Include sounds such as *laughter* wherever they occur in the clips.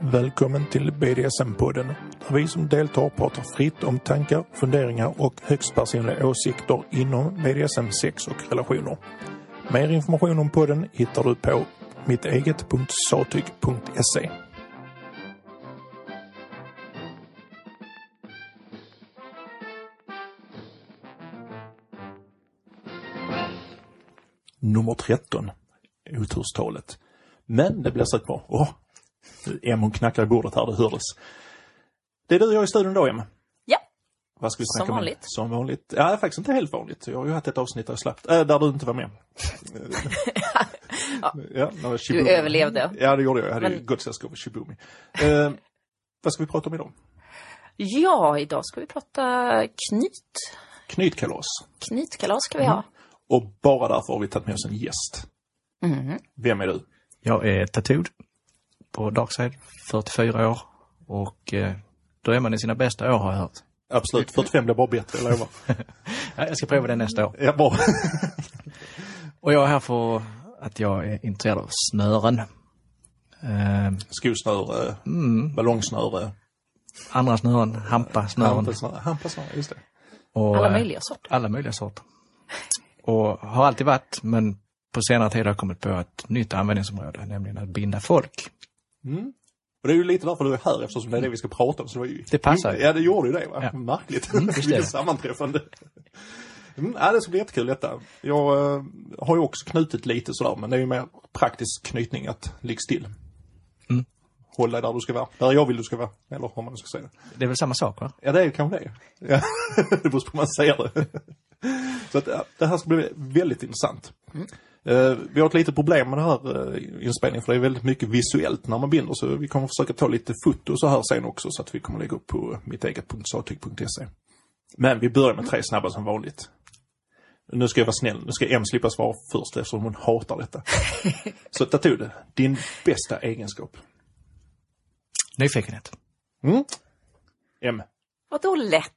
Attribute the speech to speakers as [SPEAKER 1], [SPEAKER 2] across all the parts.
[SPEAKER 1] Välkommen till BDSM-podden, där vi som deltar pratar fritt om tankar, funderingar och högst personliga åsikter inom BDSM, sex och relationer. Mer information om podden hittar du på mitteget.satyg.se. Nummer 13, oturstalet. Men det blir säkert bra. Åh, Em hon knackar i bordet här, det hördes. Det är du och jag i studion då, Em.
[SPEAKER 2] Ja,
[SPEAKER 1] Vad ska vi
[SPEAKER 2] Som
[SPEAKER 1] snacka om?
[SPEAKER 2] vanligt.
[SPEAKER 1] Som vanligt. Ja, det är faktiskt inte helt vanligt. Jag har ju haft ett avsnitt där jag slapp, äh, där du inte var med. ja, när jag-
[SPEAKER 2] du överlevde.
[SPEAKER 1] Ja, det gjorde jag. Jag hade
[SPEAKER 2] Men-
[SPEAKER 1] ju gott sällskap av Shibumi. Eh, vad ska vi prata om idag?
[SPEAKER 2] Ja, idag ska vi prata knyt.
[SPEAKER 1] Knytkalas.
[SPEAKER 2] Knytkalas ska vi ha.
[SPEAKER 1] Och bara därför har vi tagit med oss en gäst.
[SPEAKER 2] Mm.
[SPEAKER 1] Vem är du?
[SPEAKER 3] Jag är Tattooed på Darkside, 44 år och eh, då är man i sina bästa år har jag hört.
[SPEAKER 1] Absolut, 45 blir bara bättre, jag lovar.
[SPEAKER 3] Ja, Jag ska prova det nästa år.
[SPEAKER 1] Ja, bra.
[SPEAKER 3] Och jag är här för att jag är intresserad av snören. Eh,
[SPEAKER 1] *laughs* Skosnöre, ballongsnöre,
[SPEAKER 3] mm, andra snören, hampa-snören
[SPEAKER 1] hampasnöre, hampasnöre, just det.
[SPEAKER 3] och
[SPEAKER 2] Alla
[SPEAKER 3] eh,
[SPEAKER 2] möjliga sorter.
[SPEAKER 3] alla möjliga sorter. Och har alltid varit, men på senare tid har jag kommit på ett nytt användningsområde, nämligen att binda folk.
[SPEAKER 1] Och det är ju lite därför du är här, eftersom det är det vi ska prata om. Så det, var ju...
[SPEAKER 3] Det passar ju.
[SPEAKER 1] Ja, det gjorde ju det. Va? *laughs*
[SPEAKER 3] Ja.
[SPEAKER 1] Märkligt.
[SPEAKER 3] visst är
[SPEAKER 1] Vilket
[SPEAKER 3] det.
[SPEAKER 1] sammanträffande. Mm, ja, det ska bli jättekul detta. Jag eh, har ju också knutit lite sådär, men det är ju mer praktisk knytning att ligga still.
[SPEAKER 3] Mm.
[SPEAKER 1] Håll dig där du ska vara, där jag vill du ska vara, eller hur man nu ska säga det.
[SPEAKER 3] Det är väl samma sak va?
[SPEAKER 1] Ja, det är kanske det. Ja. *laughs* det beror på hur man ser det. Så att, ja, det här ska bli väldigt intressant. Eh, vi har ett litet problem med den här uh, inspelningen för det är väldigt mycket visuellt när man binder så vi kommer försöka ta lite foto så här sen också så att vi kommer lägga upp på mitteget.satyg.se. Men vi börjar med tre snabba som vanligt. Nu ska jag vara snäll, nu ska Em slippa svara först eftersom hon hatar detta. så Tattoo, din bästa egenskap?
[SPEAKER 3] Nyfikenhet.
[SPEAKER 1] Mm? Em?
[SPEAKER 2] Vadå lätt?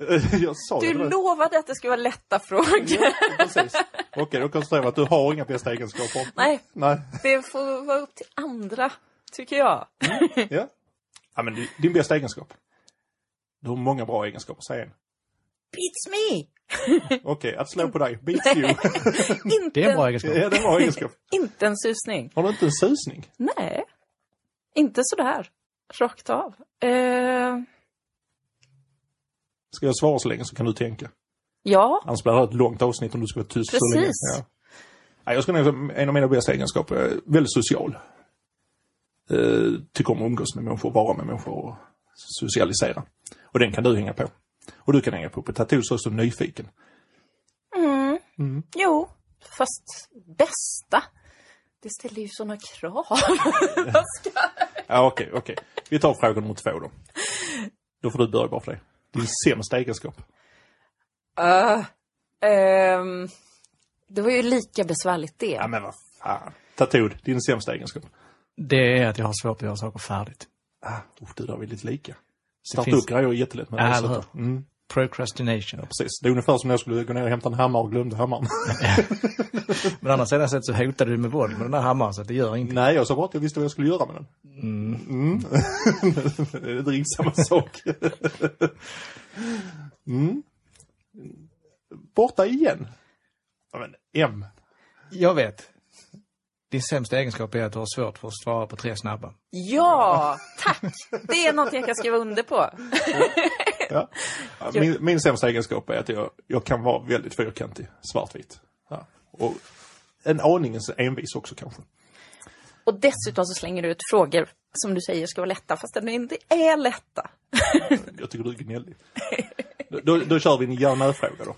[SPEAKER 1] *laughs* jag sa ju
[SPEAKER 2] Du
[SPEAKER 1] det där.
[SPEAKER 2] lovade att det skulle vara lätta frågor.
[SPEAKER 1] Precis. Okej, då konstaterar vi att du har inga bästa egenskaper.
[SPEAKER 2] Nej.
[SPEAKER 1] Nej.
[SPEAKER 2] Det får vara upp till andra, tycker jag.
[SPEAKER 1] Ja. ja men du- din bästa egenskap? Du har många bra egenskaper, säg en.
[SPEAKER 2] Beats me!
[SPEAKER 1] Okej, att slå på dig. Beats
[SPEAKER 2] *laughs*
[SPEAKER 1] you.
[SPEAKER 2] Inte,
[SPEAKER 3] Det är en bra
[SPEAKER 1] ja,
[SPEAKER 3] egenskap.
[SPEAKER 1] det är en bra egenskap.
[SPEAKER 2] inte en susning.
[SPEAKER 1] Har du inte en susning?
[SPEAKER 2] Nej, inte sådär. Rakt av. Eh,
[SPEAKER 1] Ska jag svara så länge så kan du tänka.
[SPEAKER 2] ja,
[SPEAKER 1] Annars blir det här ett långt avsnitt om du ska vara tyst så länge.
[SPEAKER 2] Precis.
[SPEAKER 1] Ja. Nej, jag skulle nog säga en av mina bästa egenskaper. Jag är väldigt social. Eh, tycker om att umgås med människor, vara med människor och socialisera. Och den kan du hänga på. Och du kan hänga på. På Tattoo så står nyfiken.
[SPEAKER 2] jo. Fast bästa. Det ställer ju sådana krav. *laughs* Vad ska
[SPEAKER 1] Ja, okej, okej. Vi tar fråga nummer två då. Då får du börja bara för det. Din sämsta egenskap.
[SPEAKER 2] Uh, ehm, det var ju lika besvärligt det.
[SPEAKER 1] Ja, men vad fan. Tattood, din sämsta egenskap.
[SPEAKER 3] Det är att jag har svårt att göra saker färdigt.
[SPEAKER 1] Ah, oh, du, där är vi lite lika. Starta
[SPEAKER 3] finns-
[SPEAKER 1] upp grejer är jättelätt. Men
[SPEAKER 3] Ja,
[SPEAKER 1] det är
[SPEAKER 3] eller
[SPEAKER 1] så- mm,
[SPEAKER 3] Procrastination.
[SPEAKER 1] precis. Det är ungefär som när jag skulle gå ner och hämta en hammare och glömde hammaren.
[SPEAKER 3] Men å andra sidan så hotar du med våld med den där hammaren så att det gör ingenting.
[SPEAKER 1] Nej, jag sa bara att jag visste vad jag skulle göra med den. Mm. *laughs* det är inte riktigt samma sak. mm. Borta igen. Ja, men M.
[SPEAKER 3] Jag vet. Din sämsta egenskap är att du har svårt för att svara på tre snabba.
[SPEAKER 2] Ja, tack! Det är något jag kan skriva under på.
[SPEAKER 1] Ja, Min, min sämsta egenskap är att jag, jag kan vara väldigt fyrkantig, svartvit. Ja. Och en aningens envis också kanske.
[SPEAKER 2] Och dessutom så slänger du ut frågor som du säger ska vara lätta, fast de inte är lätta.
[SPEAKER 1] Jag tycker du är
[SPEAKER 2] *laughs*
[SPEAKER 1] gnällig. Då, då, då kör vi en ja-nej-fråga då.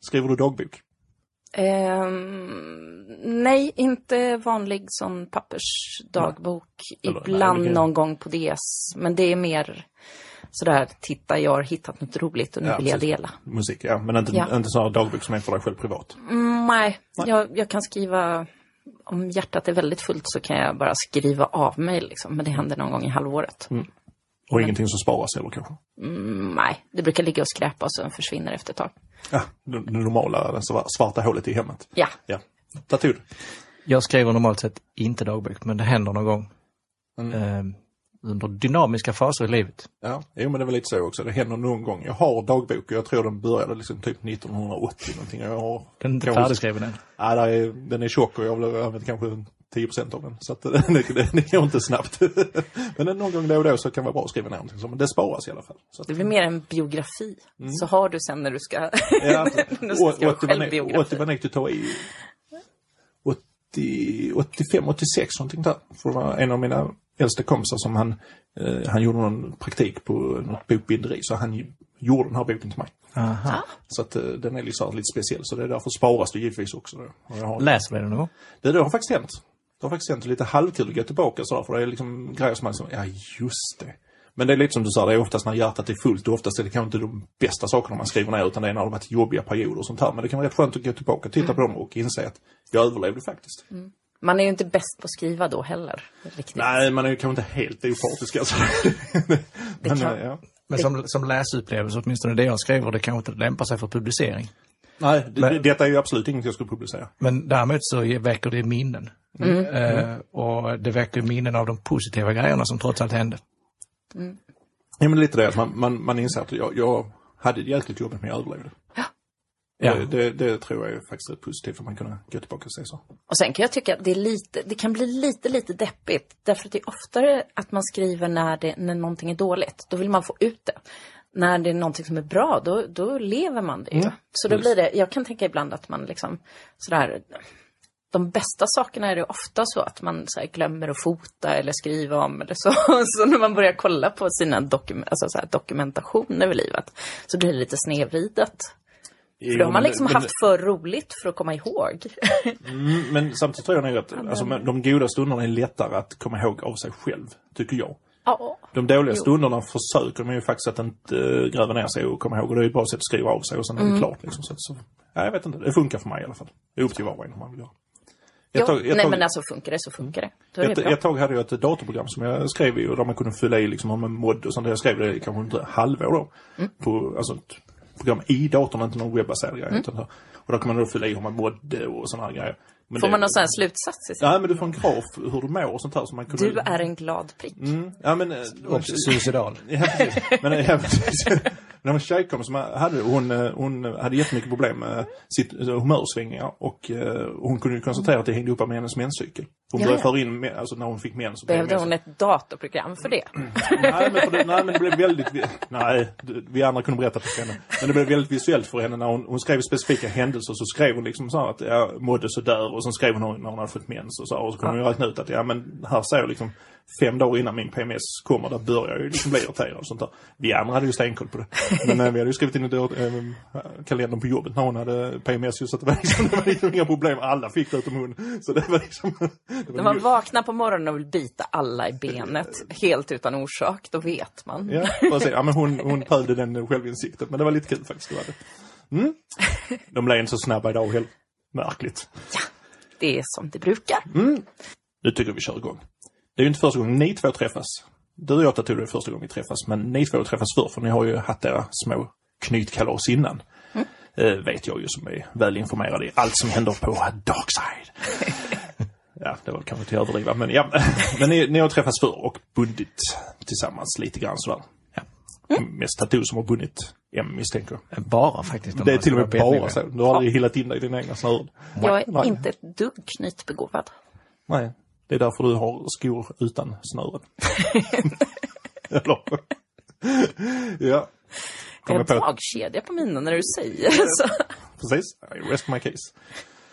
[SPEAKER 1] Skriver du dagbok?
[SPEAKER 2] Ehm, nej, inte vanlig sån pappersdagbok.
[SPEAKER 1] Eller-
[SPEAKER 2] Ibland
[SPEAKER 1] nej, det kan-
[SPEAKER 2] någon gång på DS, men det är mer sådär, titta jag har hittat något roligt och nu
[SPEAKER 1] Ja,
[SPEAKER 2] vill jag
[SPEAKER 1] precis.
[SPEAKER 2] dela.
[SPEAKER 1] Musik, ja. Men inte,
[SPEAKER 2] Ja.
[SPEAKER 1] inte sån här dagbok som är för dig själv privat.
[SPEAKER 2] Mm, nej, jag, jag kan skriva... Om hjärtat är väldigt fullt så kan jag bara skriva av mig, liksom. men det händer någon gång i halvåret.
[SPEAKER 1] Och ingenting som sparas heller kanske.
[SPEAKER 2] Mm, nej, det brukar ligga och skräpa och sen försvinner det efter ett tag.
[SPEAKER 1] Ja, det, det normala, det svar- svarta hålet i hemmet.
[SPEAKER 2] Ja,
[SPEAKER 1] Ja. Tattoo?
[SPEAKER 3] Jag skriver normalt sett inte dagbok, men det händer någon gång. Ehm, under dynamiska faser i livet.
[SPEAKER 1] Ja, jo, men det var lite så också. Det händer någon gång. Jag har dagbok och jag tror den började liksom typ 1980 någonting. Jag har,
[SPEAKER 3] Den är inte
[SPEAKER 1] kanske-
[SPEAKER 3] färdigskriven än.
[SPEAKER 1] Nej, där är, den är tjock och jag har använt kanske 10 av den. Så att *laughs* det, det, det går inte snabbt. *laughs* Men någon gång då och då så kan det vara bra att skriva ner någonting. Så, men det sparas i alla fall. Så
[SPEAKER 2] *laughs*
[SPEAKER 1] att,
[SPEAKER 2] Det blir mer en biografi. Så har du sen när du ska...
[SPEAKER 1] ja, alltså.
[SPEAKER 2] *laughs* Nu ska jag självbiografi.
[SPEAKER 1] 80 var nektigt att ta i. 80, 85, 86 någonting där. För det var en av mina äldsta kompisar som han, eh, han gjorde någon praktik på något bokbinderi så han ju- gjorde den här boken till mig.
[SPEAKER 3] Aha.
[SPEAKER 1] Så att eh, den är liksom lite speciell så det är därför sparas det givetvis också. Då. Och jag har-
[SPEAKER 3] Läser du det någon gång?
[SPEAKER 1] Det, det har faktiskt hänt. Det har faktiskt hänt lite halvkul att gå tillbaka sådär, för det är liksom grejer som man liksom, ja just det. Men det är lite som du sa, det är oftast när hjärtat är fullt och oftast är det kanske inte de bästa sakerna man skriver ner utan det är när det har varit jobbiga perioder och sånt här. Men det kan vara rätt skönt att gå tillbaka och titta på dem och inse att jag överlevde faktiskt.
[SPEAKER 2] Mm. Man är ju inte bäst på att skriva då heller. Riktigt.
[SPEAKER 1] Nej, man är ju kanske inte helt opartisk alltså. *laughs*
[SPEAKER 2] Det
[SPEAKER 1] Men,
[SPEAKER 2] kan-
[SPEAKER 1] eh, ja.
[SPEAKER 3] Men som, som läsupplevelse, åtminstone det jag skriver, det kanske inte lämpar sig för publicering.
[SPEAKER 1] Nej, det,
[SPEAKER 3] Men-
[SPEAKER 1] detta är ju absolut inget jag skulle publicera.
[SPEAKER 3] Men däremot så väcker det minnen. Eh, och det väcker minnen av de positiva grejerna som trots allt hände.
[SPEAKER 1] Ja, men lite det att man, man, man inser att jag, jag hade det jäkligt jobbigt men jag överlevde.
[SPEAKER 3] Ja.
[SPEAKER 1] Det, det, det tror jag är faktiskt rätt positivt för man kunna gå tillbaka och se så.
[SPEAKER 2] Och sen kan jag tycka att det, är lite, det kan bli lite, lite deppigt. Därför att det är oftare att man skriver när, det, när någonting är dåligt. Då vill man få ut det. När det är någonting som är bra, då, då lever man det ju. Så då blir det, jag kan tänka ibland att man liksom sådär, de bästa sakerna är det ofta så att man så här, glömmer att fota eller skriva om eller så. *laughs* Så när man börjar kolla på sina dokum, alltså så här, dokumentation över livet så blir det lite snedvridet. För då har man liksom haft för roligt för att komma ihåg. *laughs*
[SPEAKER 1] Mm, men samtidigt tror jag nog att alltså, men de goda stunderna är lättare att komma ihåg av sig själv, tycker jag.
[SPEAKER 2] ja.
[SPEAKER 1] De dåliga stunderna försöker man ju faktiskt att inte eh, gräva ner sig och komma ihåg. Och det är ju ett bra sätt att skriva av sig och sen är
[SPEAKER 2] Mm.
[SPEAKER 1] det klart. Liksom, så, att- så, nej, jag vet inte, det funkar för mig i alla fall. Det är upp till var och en hur man vill göra. Ett
[SPEAKER 2] Ja,
[SPEAKER 1] tag- ett
[SPEAKER 2] nej
[SPEAKER 1] tag-
[SPEAKER 2] men alltså funkar det så funkar det. Då är
[SPEAKER 1] Ett,
[SPEAKER 2] det bra.
[SPEAKER 1] ett tag hade jag ett datorprogram som jag skrev i och där man kunde fylla i liksom om en mod och sånt. där. Jag skrev det i kanske inte halvår då.
[SPEAKER 2] Mm.
[SPEAKER 1] På, alltså ett program i datorn, inte någon webbaserad grej.
[SPEAKER 2] Mm.
[SPEAKER 1] utan så här. Och där kan man då fylla i hur man modde och såna här grejer. Men
[SPEAKER 2] Får
[SPEAKER 1] det-
[SPEAKER 2] man någon sån här slutsats i sig?
[SPEAKER 1] Nej men du får en graf hur du mår och sånt här. Så man kunde...
[SPEAKER 2] Du är en glad prick.
[SPEAKER 1] Mm, ja men... eh,
[SPEAKER 3] Och suicidal.
[SPEAKER 1] Ja, precis. Men, eh, ja,
[SPEAKER 2] *laughs*
[SPEAKER 1] precis. Det var en tjejkompis som hade, hon, eh, hon hade jättemycket problem med sitt eh, humörsvängningar och eh, hon kunde ju konstatera att det hängde upp med hennes menscykel. Hon
[SPEAKER 2] Ja,
[SPEAKER 1] började
[SPEAKER 2] ja.
[SPEAKER 1] föra in, men- alltså när hon fick mens. så blev
[SPEAKER 2] Behövde
[SPEAKER 1] mensen-
[SPEAKER 2] hon ett datorprogram för det?
[SPEAKER 1] Nej men, för det, nej, men det blev väldigt... vi- Nej, du- vi andra kunde berätta för henne. Men det blev väldigt visuellt för henne när hon, hon skrev specifika händelser. Så skrev hon liksom så här att jag mådde sådär och sen skrev hon när hon hade fått mens och så här, Och så kunde hon ju räkna ut att ja men här ser jag liksom fem dagar innan min PMS kommer, där börjar jag ju liksom bli irriterad och sånt där. Vi andra hade ju stenkoll på det. Men eh, vi hade ju skrivit in i dör- eh, kalendern på jobbet när hon hade PMS ju så att det var liksom, det var liksom inga problem. Alla fick det utom hon. Så det var liksom... Det
[SPEAKER 2] När man vaknar på morgonen och vill bita alla i benet helt utan orsak, då vet man.
[SPEAKER 1] Ja, precis. Ja, men hon, hon prövade den självinsikten, men det var lite kul faktiskt. Det var det. Mm. De blev inte så snabba idag heller. Märkligt.
[SPEAKER 2] Det är som det brukar.
[SPEAKER 1] Mm. Nu tycker jag vi kör igång. Det är ju inte första gången ni två träffas. Du och jag Tattoo, det är första gången vi träffas, men ni två träffas förr, för ni har ju haft era små knytkalas innan.
[SPEAKER 2] Mm.
[SPEAKER 1] Eh, vet jag ju som är välinformerad i allt som händer på
[SPEAKER 2] *laughs*
[SPEAKER 1] Darkside. ja, det var kanske till att överdriva, men ja. *laughs* men ni, ni har träffats förr och bundit tillsammans lite grann sådär.
[SPEAKER 3] Ja.
[SPEAKER 2] Mm.
[SPEAKER 1] Mest Tattoo som har bundit M misstänker jag.
[SPEAKER 3] Bara faktiskt. om
[SPEAKER 1] Det är
[SPEAKER 3] man
[SPEAKER 1] till och med
[SPEAKER 3] ska vara
[SPEAKER 1] bara
[SPEAKER 3] petnoga.
[SPEAKER 1] så. Du har aldrig hillat in dig i dina egna snören.
[SPEAKER 2] Jag är
[SPEAKER 1] Nej.
[SPEAKER 2] inte ett dugg knytbegåvad.
[SPEAKER 1] Nej. Det är därför du har skor utan snören. Eller? ja.
[SPEAKER 2] Jag
[SPEAKER 1] Kommer
[SPEAKER 2] har
[SPEAKER 1] på.
[SPEAKER 2] dragkedja på mina när du säger så.
[SPEAKER 1] Precis. I rest my case.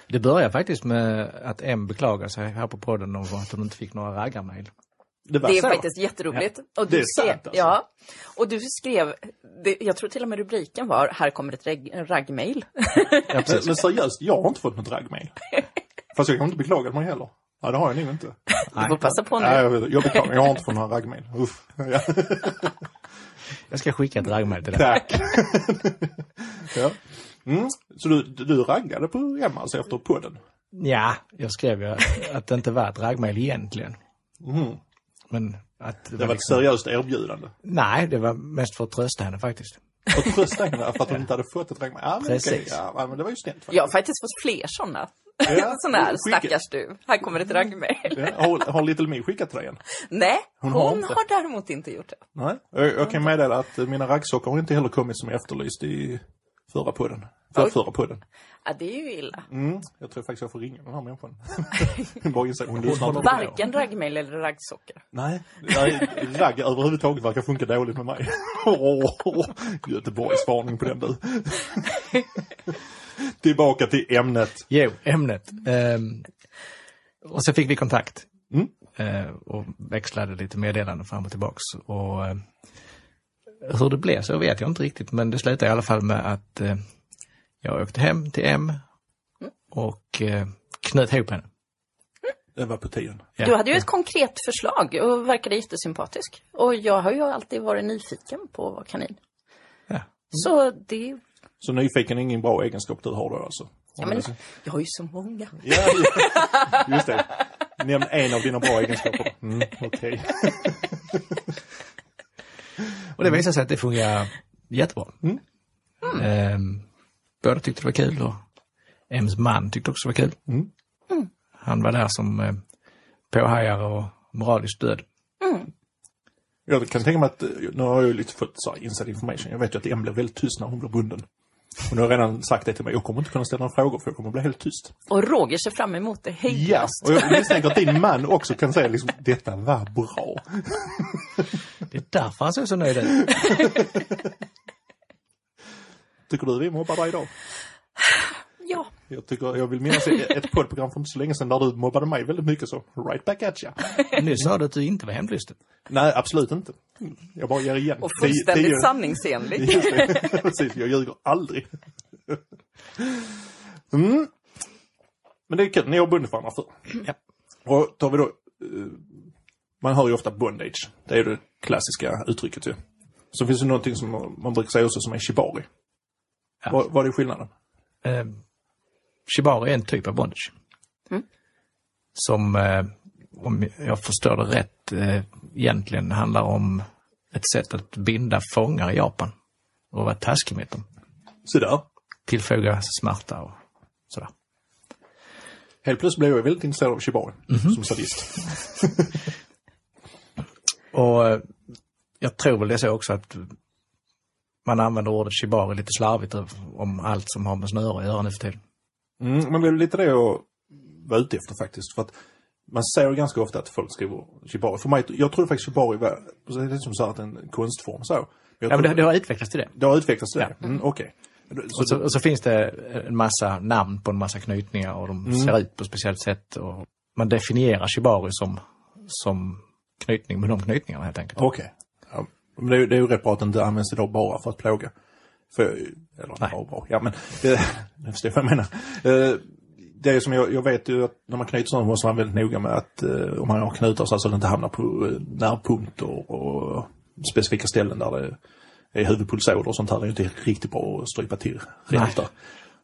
[SPEAKER 3] Det börjar faktiskt med att M beklagar sig här på podden om att hon inte fick några raggarmail.
[SPEAKER 1] var
[SPEAKER 2] Det är
[SPEAKER 1] så.
[SPEAKER 2] faktiskt jätteroligt. Och
[SPEAKER 1] Det
[SPEAKER 2] du
[SPEAKER 1] är
[SPEAKER 2] skrev,
[SPEAKER 1] sant, alltså.
[SPEAKER 2] Ja. Och du skrev, det, jag tror till och med rubriken var, här kommer ett reg- raggmail.
[SPEAKER 3] Ja,
[SPEAKER 1] Men,
[SPEAKER 3] precis.
[SPEAKER 1] men seriöst, jag har inte fått något raggmail. Fast jag kan inte beklaga mig heller. Ja, det har jag nog inte.
[SPEAKER 2] Du får passa på nu.
[SPEAKER 1] Nej, jag, vet, jag beklagar. Jag har inte fått några raggmail. Uff. Ja.
[SPEAKER 3] Jag ska skicka ett raggmail
[SPEAKER 1] *laughs*
[SPEAKER 3] till dig.
[SPEAKER 1] Tack. ja. mm. Så du, du raggade på Emma alltså efter podden?
[SPEAKER 3] Ja, jag skrev ju att det inte var ett raggmail egentligen.
[SPEAKER 1] Mm.
[SPEAKER 3] Men att liksom-
[SPEAKER 1] Det var ett seriöst erbjudande.
[SPEAKER 3] Nej, det var mest för att trösta henne faktiskt.
[SPEAKER 1] Och trösta henne för att hon inte hade fått ett regnmail. Ja, men okej.
[SPEAKER 3] Precis.
[SPEAKER 1] Ja, men det var ju snällt. faktiskt.
[SPEAKER 2] Jag har faktiskt fått fler sådana. *laughs*
[SPEAKER 1] Ja,
[SPEAKER 2] Sån här
[SPEAKER 1] skicka.
[SPEAKER 2] stackars du. Här kommer
[SPEAKER 1] *laughs*
[SPEAKER 2] ett raggmail.
[SPEAKER 1] Ja, har, har Little Me skickat tröjan?
[SPEAKER 2] Nej,
[SPEAKER 1] Hon
[SPEAKER 2] hon,
[SPEAKER 1] har
[SPEAKER 2] har,
[SPEAKER 1] inte.
[SPEAKER 2] däremot inte gjort det.
[SPEAKER 1] Nej. Jag, jag kan meddela att eh, mina raggsockor har inte heller kommit som jag efterlyst i förra podden. För,
[SPEAKER 2] Oj.
[SPEAKER 1] förra podden.
[SPEAKER 2] Ja, det är ju illa.
[SPEAKER 1] Mm. Jag tror faktiskt jag får ringa den här
[SPEAKER 2] *laughs*
[SPEAKER 1] människan. Bara inse att hon lyssnar inte på mig.
[SPEAKER 2] Varken raggmail eller raggsockor.
[SPEAKER 1] Nej, nej, ragg överhuvudtaget verkar funka dåligt med mig. Åh, Göteborgs varning på den
[SPEAKER 2] *laughs*
[SPEAKER 1] du. Tillbaka till ämnet.
[SPEAKER 3] Jo, ämnet. Ehm, och så fick vi kontakt.
[SPEAKER 1] Mm.
[SPEAKER 3] Eh, och växlade lite meddelanden fram och tillbaks. Och, eh, hur det blev så vet jag inte riktigt, men det slutade i alla fall med att eh, jag åkte hem till M och eh, knöt ihop henne.
[SPEAKER 1] Det var på tiden.
[SPEAKER 3] Ja.
[SPEAKER 2] Du hade ju ett konkret förslag och verkade jättesympatisk. Och jag har ju alltid varit nyfiken på att vara kanin.
[SPEAKER 3] Ja.
[SPEAKER 2] Så det...
[SPEAKER 1] Så nyfiken är ingen bra egenskap du har då alltså?
[SPEAKER 2] Ja, men, jag har ju så många.
[SPEAKER 1] Ja, just det. Nämn en av dina bra egenskaper. Mm, Okej.
[SPEAKER 3] Och det visade sig att det fungerar jättebra.
[SPEAKER 1] Mm.
[SPEAKER 3] Ehm, båda tyckte det var kul och Ems man tyckte också det var kul.
[SPEAKER 1] Mm.
[SPEAKER 3] Han var där som eh, påhejare och moraliskt stöd.
[SPEAKER 1] Jag kan tänka mig att, eh, nu har jag ju lite fått så här inside information. Jag vet ju att Em blir väldigt tyst när hon blir bunden. Och nu har jag redan sagt det till mig, jag kommer inte kunna ställa några frågor för jag kommer bli helt tyst.
[SPEAKER 2] Och Roger ser fram emot det
[SPEAKER 1] Ja,
[SPEAKER 2] hejdlöst.
[SPEAKER 1] och jag misstänker att din man också kan säga liksom, detta var bra.
[SPEAKER 3] Det är därför han såg så nöjd ut.
[SPEAKER 1] Tycker du vi mobbar dig idag?
[SPEAKER 2] Ja.
[SPEAKER 1] Jag, tycker, jag vill minnas ett poddprogram för inte så länge sedan där du mobbade mig väldigt mycket så, right back at ya.
[SPEAKER 3] Nu sa du att du inte var hämndlysten.
[SPEAKER 1] Nej, absolut inte. Jag bara ger igen.
[SPEAKER 2] Och
[SPEAKER 1] Tio- tio-
[SPEAKER 2] fullständigt sanningsenlig.
[SPEAKER 1] Just det. *laughs* Precis, jag ljuger aldrig. *laughs* Mm. Men det är kul, ni har bundit varandra för.
[SPEAKER 3] Ja.
[SPEAKER 1] Och tar vi då, eh, man hör ju ofta bondage. Det är ju det klassiska uttrycket ju. Så finns det någonting som man brukar säga också som är shibari.
[SPEAKER 3] Ja.
[SPEAKER 1] Vad, vad är skillnaden?
[SPEAKER 3] Eh, shibari är en typ av bondage. Som, eh, om jag förstår det rätt, eh, egentligen handlar om ett sätt att binda fångar i Japan och vara taskig mot dem.
[SPEAKER 1] Så där.
[SPEAKER 3] Tillfoga smärta och sådär.
[SPEAKER 1] Helt plötsligt blev jag väldigt intresserad av shibari
[SPEAKER 3] Mhm.
[SPEAKER 1] som sadist.
[SPEAKER 3] Och eh, jag tror väl det är så också att man använder ordet shibari lite slarvigt om allt som har med snöre att göra nu för tiden.
[SPEAKER 1] Mm, men det är lite det jag var ute efter faktiskt. För att man ser ju ganska ofta att folk skriver shibari. För mig, jag tror faktiskt shibari var, det är som så här att en konstform så. Men jag
[SPEAKER 3] Ja, men
[SPEAKER 1] tror-
[SPEAKER 3] det, det har utvecklats till det.
[SPEAKER 1] Det har utvecklats till det? Mm, Okej. Så,
[SPEAKER 3] Och så, och så finns det en massa namn på en massa knytningar och de ser ut på ett speciellt sätt. Och man definierar shibari som, som knytning med de knytningarna helt enkelt.
[SPEAKER 1] Okej. Ja, men det, är ju- det är ju rätt bra att den inte används idag bara för att plåga. För, eller
[SPEAKER 3] Nej.
[SPEAKER 1] bara bra, ja men eh, *laughs* ni förstår vad jag menar. Eh, det är som jag, jag vet ju att när man knyter sådana måste man vara väldigt noga med att eh, om man har knutar så att det inte hamnar på eh, närpunkter och specifika ställen där det är huvudpulsåder och sånt här. Det är ju inte riktigt bra att strypa till rejält där.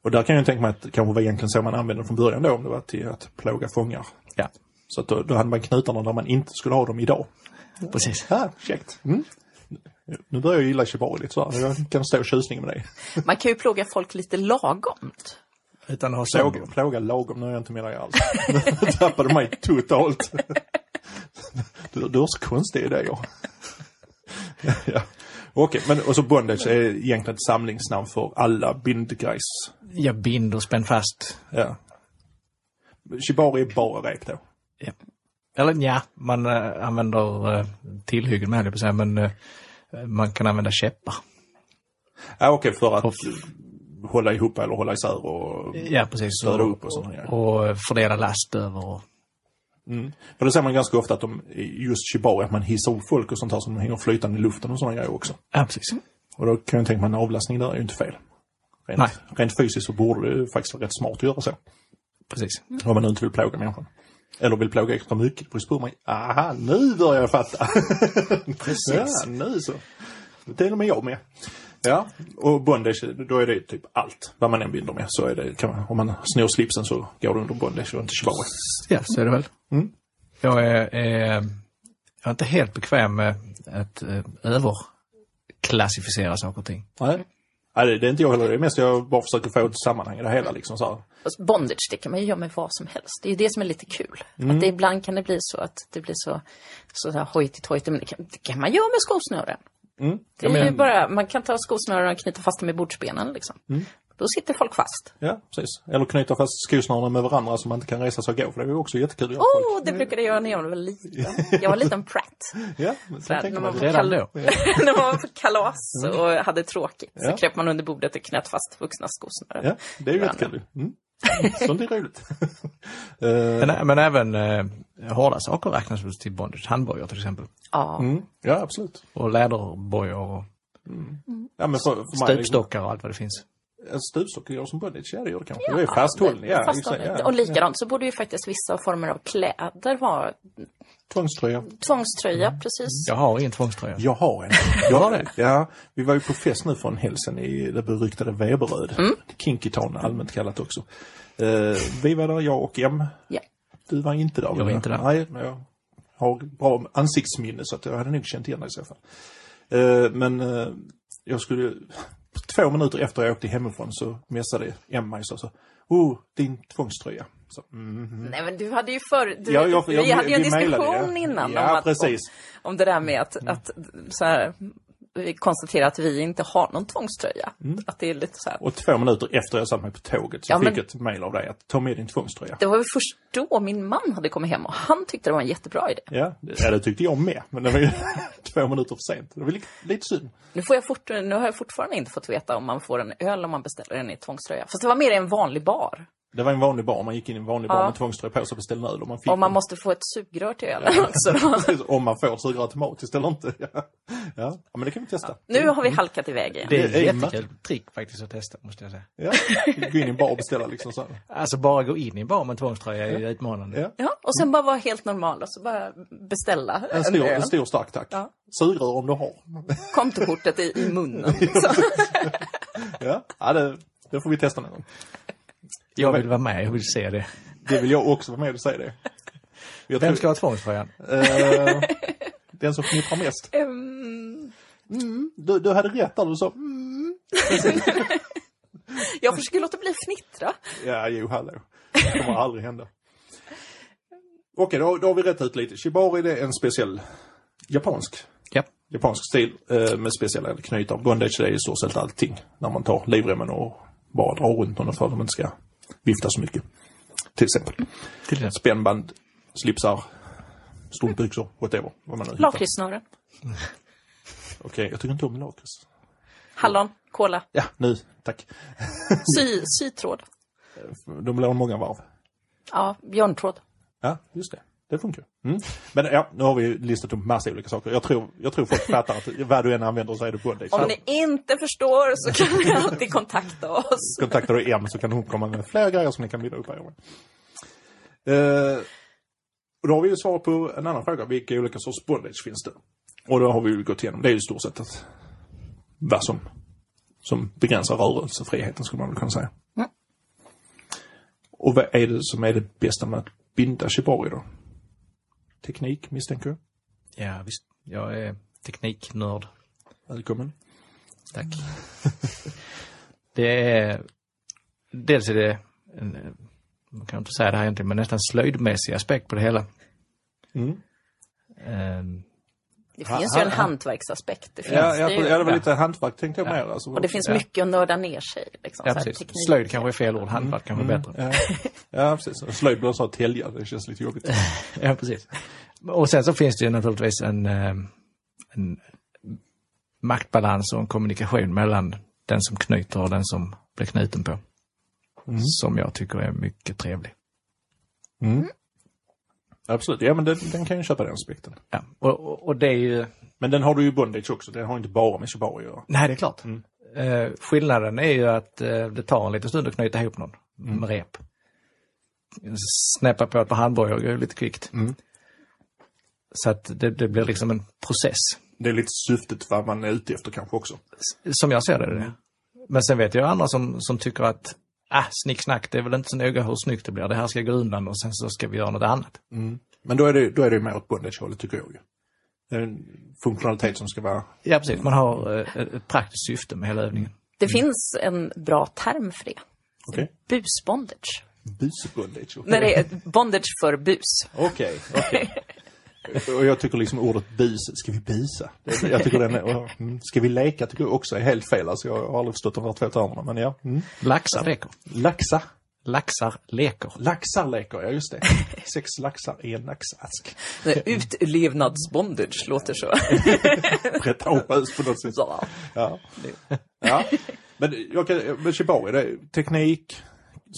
[SPEAKER 1] Och där kan jag ju tänka mig att det kanske var egentligen så man använde det från början då om det var till att plåga fångar.
[SPEAKER 3] Ja,
[SPEAKER 1] Så att då, då hade man knutarna där man inte skulle ha dem idag.
[SPEAKER 3] precis.
[SPEAKER 1] Ja, käckt. Mm. Nu börjar jag gilla shibari lite sådär. Jag kan stå tjusningen med dig.
[SPEAKER 2] Man kan ju plåga folk lite lagomt.
[SPEAKER 3] Utan att ha
[SPEAKER 1] Plåga,
[SPEAKER 3] såg.
[SPEAKER 1] plåga lagom, nu är jag inte med dig alls. *laughs* Nu tappade du mig totalt. Du, du har så konstiga idéer. Ja. Okej, men och så bondage är egentligen ett samlingsnamn för alla bindgrejs.
[SPEAKER 3] Jag binder och spänn fast.
[SPEAKER 1] Ja. Shibari är bara rep då.
[SPEAKER 3] Ja. Eller ja, man eh, använder eh, tillhyggen med höll jag på att säga, men eh, man kan använda käppar.
[SPEAKER 1] Ja, Okej, för att
[SPEAKER 3] Och-
[SPEAKER 1] hålla ihop eller hålla isär och
[SPEAKER 3] Ja, precis.
[SPEAKER 1] röra upp och sådana grejer.
[SPEAKER 3] och fördela last över. och-
[SPEAKER 1] För det ser man ganska ofta att de, just shibari, att man hissar upp folk och sånt här som hänger flytande i luften och sådana grejer också.
[SPEAKER 3] Ja, precis.
[SPEAKER 1] Och då kan jag tänka mig en avlastning där är ju inte fel. Rent,
[SPEAKER 3] Nej.
[SPEAKER 1] rent fysiskt så borde det faktiskt vara rätt smart att göra så.
[SPEAKER 3] precis.
[SPEAKER 1] Om man nu inte vill plåga människan. Eller vill plåga extra mycket. Det beror på hur man... Aha, nu börjar jag fatta! ja, nu så. Till och med jag med. Ja, och bondage, då är det typ allt. Vad man än binder med så är det, kan man, om man snor slipsen så går det under bondage och inte shibari.
[SPEAKER 3] Ja, så är det väl. Jag, är, är, jag är inte helt bekväm med att eh, överklassificera saker och ting.
[SPEAKER 1] Nej. Nej, det det är inte jag heller. Det är mest jag bara försöker få ett sammanhang i det hela. Liksom, så här.
[SPEAKER 2] Och Alltså, Bondage, det kan man ju göra med vad som helst. Det är ju det som är lite kul.
[SPEAKER 1] Mm.
[SPEAKER 2] Att det, ibland kan det bli så att det blir så, så där hojtigt hojtigt. Men det kan, det kan man göra med skosnören. Det är
[SPEAKER 1] Mm. Jag
[SPEAKER 2] ju
[SPEAKER 1] menar-
[SPEAKER 2] bara, man kan ta skosnören och knyta fast dem i bordsbenen liksom.
[SPEAKER 1] Mm.
[SPEAKER 2] Då sitter folk fast.
[SPEAKER 1] Ja, precis. Eller knyta fast skosnörena med varandra så man inte kan resa sig och gå. För det är ju också jättekul.
[SPEAKER 2] Åh,
[SPEAKER 1] Mm.
[SPEAKER 2] oh, det brukade jag göra när jag var liten. Jag var en liten prat.
[SPEAKER 1] Ja, men så
[SPEAKER 2] Där,
[SPEAKER 1] tänker
[SPEAKER 2] när
[SPEAKER 1] man.
[SPEAKER 2] man-
[SPEAKER 3] Redan då.
[SPEAKER 2] *laughs* när man var på kalas och hade tråkigt så
[SPEAKER 1] Mm. Ja.
[SPEAKER 2] kröp man under bordet och knöt fast vuxna skosnören.
[SPEAKER 1] Ja, det är ju jättekul. Mm. Sånt är roligt. *laughs* Eh,
[SPEAKER 3] Men, men även eh, hårda saker räknas väl till bondage. Handbojor till exempel.
[SPEAKER 2] Ja.
[SPEAKER 1] mm, ja, absolut.
[SPEAKER 3] Och läderbojor och
[SPEAKER 1] Ja, men för, för mig,
[SPEAKER 3] stupstockar och allt vad det finns.
[SPEAKER 1] En stupstock gör som bondage, ja det gör det kanske. det är fasthållning. Ja,
[SPEAKER 2] Fast-
[SPEAKER 1] just det, ja.
[SPEAKER 2] Och likadant så borde ju faktiskt vissa former av kläder vara
[SPEAKER 1] Tvångströja.
[SPEAKER 2] tvångströja, precis.
[SPEAKER 3] Jag har ingen tvångströja.
[SPEAKER 1] Jag har en. Jag har det? Ja, vi var ju på fest nu för en hälsen i det beryktade Veberöd. Kinky Town, allmänt kallat också. Eh, vi var där, jag och M.
[SPEAKER 2] Ja.
[SPEAKER 1] Du var inte där.
[SPEAKER 3] var
[SPEAKER 1] va?
[SPEAKER 3] inte där.
[SPEAKER 1] Nej, men jag har bra ansiktsminne så att jag hade nog känt igen dig i så fall. Eh, men eh, jag skulle... Två minuter efter jag åkte hemifrån så messade M mig och sa Oh, din tvångströja. Så, mm.
[SPEAKER 2] Mm. Nej men du hade ju förr, du,
[SPEAKER 1] Ja, jag-
[SPEAKER 2] vi
[SPEAKER 1] jag-
[SPEAKER 2] hade ju en
[SPEAKER 1] vi mejlade,
[SPEAKER 2] diskussion
[SPEAKER 1] ja.
[SPEAKER 2] innan
[SPEAKER 1] Ja,
[SPEAKER 2] om, att, om,
[SPEAKER 1] precis. Mm.
[SPEAKER 2] om det där med att, att så här, vi konstaterar att vi inte har någon tvångströja.
[SPEAKER 1] Mm.
[SPEAKER 2] Att det är lite så här,
[SPEAKER 1] Och två minuter efter jag satt mig på tåget så
[SPEAKER 2] Ja,
[SPEAKER 1] fick
[SPEAKER 2] men-
[SPEAKER 1] jag ett mejl av dig att ta med din tvångströja.
[SPEAKER 2] det var väl först då min man hade kommit hem och han tyckte det var en jättebra idé.
[SPEAKER 1] Ja, det, ja, det tyckte jag med. Men det var ju *laughs* två minuter för sent. Det var lite, lite synd.
[SPEAKER 2] Nu, får jag fort, nu har jag fortfarande inte fått veta om man får en öl om man beställer den i tvångströja. Fast det var mer i en vanlig bar.
[SPEAKER 1] Det var en vanlig bar. Man gick in i en vanlig bar
[SPEAKER 2] Ja.
[SPEAKER 1] med tvångströja på sig och beställde en öl. Och man fick
[SPEAKER 2] Om man
[SPEAKER 1] den.
[SPEAKER 2] måste få ett sugrör till ölen
[SPEAKER 1] *laughs*
[SPEAKER 2] också. Då.
[SPEAKER 1] Precis, om man får sugrör automatiskt eller inte. Ja. Ja. ja, men det kan vi testa.
[SPEAKER 2] Nu har vi halkat iväg igen.
[SPEAKER 3] Det är
[SPEAKER 1] Det är
[SPEAKER 3] ett jättekul trick faktiskt att testa måste jag säga.
[SPEAKER 1] Ja. Gå in i en bar och beställa liksom så. här.
[SPEAKER 3] Alltså bara gå in i en bar med tvångströja är ju utmanande.
[SPEAKER 1] Ja.
[SPEAKER 2] Ja, och sen bara vara helt normal och så bara beställa
[SPEAKER 1] En
[SPEAKER 2] en
[SPEAKER 1] stor,
[SPEAKER 2] öl.
[SPEAKER 1] en stor stark tack.
[SPEAKER 2] Ja.
[SPEAKER 1] Sugrör om du har.
[SPEAKER 2] Kontokortet i, i munnen. Så.
[SPEAKER 1] Ja, ja det, det får vi testa någon gång.
[SPEAKER 3] Jag vill vara med, jag vill se det.
[SPEAKER 1] Det vill jag också vara med och säga det. Jag
[SPEAKER 3] Vem
[SPEAKER 1] tror-
[SPEAKER 3] ska ha tvångströjan?
[SPEAKER 1] Eh, den som fnittrar mest. Mm.
[SPEAKER 2] Ehm,
[SPEAKER 1] Du, du hade rätt där du sa mm.
[SPEAKER 2] jag försöker låta bli fnittra.
[SPEAKER 1] Ja, jo, hallå. Det kommer aldrig hända. Okej, då, då har vi rätt ut lite. Shibari det är en speciell japansk,
[SPEAKER 3] Ja.
[SPEAKER 1] japansk stil eh, med speciella knytar. Bondage det är i stort sett allting. När man tar livremmen och bara drar runt honom för att de inte ska vifta så mycket. Till exempel.
[SPEAKER 3] Till exempel.
[SPEAKER 1] Spännband, slipsar, strumpbyxor, whatever. Vad man nu hittar. Okej,
[SPEAKER 2] Lakritssnören,
[SPEAKER 1] jag tycker inte om lakrits.
[SPEAKER 2] hallon, kola,
[SPEAKER 1] Ja, nu, tack.
[SPEAKER 2] sy, sytråd,
[SPEAKER 1] De blir många varv.
[SPEAKER 2] ja, björntråd.
[SPEAKER 1] Ja, just det. Det funkar. Mm. Men ja, nu har vi ju listat upp massa olika saker. Jag tror, jag tror folk fattar att vad du än använder så är det bondage.
[SPEAKER 2] Om
[SPEAKER 1] Så
[SPEAKER 2] ni inte förstår så kan ni alltid kontakta oss.
[SPEAKER 1] Kontaktar du M så kan hon komma med fler grejer som ni kan binda upp er med. Eh, och då har vi ju svar på en annan fråga. Vilka olika sorts bondage finns det? Och då har vi ju gått igenom. Det är ju i stort sett att vad som, som begränsar rörelsefriheten skulle man väl kunna säga.
[SPEAKER 2] Mm.
[SPEAKER 1] Och vad är det som är det bästa med att binda shibari då? Teknik misstänker jag.
[SPEAKER 3] Ja, visst. Jag är tekniknörd.
[SPEAKER 1] Välkommen.
[SPEAKER 3] Tack. *laughs* det är... Dels är det en, eh, man kan inte säga det här egentligen, men nästan slöjdmässig aspekt på det hela.
[SPEAKER 1] Mm.
[SPEAKER 3] Ehm,
[SPEAKER 2] Det finns ju en hantverksaspekt. Det finns
[SPEAKER 1] Ja,
[SPEAKER 2] det
[SPEAKER 1] jag,
[SPEAKER 2] ju.
[SPEAKER 1] ja, det var lite hantverk tänkte jag mer. Alltså.
[SPEAKER 2] Och det finns mycket att nörda ner sig i. Liksom,
[SPEAKER 3] ja,
[SPEAKER 2] så här
[SPEAKER 3] precis.
[SPEAKER 2] teknik.
[SPEAKER 3] Slöjd kanske är fel ord, hantverk kanske är bättre.
[SPEAKER 1] Ja, ja precis. Slöjd blir så att tälja, det känns lite jobbigt.
[SPEAKER 3] Ja, precis. Och sen så finns det ju naturligtvis en, eh, en maktbalans och en kommunikation mellan den som knyter och den som blir knuten på. Som jag tycker är mycket trevlig.
[SPEAKER 1] Absolut, ja men den, den kan ju köpa den aspekten.
[SPEAKER 3] Ja. Och, och, och det är ju...
[SPEAKER 1] Men den har du ju i bondage också, den har inte bara med shibari att göra.
[SPEAKER 3] Nej, det är klart. Eh, skillnaden är ju att eh, det tar en liten stund att knyta ihop någon med rep. Snäppa på ett par handbojor går ju lite kvickt. Så att det, det blir liksom en process.
[SPEAKER 1] Det är lite syftet vad man är ute efter kanske också.
[SPEAKER 3] som jag ser det, är det. Men sen vet jag andra som, som tycker att ah, snicksnack, det är väl inte så noga hur snyggt det blir. Det här ska gå undan och sen så ska vi göra något annat.
[SPEAKER 1] Men då är det, då är det ju mer åt bondage-hållet tycker jag ju. Det är en funktionalitet som ska vara...
[SPEAKER 3] Ja, precis. Man har eh, ett praktiskt syfte med hela övningen.
[SPEAKER 2] Det finns en bra term för det.
[SPEAKER 1] Okej.
[SPEAKER 2] Mm. Busbondage.
[SPEAKER 1] Busbondage. okej.
[SPEAKER 2] När det är bondage för bus.
[SPEAKER 1] Okej, okej. Och jag tycker liksom ordet bus, ska vi busa? Det- Jag tycker den är, mm, ska vi leka tycker jag också är helt fel. Alltså jag har aldrig förstått de där två termerna. Men ja, mm.
[SPEAKER 3] Laxar leker.
[SPEAKER 1] Laxa.
[SPEAKER 3] Laxar leker.
[SPEAKER 1] Laxar leker jag, just det. Sex laxar i en laxask.
[SPEAKER 2] Nej, Utlevnadsbondage låter så.
[SPEAKER 1] Pretentiöst på något sätt.
[SPEAKER 2] så.
[SPEAKER 1] Ja. ja. Men, jag kan, men Shibari, det är teknik,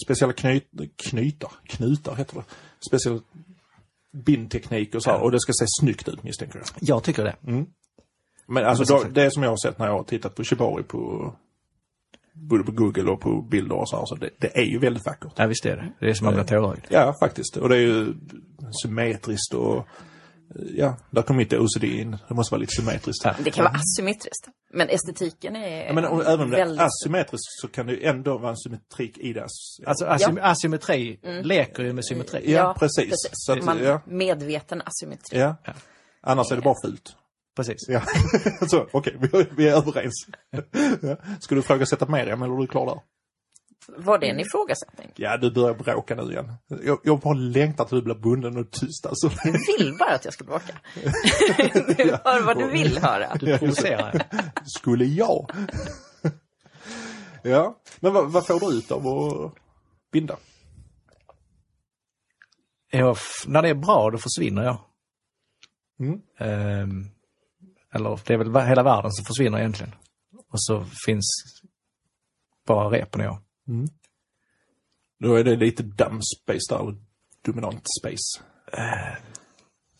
[SPEAKER 1] speciella knyt, knytar, knutar heter det. Speciell bindteknik och så här. Och det ska se snyggt ut misstänker jag.
[SPEAKER 3] Jag tycker det.
[SPEAKER 1] Men alltså då, det som jag har sett när jag har tittat på Shibari på både på Google och på bilder och så här, så det, det är ju väldigt vackert.
[SPEAKER 3] Ja, visst är det. Det är som att bli tårögd.
[SPEAKER 1] Ja, faktiskt. Och det är ju symmetriskt och ja, där kommer inte OCD in. Det måste vara lite symmetriskt.
[SPEAKER 2] *laughs* Det kan vara asymmetriskt. Men estetiken är
[SPEAKER 1] Men och, även om det
[SPEAKER 2] väldigt...
[SPEAKER 1] är asymmetriskt så kan det ju ändå vara en symmetrik i det. as-
[SPEAKER 3] Alltså asym- asymmetri leker ju med symmetri.
[SPEAKER 1] Ja, precis. Så att,
[SPEAKER 2] Man,
[SPEAKER 1] ja.
[SPEAKER 2] Medveten asymmetri.
[SPEAKER 1] ja. Annars är det bara fult.
[SPEAKER 3] Precis.
[SPEAKER 1] Ja. *laughs* så, okej, vi, vi är överens. ja. Ska du ifrågasätta Miriam eller är du klar där?
[SPEAKER 2] Var det en ifrågasättning?
[SPEAKER 1] Ja, du börjar bråka nu igen. Jag, jag bara längtar till du blir bunden och tyst alltså.
[SPEAKER 2] Du vill bara att jag
[SPEAKER 1] *laughs*
[SPEAKER 2] ska bråka. Du hör vad du vill höra.
[SPEAKER 1] *laughs*
[SPEAKER 3] Du provocerar.
[SPEAKER 1] Skulle jag? ja, men vad, vad får du ut av att binda?
[SPEAKER 3] Jag, f- när det är bra, då försvinner jag.
[SPEAKER 1] Mm.
[SPEAKER 3] Ehm, eller det är väl va- hela världen som försvinner egentligen. Och så finns bara repen och jag.
[SPEAKER 1] Då är det lite dumb space där, och dominant space.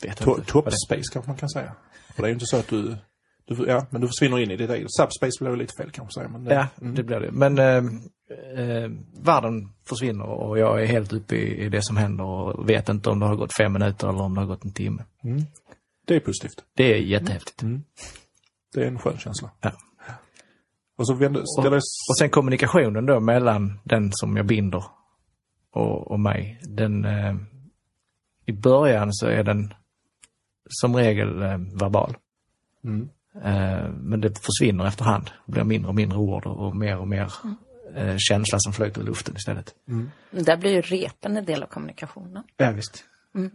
[SPEAKER 3] Vet
[SPEAKER 1] To-
[SPEAKER 3] inte.
[SPEAKER 1] Top space kanske man kan säga. För det är ju inte så att du, du ja, men du försvinner in i ditt eget. Subspace blir ju lite fel kanske säga. Men,
[SPEAKER 3] Ja, det blir det. Men ehm, ehm, världen försvinner och jag är helt uppe i, i det som händer och vet inte om det har gått fem minuter eller om det har gått en timme.
[SPEAKER 1] Det är positivt.
[SPEAKER 3] Det är jättehäftigt.
[SPEAKER 1] Mm. Det är en skön känsla.
[SPEAKER 3] Ja.
[SPEAKER 1] Och så vänder,
[SPEAKER 3] Och,
[SPEAKER 1] ställer
[SPEAKER 3] och sen kommunikationen då mellan den som jag binder och, och mig. Den, eh, I början så är den som regel eh, verbal.
[SPEAKER 1] Mm.
[SPEAKER 3] Eh, men det försvinner efterhand. Det blir mindre och mindre ord och, och mer och mer eh, känsla som flyter i luften istället.
[SPEAKER 2] Där blir ju repen en del av kommunikationen.
[SPEAKER 3] Ja, visst.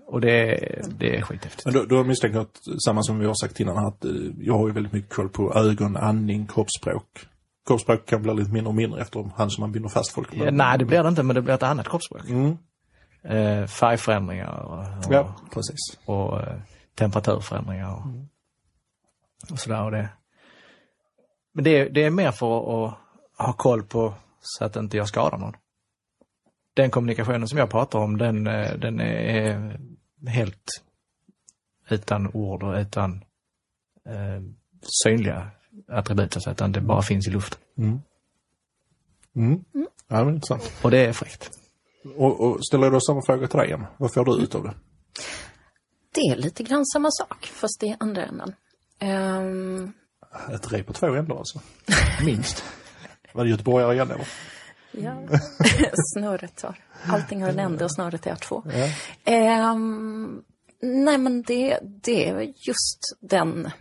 [SPEAKER 3] Och det, är- det är skithäftigt.
[SPEAKER 1] Men då, då misstänker jag att, samma som vi har sagt innan, att eh, jag har ju väldigt mycket koll på ögon, andning, kroppsspråk. Kroppsspråk kan bli lite mindre och mindre efter hand som man binder fast folk.
[SPEAKER 3] Ja,
[SPEAKER 1] Men-
[SPEAKER 3] nej, det blir det inte, men det blir ett annat kroppsspråk.
[SPEAKER 1] Mm.
[SPEAKER 3] Eh, färgförändringar och, och,
[SPEAKER 1] Ja, precis.
[SPEAKER 3] och eh, temperaturförändringar och, och sådär. Och det. Men det är, det är mer för att, att ha koll på så att inte jag skadar någon. Den kommunikationen som jag pratar om, den, eh, den är helt utan ord och utan eh, synliga attribut, så att säga, utan det bara finns i luften.
[SPEAKER 1] Mm. Ja, men intressant.
[SPEAKER 3] Och det är fräckt.
[SPEAKER 1] Och, och ställer jag då samma fråga till dig igen. Vad får du ut av det?
[SPEAKER 2] Det är lite grann samma sak, fast i andra änden. Ehm,
[SPEAKER 1] Ett rep på två ändar *laughs* alltså. Minst. Var det göteborgare igen eller?
[SPEAKER 2] *laughs* Ja. snöret har. Allting har en ände och snöret är två.
[SPEAKER 1] Ja.
[SPEAKER 2] Ehm, nej men det, det är just den...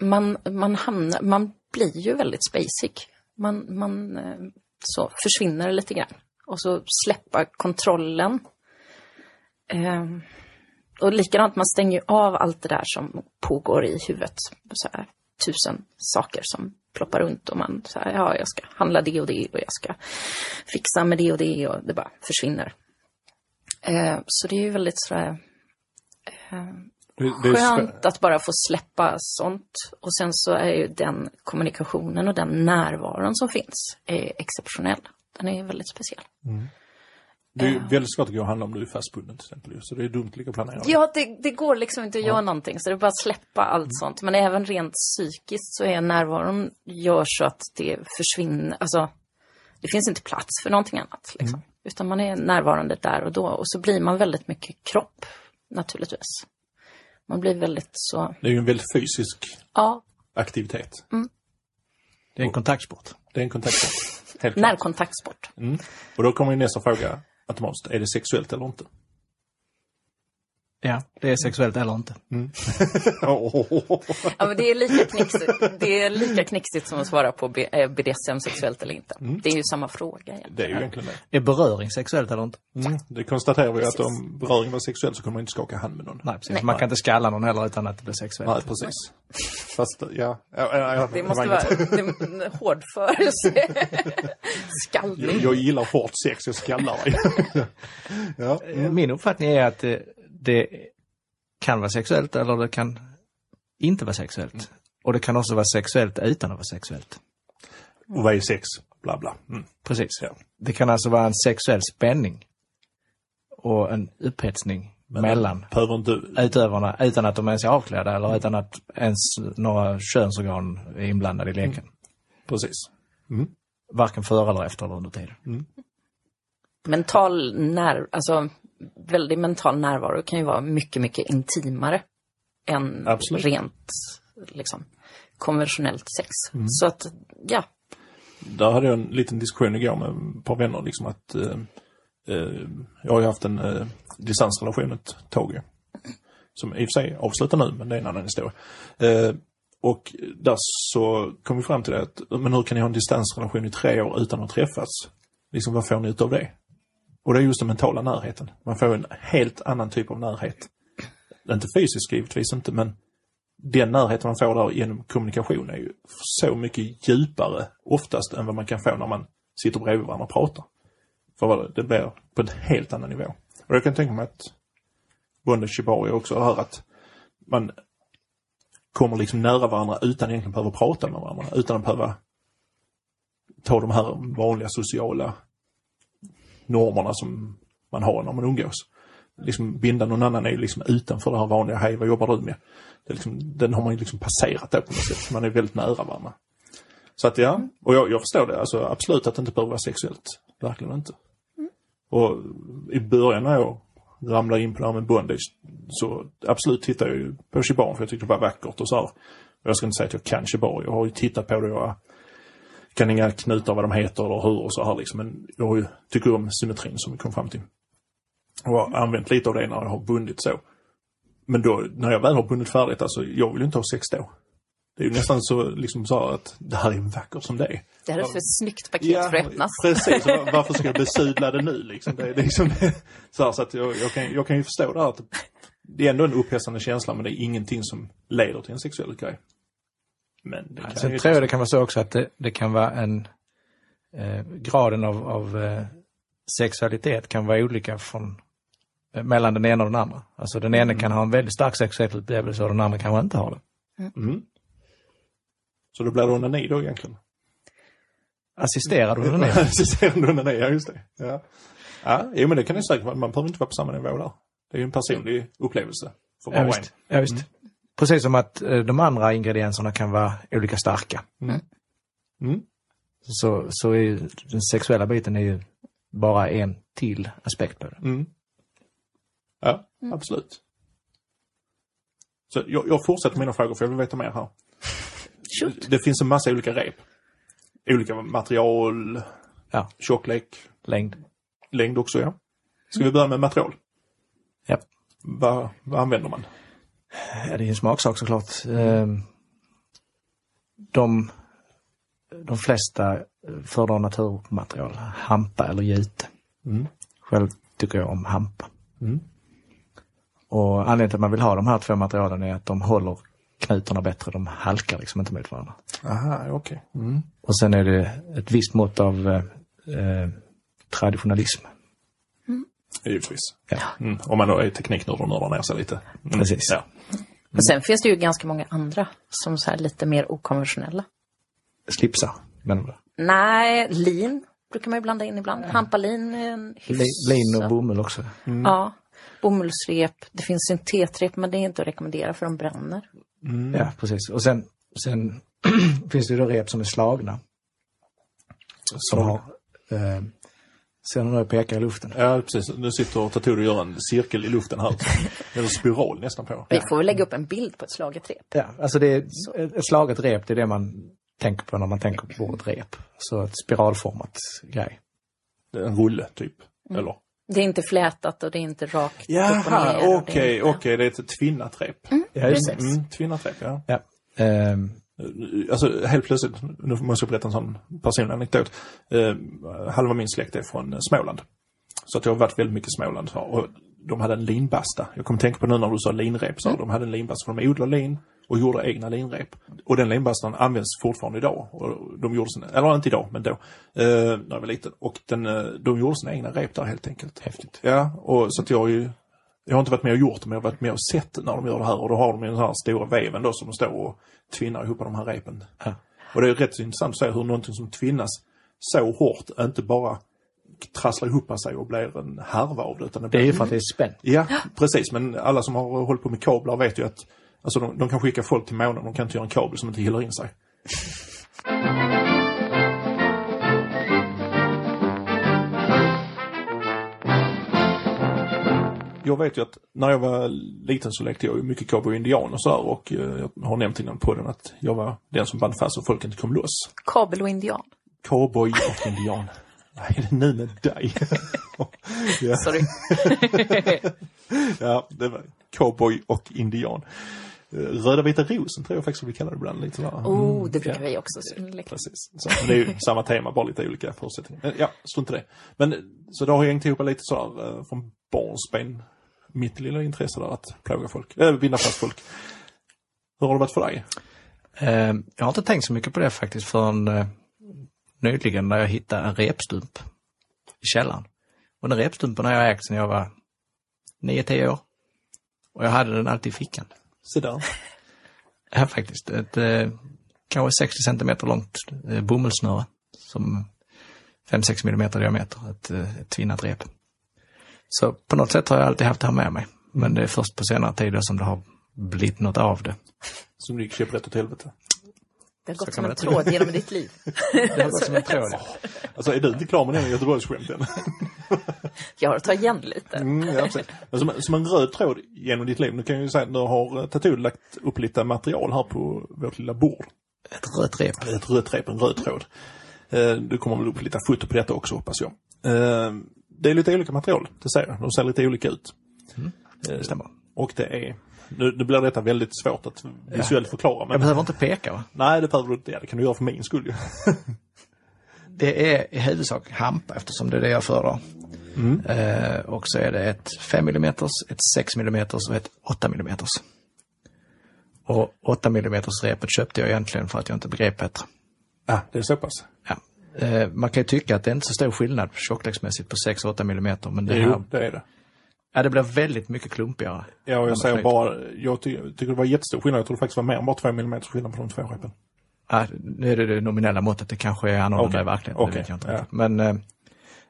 [SPEAKER 2] Man, man, hamnar, man blir ju väldigt spacig. Man, man eh, så försvinner lite grann. Och så släppa kontrollen. Ehm, och likadant, man stänger ju av allt det där som pågår i huvudet. Så här, tusen saker som ploppar runt och man så här, ja, jag ska handla det och det och jag ska fixa med det och det och det bara försvinner. Eh, så det är ju väldigt så här,
[SPEAKER 1] Det, det är svä-
[SPEAKER 2] skönt att bara få släppa sånt. Och sen så är ju den kommunikationen och den närvaron som finns är exceptionell. Den är väldigt speciell.
[SPEAKER 1] det är ju väldigt svårt att gå och handla om du är fastbunden till exempel. ju. Så det är dumt att ligga och planera.
[SPEAKER 2] Ja, Mm. det, det går liksom inte att göra någonting. Så det är bara att släppa allt sånt. Men även rent psykiskt så är närvaron gör så att det försvinner. Alltså, det finns inte plats för någonting annat. Liksom. Utan man är närvarande där och då. Och så blir man väldigt mycket kropp, naturligtvis. Man blir väldigt så,
[SPEAKER 1] Det är ju en väldigt fysisk
[SPEAKER 2] ja,
[SPEAKER 1] aktivitet.
[SPEAKER 3] Det är en kontaktsport.
[SPEAKER 1] Det är en kontaktsport. Helt klart.
[SPEAKER 2] närkontaktsport.
[SPEAKER 1] *laughs* Mm. Och då kommer ju nästa fråga automatiskt. Är det sexuellt eller inte?
[SPEAKER 3] Ja, det är sexuellt eller inte.
[SPEAKER 2] Ja, men det, är lika knixigt, det är lika knixigt som att svara på B- eh, BDSM sexuellt eller inte. Det är ju samma fråga. igen.
[SPEAKER 1] Det är ju egentligen det.
[SPEAKER 3] Är beröring sexuellt eller inte?
[SPEAKER 1] Mm. Det konstaterar vi ju att om beröring var sexuell så kunde man inte skaka hand med någon.
[SPEAKER 3] Nej, precis. Man kan inte skalla någon heller utan att det blir sexuellt.
[SPEAKER 1] Nej, precis.
[SPEAKER 2] *laughs*
[SPEAKER 1] Fast, ja. ja, ja, ja
[SPEAKER 2] Det måste
[SPEAKER 1] var
[SPEAKER 2] vara
[SPEAKER 1] inget.
[SPEAKER 2] det, hårdförelse.
[SPEAKER 1] Jag,
[SPEAKER 2] *laughs* Skallning.
[SPEAKER 1] jag gillar hårt sex, jag skallar
[SPEAKER 2] *laughs*
[SPEAKER 1] dig. ja.
[SPEAKER 3] Eh, Min uppfattning är att eh, det kan vara sexuellt eller det kan inte vara sexuellt. Och det kan också vara sexuellt utan att vara sexuellt.
[SPEAKER 1] Och vad är sex? Bla, bla. Mm.
[SPEAKER 3] Precis.
[SPEAKER 1] Ja.
[SPEAKER 3] Det kan alltså vara en sexuell spänning och en upphetsning mellan
[SPEAKER 1] Behöver inte du...
[SPEAKER 3] utövarna utan att de ens är avklädda eller utan att ens några könsorgan är inblandade i leken.
[SPEAKER 1] Precis.
[SPEAKER 3] Varken före eller efter eller under tiden.
[SPEAKER 2] Mental när, alltså, väldigt mental närvaro kan ju vara mycket, mycket intimare än
[SPEAKER 1] Absolut.
[SPEAKER 2] rent liksom, konventionellt sex. Så att, ja,
[SPEAKER 1] Där hade jag en liten diskussion igår med ett par vänner liksom att eh, eh, jag har ju haft en eh, distansrelation ett tag ju. Som i och för sig avslutar nu, men det är en annan historia. Eh, och där så kom vi fram till det att, men hur kan ni ha en distansrelation i tre år utan att träffas? Liksom vad får ni ut av det? Och det är just den mentala närheten. Man får en helt annan typ av närhet. Inte fysisk givetvis inte, men den närheten man får där genom kommunikation är ju så mycket djupare oftast än vad man kan få när man sitter bredvid varandra och pratar. För vad det blir på en helt annan nivå. Och jag kan tänka mig att Bonde Shibari också hör att man kommer liksom nära varandra utan egentligen behöva prata med varandra, utan att behöva ta de här vanliga sociala normerna som man har när man umgås. Liksom binda någon annan är ju liksom utanför det här vanliga, hej vad jobbar du med? Det är liksom, den har man ju liksom passerat då på något sätt, man är väldigt nära varandra. Så att ja, och jag, jag förstår det, alltså absolut att det inte behöver vara sexuellt, verkligen inte. Och i början när jag ramlade in på det här med bondage så absolut tittade jag ju på shibari för jag tyckte det var vackert och så här. Och Jag ska inte säga att jag kan shibari, jag har ju tittat på det och jag kan inga knutar vad de heter eller hur och så här liksom. Men jag har ju, tycker om symmetrin som vi kom fram till. Och jag har använt lite av det när jag har bundit så. Men då, när jag väl har bundit färdigt, alltså jag vill ju inte ha sex då. Det är ju nästan så, liksom så här att det här är vackert som det är.
[SPEAKER 2] det här är för snyggt paket för att öppnas.
[SPEAKER 1] Precis, var- varför ska jag besudla det nu liksom? Det är liksom *laughs* så här, så att jag, jag, kan, jag kan ju förstå det här att det är ändå en upphetsande känsla men det är ingenting som leder till en sexuell grej. Men det kan
[SPEAKER 3] Sen
[SPEAKER 1] ju...
[SPEAKER 3] tror jag det kan vara så också att det, det kan vara en... Eh, graden av, av eh, sexualitet kan vara olika från, eh, mellan den ena och den andra. Alltså den ena kan ha en väldigt stark sexuell upplevelse och den andra kanske inte har det.
[SPEAKER 1] Så då blir det onani då egentligen?
[SPEAKER 3] Assisterar du
[SPEAKER 1] *laughs*
[SPEAKER 3] den ena?
[SPEAKER 1] Assisterande onani, ja just det. Ja. ja, jo men det kan ju säkert vara, man behöver inte vara på samma nivå där. Det är ju en personlig upplevelse för var
[SPEAKER 3] Ja,
[SPEAKER 1] och en.
[SPEAKER 3] visst. Ja, visst.
[SPEAKER 1] Mm.
[SPEAKER 3] Precis som att eh, de andra ingredienserna kan vara olika starka.
[SPEAKER 1] Mm.
[SPEAKER 3] Så, så är ju, den sexuella biten är ju bara en till aspekt på det.
[SPEAKER 1] Mm. Ja, absolut. Så jag, jag fortsätter mina frågor för jag vill veta mer här.
[SPEAKER 2] Shoot.
[SPEAKER 1] Det finns en massa olika rep. Olika material,
[SPEAKER 3] Ja,
[SPEAKER 1] tjocklek,
[SPEAKER 3] längd.
[SPEAKER 1] längd också ja. Ska vi börja med material?
[SPEAKER 3] Ja.
[SPEAKER 1] Vad, vad använder man?
[SPEAKER 3] Ja, det är ju en smaksak såklart. Ehm, De, de flesta eh, föredrar naturmaterial, hampa eller jute.
[SPEAKER 1] Mm.
[SPEAKER 3] Själv tycker jag om hampa.
[SPEAKER 1] Mm.
[SPEAKER 3] Och anledningen till att man vill ha de här två materialen är att de håller knutarna bättre, de halkar liksom inte mot varandra.
[SPEAKER 1] Aha, okej. Mm.
[SPEAKER 3] Och sen är det ett visst mått av eh, eh, traditionalism.
[SPEAKER 1] Givetvis.
[SPEAKER 3] Ja.
[SPEAKER 1] Mm. Om man då är tekniknörd och nördar ner sig lite. Mm.
[SPEAKER 3] Precis.
[SPEAKER 1] Ja.
[SPEAKER 2] Men sen finns det ju ganska många andra som så här lite mer okonventionella.
[SPEAKER 3] Slipsar, menar du?
[SPEAKER 2] Nej, lin brukar man ju blanda in ibland. Hampalin är en
[SPEAKER 3] Li-
[SPEAKER 2] hyfsad...
[SPEAKER 3] Lin och bomull också.
[SPEAKER 2] Ja. Mm. Bomullsrep. Det finns syntetrep, men det är inte att rekommendera för de bränner.
[SPEAKER 3] Ja, precis. Och sen, sen *clears throat* finns det ju då rep som är slagna. Som har... Eh, ser ni nu pekar i luften?
[SPEAKER 1] Ja, precis. Nu sitter Tatodo och gör en cirkel i luften här. Eller spiral nästan på.
[SPEAKER 2] Vi får väl lägga upp en bild på ett slaget rep.
[SPEAKER 3] Ja, alltså det är ett slaget rep, det är det man tänker på när man tänker på ordet rep. Så ett spiralformat grej.
[SPEAKER 1] En rulle, typ. Eller?
[SPEAKER 2] Det är inte flätat och det är inte rakt Mm. upp och
[SPEAKER 1] Jaha,
[SPEAKER 2] ner.
[SPEAKER 1] okej,
[SPEAKER 2] och det är
[SPEAKER 1] okej,
[SPEAKER 2] inte-
[SPEAKER 1] det är ett tvinnaträp.
[SPEAKER 3] Ja, just det.
[SPEAKER 2] Precis.
[SPEAKER 1] Mm, tvinnaträp, ja.
[SPEAKER 3] Ja. Ehm,
[SPEAKER 1] Alltså helt plötsligt, nu måste jag berätta en sån personlig anekdot. Eh, halva min släkt är från eh, Småland. Så att jag har varit väldigt mycket i Småland. så- Och de hade en linbasta. Jag kommer tänka på nu när du sa linrep.
[SPEAKER 3] Mm.
[SPEAKER 1] Så De hade en linbasta. för De odlade lin och gjorde egna linrep. Och den linbastan används fortfarande idag. Och de gjorde sina, eller inte idag, men då. Eh, när jag var liten. Och den, eh, de gjorde sina egna rep där helt enkelt.
[SPEAKER 3] Häftigt.
[SPEAKER 1] Ja, och så att jag har ju jag har inte varit med och gjort det, men jag har varit med och sett när de gör det här. Och då har de ju den här stora veven då som står och tvinnar ihop de här repen.
[SPEAKER 3] Ja.
[SPEAKER 1] Och det är rätt så intressant att se hur någonting som tvinnas så hårt inte bara trasslar ihop sig och blir en härva av det. Utan det
[SPEAKER 3] det
[SPEAKER 1] blir...
[SPEAKER 3] är ju för att det är spänt.
[SPEAKER 1] Ja, precis. Men alla som har hållit på med kablar vet ju att alltså, de, de kan skicka folk till månen, de kan inte göra en kabel som inte hyllar in sig. Jag vet ju att när jag var liten så lekte jag ju mycket cowboy och indian och sådär och eh, jag har nämnt innan på den att jag var den som band fast och folk inte kom loss.
[SPEAKER 2] Kabel och indian.
[SPEAKER 1] Cowboy och indian. Vad är det nu med dig? *laughs* ja.
[SPEAKER 2] Sorry.
[SPEAKER 1] Ja, det var cowboy och indian. Eh, Röda vita rosen tror jag faktiskt vi kallar det ibland lite sådär.
[SPEAKER 2] Oh, det brukar
[SPEAKER 1] ja.
[SPEAKER 2] vi också leka.
[SPEAKER 1] Precis. Så, men det är ju samma tema, bara lite olika förutsättningar. Men, ja, strunt i det. Men eh, så det har jag hängt ihop lite sådär eh, från barnsben. Mitt lilla intresse där att plåga folk, äh, binda fast folk. Hur har det varit för dig?
[SPEAKER 3] Ehm, jag har inte tänkt så mycket på det faktiskt förrän eh, nyligen när jag hittade en repstump i källaren. Och den repstumpen har jag ägt sedan jag var 9-10 år. Och jag hade den alltid i fickan.
[SPEAKER 1] Se där.
[SPEAKER 3] Här faktiskt, ett eh, kanske 60 centimeter långt eh, bomullsnöre som 5-6 millimeter diameter, ett, eh, ett tvinnat rep. Så på något sätt har jag alltid haft det här med mig. Men det är först på senare tid då som det har blivit något av det.
[SPEAKER 1] Som gick käpprätt åt helvete.
[SPEAKER 2] Det har gått
[SPEAKER 3] kan
[SPEAKER 2] som
[SPEAKER 3] man
[SPEAKER 2] en
[SPEAKER 3] tro.
[SPEAKER 2] tråd genom
[SPEAKER 1] *laughs*
[SPEAKER 2] ditt liv.
[SPEAKER 3] Det har gått som en tråd.
[SPEAKER 1] Alltså är du inte klar med den Göteborgsskämten?
[SPEAKER 2] *laughs* Jag har att ta igen lite.
[SPEAKER 1] Mm, ja, precis. Men som, som en röd tråd genom ditt liv. Nu kan jag ju säga att nu har eh, Tattoo lagt upp lite material här på vårt lilla bord.
[SPEAKER 3] Ett *laughs* rött rep.
[SPEAKER 1] Ett rött rep, en röd tråd. Eh, Du kommer väl upp lite foto på detta också hoppas jag. Eh, Det är lite olika material, det ser jag. De ser lite olika ut.
[SPEAKER 3] Det stämmer.
[SPEAKER 1] Och det är, nu, nu blir detta väldigt svårt att visuellt förklara.
[SPEAKER 3] Jag
[SPEAKER 1] Men,
[SPEAKER 3] behöver inte peka va?
[SPEAKER 1] nej, det behöver du inte. Ja, det kan du göra för min skull ju.
[SPEAKER 3] Det är i huvudsak hampa eftersom det är det jag föredrar.
[SPEAKER 1] Mm.
[SPEAKER 3] Eh, och så är det ett 5 mm, ett 6 mm och ett 8 mm. Och 8 mm repet köpte jag egentligen för att jag inte begrep bättre.
[SPEAKER 1] Ah, det är så pass.
[SPEAKER 3] Ja. Eh, man kan ju tycka att det är inte så stor skillnad tjocklexmässigt på 6 och 8 mm men det, här,
[SPEAKER 1] Jo, det är det.
[SPEAKER 3] ja, det blir väldigt mycket klumpigare.
[SPEAKER 1] Ja, och jag
[SPEAKER 3] knyter.
[SPEAKER 1] säger bara, jag ty- tycker det var jättestor skillnad. Jag tror det faktiskt var mer än bara 2 mm skillnad på de två repen.
[SPEAKER 3] Ja, Äh, nu är det det nominella måttet, det kanske är
[SPEAKER 1] Okej.
[SPEAKER 3] annorlunda i verkligheten,
[SPEAKER 1] Okej,
[SPEAKER 3] det vet jag inte
[SPEAKER 1] ja.
[SPEAKER 3] riktigt. Men eh,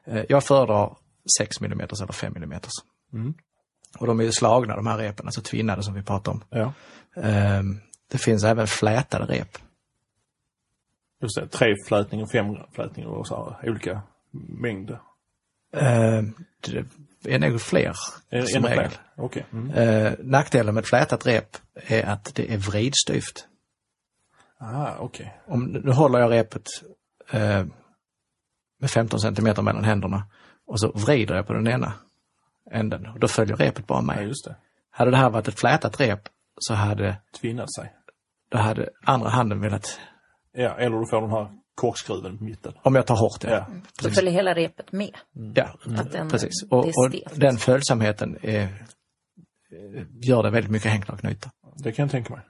[SPEAKER 3] eh, jag föredrar 6 mm eller 5 mm. Och de är ju slagna de här repen, alltså tvinnade som vi pratar om.
[SPEAKER 1] Ja.
[SPEAKER 3] Eh, det finns även flätade rep.
[SPEAKER 1] Just det, tre flätning och fem flätning och så här, olika mängder.
[SPEAKER 3] Eh, det är nog fler
[SPEAKER 1] Är det
[SPEAKER 3] som
[SPEAKER 1] ännu
[SPEAKER 3] regel.
[SPEAKER 1] fler? Okej. Mm.
[SPEAKER 3] Eh, nackdelen med ett flätat rep är att det är vridstyvt.
[SPEAKER 1] Ah, okej.
[SPEAKER 3] om, nu håller jag repet eh, med 15 centimeter mellan händerna och så vrider jag på den ena änden och då följer repet bara
[SPEAKER 1] Ja,
[SPEAKER 3] med.
[SPEAKER 1] just det.
[SPEAKER 3] Hade det här varit ett flätat rep så hade,
[SPEAKER 1] Tvinna sig.
[SPEAKER 3] då hade andra handen velat,
[SPEAKER 1] Ja, eller du får den här korkskruven på mitten.
[SPEAKER 3] om jag tar hårt det,
[SPEAKER 1] Ja.
[SPEAKER 3] ja,
[SPEAKER 2] Så följer hela repet med. Mm. Att den-
[SPEAKER 3] precis.
[SPEAKER 2] det är
[SPEAKER 3] Och, och
[SPEAKER 2] stelt.
[SPEAKER 3] den följsamheten är, eh, gör det väldigt mycket enklare att knyta.
[SPEAKER 1] Det kan jag tänka mig.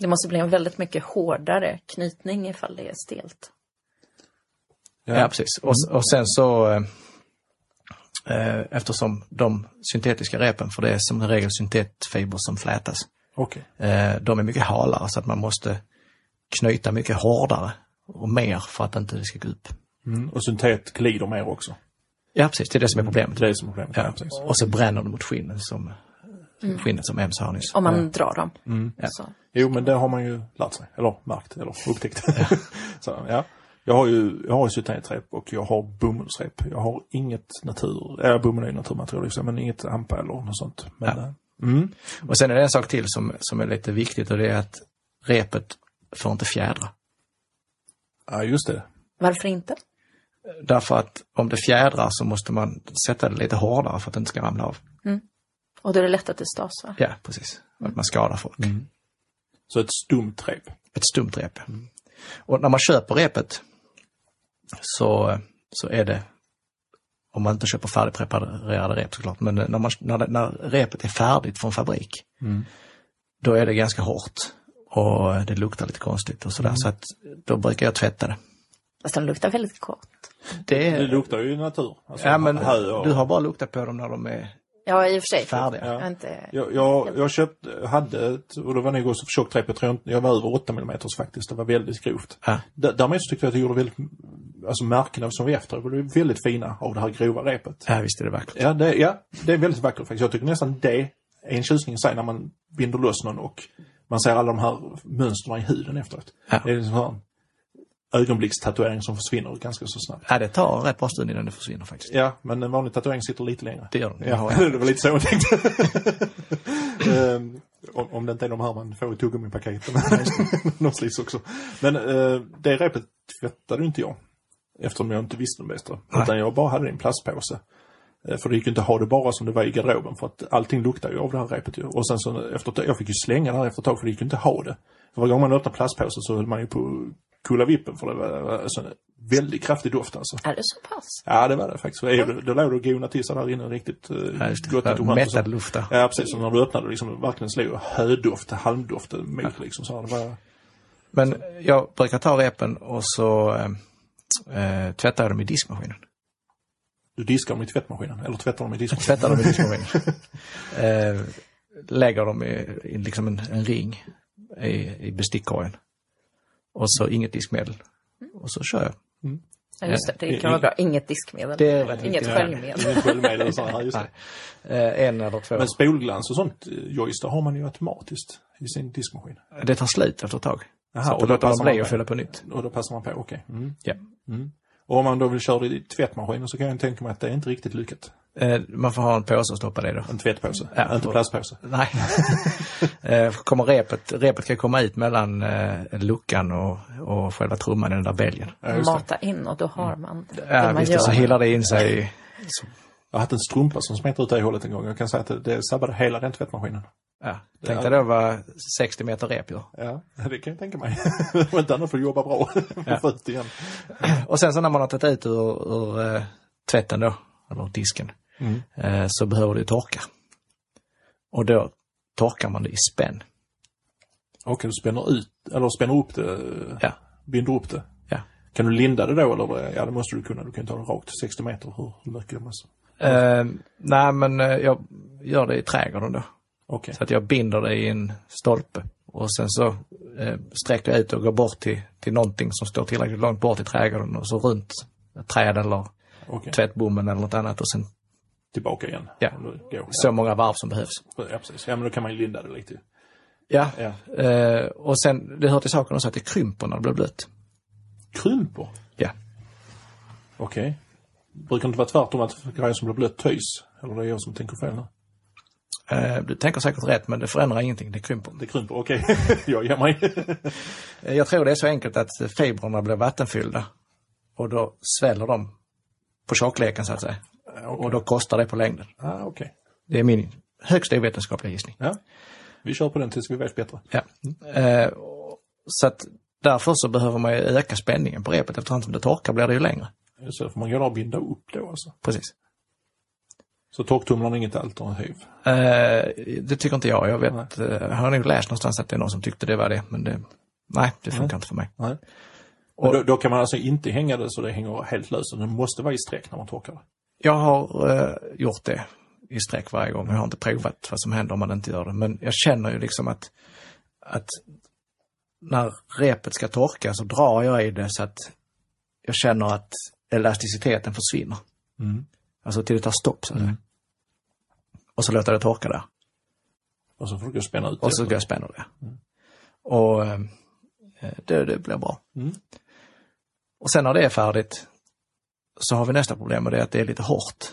[SPEAKER 2] Det måste bli en väldigt mycket hårdare knytning ifall det är stelt.
[SPEAKER 1] Ja.
[SPEAKER 3] Ja, precis. Och, och sen så, eh, eh, eftersom de syntetiska repen, för det är som regel syntetfiber som flätas,
[SPEAKER 1] Okej.
[SPEAKER 3] Eh, De är mycket halare så att man måste knyta mycket hårdare och mer för att inte det ska gå upp.
[SPEAKER 1] Mm. Och syntet glider mer också.
[SPEAKER 3] Ja, precis. Det är det som är problemet.
[SPEAKER 1] Det är det som är problemet. Ja,
[SPEAKER 3] Ja,
[SPEAKER 1] precis.
[SPEAKER 3] och så bränner det mot skinnet som, skinnet som Em sa nyss.
[SPEAKER 2] Om man drar dem.
[SPEAKER 1] Mm.
[SPEAKER 2] Så.
[SPEAKER 1] Jo, men det har man ju lärt sig. Eller märkt, *laughs* eller upptäckt. så, ja. Jag har ju, jag har ju syntetrep och jag har bomullsrep. Jag har inget natur, äh, bomull är ju naturmaterial i och för sig, men inget hampa eller något sånt. Men,
[SPEAKER 3] Ja.
[SPEAKER 1] eh,
[SPEAKER 3] Och sen är det en sak till som, som är lite viktigt och det är att repet får inte fjädra.
[SPEAKER 1] ja, just det.
[SPEAKER 2] Varför inte?
[SPEAKER 3] Därför att om det fjädrar så måste man sätta det lite hårdare för att det inte ska ramla av.
[SPEAKER 2] Och då är det lätt att det stas va?
[SPEAKER 3] Ja, precis. Och Att man skadar folk.
[SPEAKER 1] Så ett stumt rep.
[SPEAKER 3] Ett stumt rep. Och när man köper repet så, så är det, om man inte köper färdigpreparerade rep såklart, men när, man, när, det, när repet är färdigt från fabrik,
[SPEAKER 1] Mm.
[SPEAKER 3] då är det ganska hårt och det luktar lite konstigt och sådär.
[SPEAKER 1] Mm.
[SPEAKER 3] Så att då brukar jag tvätta det.
[SPEAKER 2] Fast de luktar väldigt gott.
[SPEAKER 3] Det
[SPEAKER 1] Det
[SPEAKER 3] är,
[SPEAKER 1] luktar ju natur. Alltså,
[SPEAKER 3] Eh, ja, men,
[SPEAKER 1] hö och-
[SPEAKER 3] du har bara luktat på dem när de är
[SPEAKER 2] Ja, i och för sig.
[SPEAKER 3] färdiga.
[SPEAKER 2] Jag har inte...
[SPEAKER 1] Jag, jag, jag köpte, hade ett, och det var nog också för tjockt rep, jag tror inte- jag var över 8 mm faktiskt, det var väldigt grovt.
[SPEAKER 3] Ja.
[SPEAKER 1] D- därmed så tyckte jag att jag gjorde väldigt, alltså märkena som vi efter, det blev väldigt fina av det här grova repet.
[SPEAKER 3] Ja, visst är det vackert.
[SPEAKER 1] Ja, det, ja, det är väldigt vackert faktiskt. Jag tycker nästan det är en tjusning i sig när man binder loss någon och man ser alla de här mönstren i huden efteråt.
[SPEAKER 3] Ja.
[SPEAKER 1] Det är en sån här ögonblickstatuering som försvinner ganska så snabbt.
[SPEAKER 3] Ja, det tar en rätt bra stund innan det försvinner faktiskt.
[SPEAKER 1] Ja, men en vanlig tatuering sitter lite längre.
[SPEAKER 3] Det gör den.
[SPEAKER 1] Ja,
[SPEAKER 3] Ja.
[SPEAKER 1] det var lite så
[SPEAKER 3] *laughs*
[SPEAKER 1] jag tänkte. Ehm, om, om det inte är de här man får i tuggummipaketet. *laughs* de slits också. Men eh, det repet tvättade ju inte jag. Eftersom jag inte visste det bättre.
[SPEAKER 3] Nej.
[SPEAKER 1] Utan jag bara hade det i en plastpåse. Eh, För det gick ju inte att ha det bara som det var i garderoben för att allting luktar ju av det här repet ju. Och sen så efter ett tag, jag fick ju slänga det här efter ett tag för det gick ju inte att ha det. För varje gång man öppnade plastpåsen så höll man ju på att kulla vippen för det var var alltså, en väldigt kraftig doft alltså.
[SPEAKER 2] Är det så pass?
[SPEAKER 1] Ja, det var det faktiskt. Ja. Då låg det och gonade till sig där inne riktigt eh,
[SPEAKER 3] Ja, just
[SPEAKER 1] gott och
[SPEAKER 3] det.
[SPEAKER 1] tomat. och så.
[SPEAKER 3] Mättad luft där.
[SPEAKER 1] Ja, precis. Och när du öppnade liksom verkligen slog hödoft, halmdoft emot liksom. Så här, det var,
[SPEAKER 3] Men jag brukar ta repen och så eh, eh, tvättar jag dem i diskmaskinen.
[SPEAKER 1] du diskar dem i tvättmaskinen, eller tvättar dem i diskmaskinen.
[SPEAKER 3] Tvättar dem i *laughs* diskmaskinen. eh, lägger dem i, i liksom en, en ring i, i bestickkorgen. Och så inget diskmedel. Och så kör jag.
[SPEAKER 2] Ja, just det. Det
[SPEAKER 1] Ja,
[SPEAKER 2] kan vara bra. Inget diskmedel.
[SPEAKER 3] Det är rätt
[SPEAKER 2] Inget
[SPEAKER 3] viktigt.
[SPEAKER 2] sköljmedel.
[SPEAKER 1] Inget sköljmedel och så här, just det.
[SPEAKER 3] Nej. Eh, en eller två.
[SPEAKER 1] Men spolglans och sånt, eh, Joyce, det har man ju automatiskt i sin diskmaskin.
[SPEAKER 3] det tar slut efter ett tag.
[SPEAKER 1] Aha,
[SPEAKER 3] så
[SPEAKER 1] och
[SPEAKER 3] då
[SPEAKER 1] då
[SPEAKER 3] låter
[SPEAKER 1] passar
[SPEAKER 3] man
[SPEAKER 1] man
[SPEAKER 3] bli och
[SPEAKER 1] på.
[SPEAKER 3] fylla på nytt.
[SPEAKER 1] Och då passar man på, okej. Mm.
[SPEAKER 3] Ja.
[SPEAKER 1] Och om man då vill köra det i tvättmaskinen så kan jag tänka mig att det är inte riktigt lyckat.
[SPEAKER 3] Eh, man får ha en påse att stoppa det i då.
[SPEAKER 1] En tvättpåse,
[SPEAKER 3] Ja,
[SPEAKER 1] inte
[SPEAKER 3] och-
[SPEAKER 1] plastpåse.
[SPEAKER 3] Nej. *laughs* Eh, kommer repet, repet kan komma ut mellan eh, luckan och, och själva trumman i den där bälgen.
[SPEAKER 1] Ja, just det. alltså
[SPEAKER 2] Mata in och då har man det.
[SPEAKER 3] Ja,
[SPEAKER 2] man
[SPEAKER 3] visst, och så hillar det in sig. i-
[SPEAKER 1] Jag har haft en strumpa som smet ut det hålet en gång. Jag kan säga att det, det sabbade hela den tvättmaskinen.
[SPEAKER 3] Ja, tänkte då var 60 meter rep ju.
[SPEAKER 1] Ja, det kan jag tänka mig. *laughs* Om inte annat får du jobba bra. Ja. Få ut igen.
[SPEAKER 3] Och sen så när man har tagit ut ur, ur eh, tvätten då, eller ur disken, eh, så behöver det ju torka. Och då torkar man det i spänn.
[SPEAKER 1] Okej, du spänner ut, eller spänner upp det,
[SPEAKER 3] Ja,
[SPEAKER 1] binder upp det.
[SPEAKER 3] ja.
[SPEAKER 1] Kan du linda det då eller? Ja, det måste du kunna. Du kan ju ta det rakt 60 meter. Hur mycket det måste.
[SPEAKER 3] Eh, nej, men eh, jag gör det i trädgården då.
[SPEAKER 1] Okej.
[SPEAKER 3] Så att jag binder det i en stolpe och sen så eh, sträcker jag ut och går bort till, till någonting som står tillräckligt långt bort i trädgården och så runt träd eller
[SPEAKER 1] Okej.
[SPEAKER 3] tvättbommen eller något annat och sen
[SPEAKER 1] Tillbaka igen.
[SPEAKER 3] Ja.
[SPEAKER 1] Om du går.
[SPEAKER 3] så många varv som behövs.
[SPEAKER 1] Ja, ja, precis. Ja, men då kan man ju linda det lite.
[SPEAKER 3] Ja,
[SPEAKER 1] Ja.
[SPEAKER 3] Eh, och sen det hör till saken också att det krymper när det blir blött.
[SPEAKER 1] Krymper?
[SPEAKER 3] Ja,
[SPEAKER 1] Okej. Brukar det inte vara tvärtom att grejer som blir blött töjs? Eller det är jag som tänker fel nu.
[SPEAKER 3] eh, du tänker säkert rätt men det förändrar ingenting, det krymper.
[SPEAKER 1] Det krymper, okej. *laughs* jag ger mig.
[SPEAKER 3] Eh, jag tror det är så enkelt att fibrerna blir vattenfyllda och då sväller de på tjockleken så att säga. Och då kostar det på längden.
[SPEAKER 1] ah, okej.
[SPEAKER 3] Det är min högst ovetenskapliga gissning.
[SPEAKER 1] Ja. Vi kör på den tills vi vet bättre.
[SPEAKER 3] Ja. Eh, och- så att därför så behöver man ju öka spänningen på repet. Efterhand som det torkar blir det ju längre.
[SPEAKER 1] Så får man gå där och binda upp då alltså.
[SPEAKER 3] Precis.
[SPEAKER 1] Så torktumlaren är inget alternativ?
[SPEAKER 3] Eh, det tycker inte jag. Jag vet, eh, jag har nog läst någonstans att det är någon som tyckte det var det. Men det, nej, det funkar inte för mig.
[SPEAKER 1] Nej. Och då, då kan man alltså inte hänga det så det hänger helt löst. Det måste vara i streck när man torkar det.
[SPEAKER 3] Jag har eh, gjort det i sträck varje gång. Jag har inte provat vad som händer om man inte gör det. Men jag känner ju liksom att, att när repet ska torka så drar jag i det så att jag känner att elasticiteten försvinner.
[SPEAKER 1] Mm.
[SPEAKER 3] Alltså till det tar stopp. Så att säga. Och så låter jag det torka där.
[SPEAKER 1] Och så försöker jag spänna ut
[SPEAKER 3] Och så
[SPEAKER 1] det.
[SPEAKER 3] går jag och spänner det.
[SPEAKER 1] Mm.
[SPEAKER 3] Och eh, det, det blir bra.
[SPEAKER 1] Mm.
[SPEAKER 3] Och sen när det är färdigt så har vi nästa problem och det är att det är lite hårt.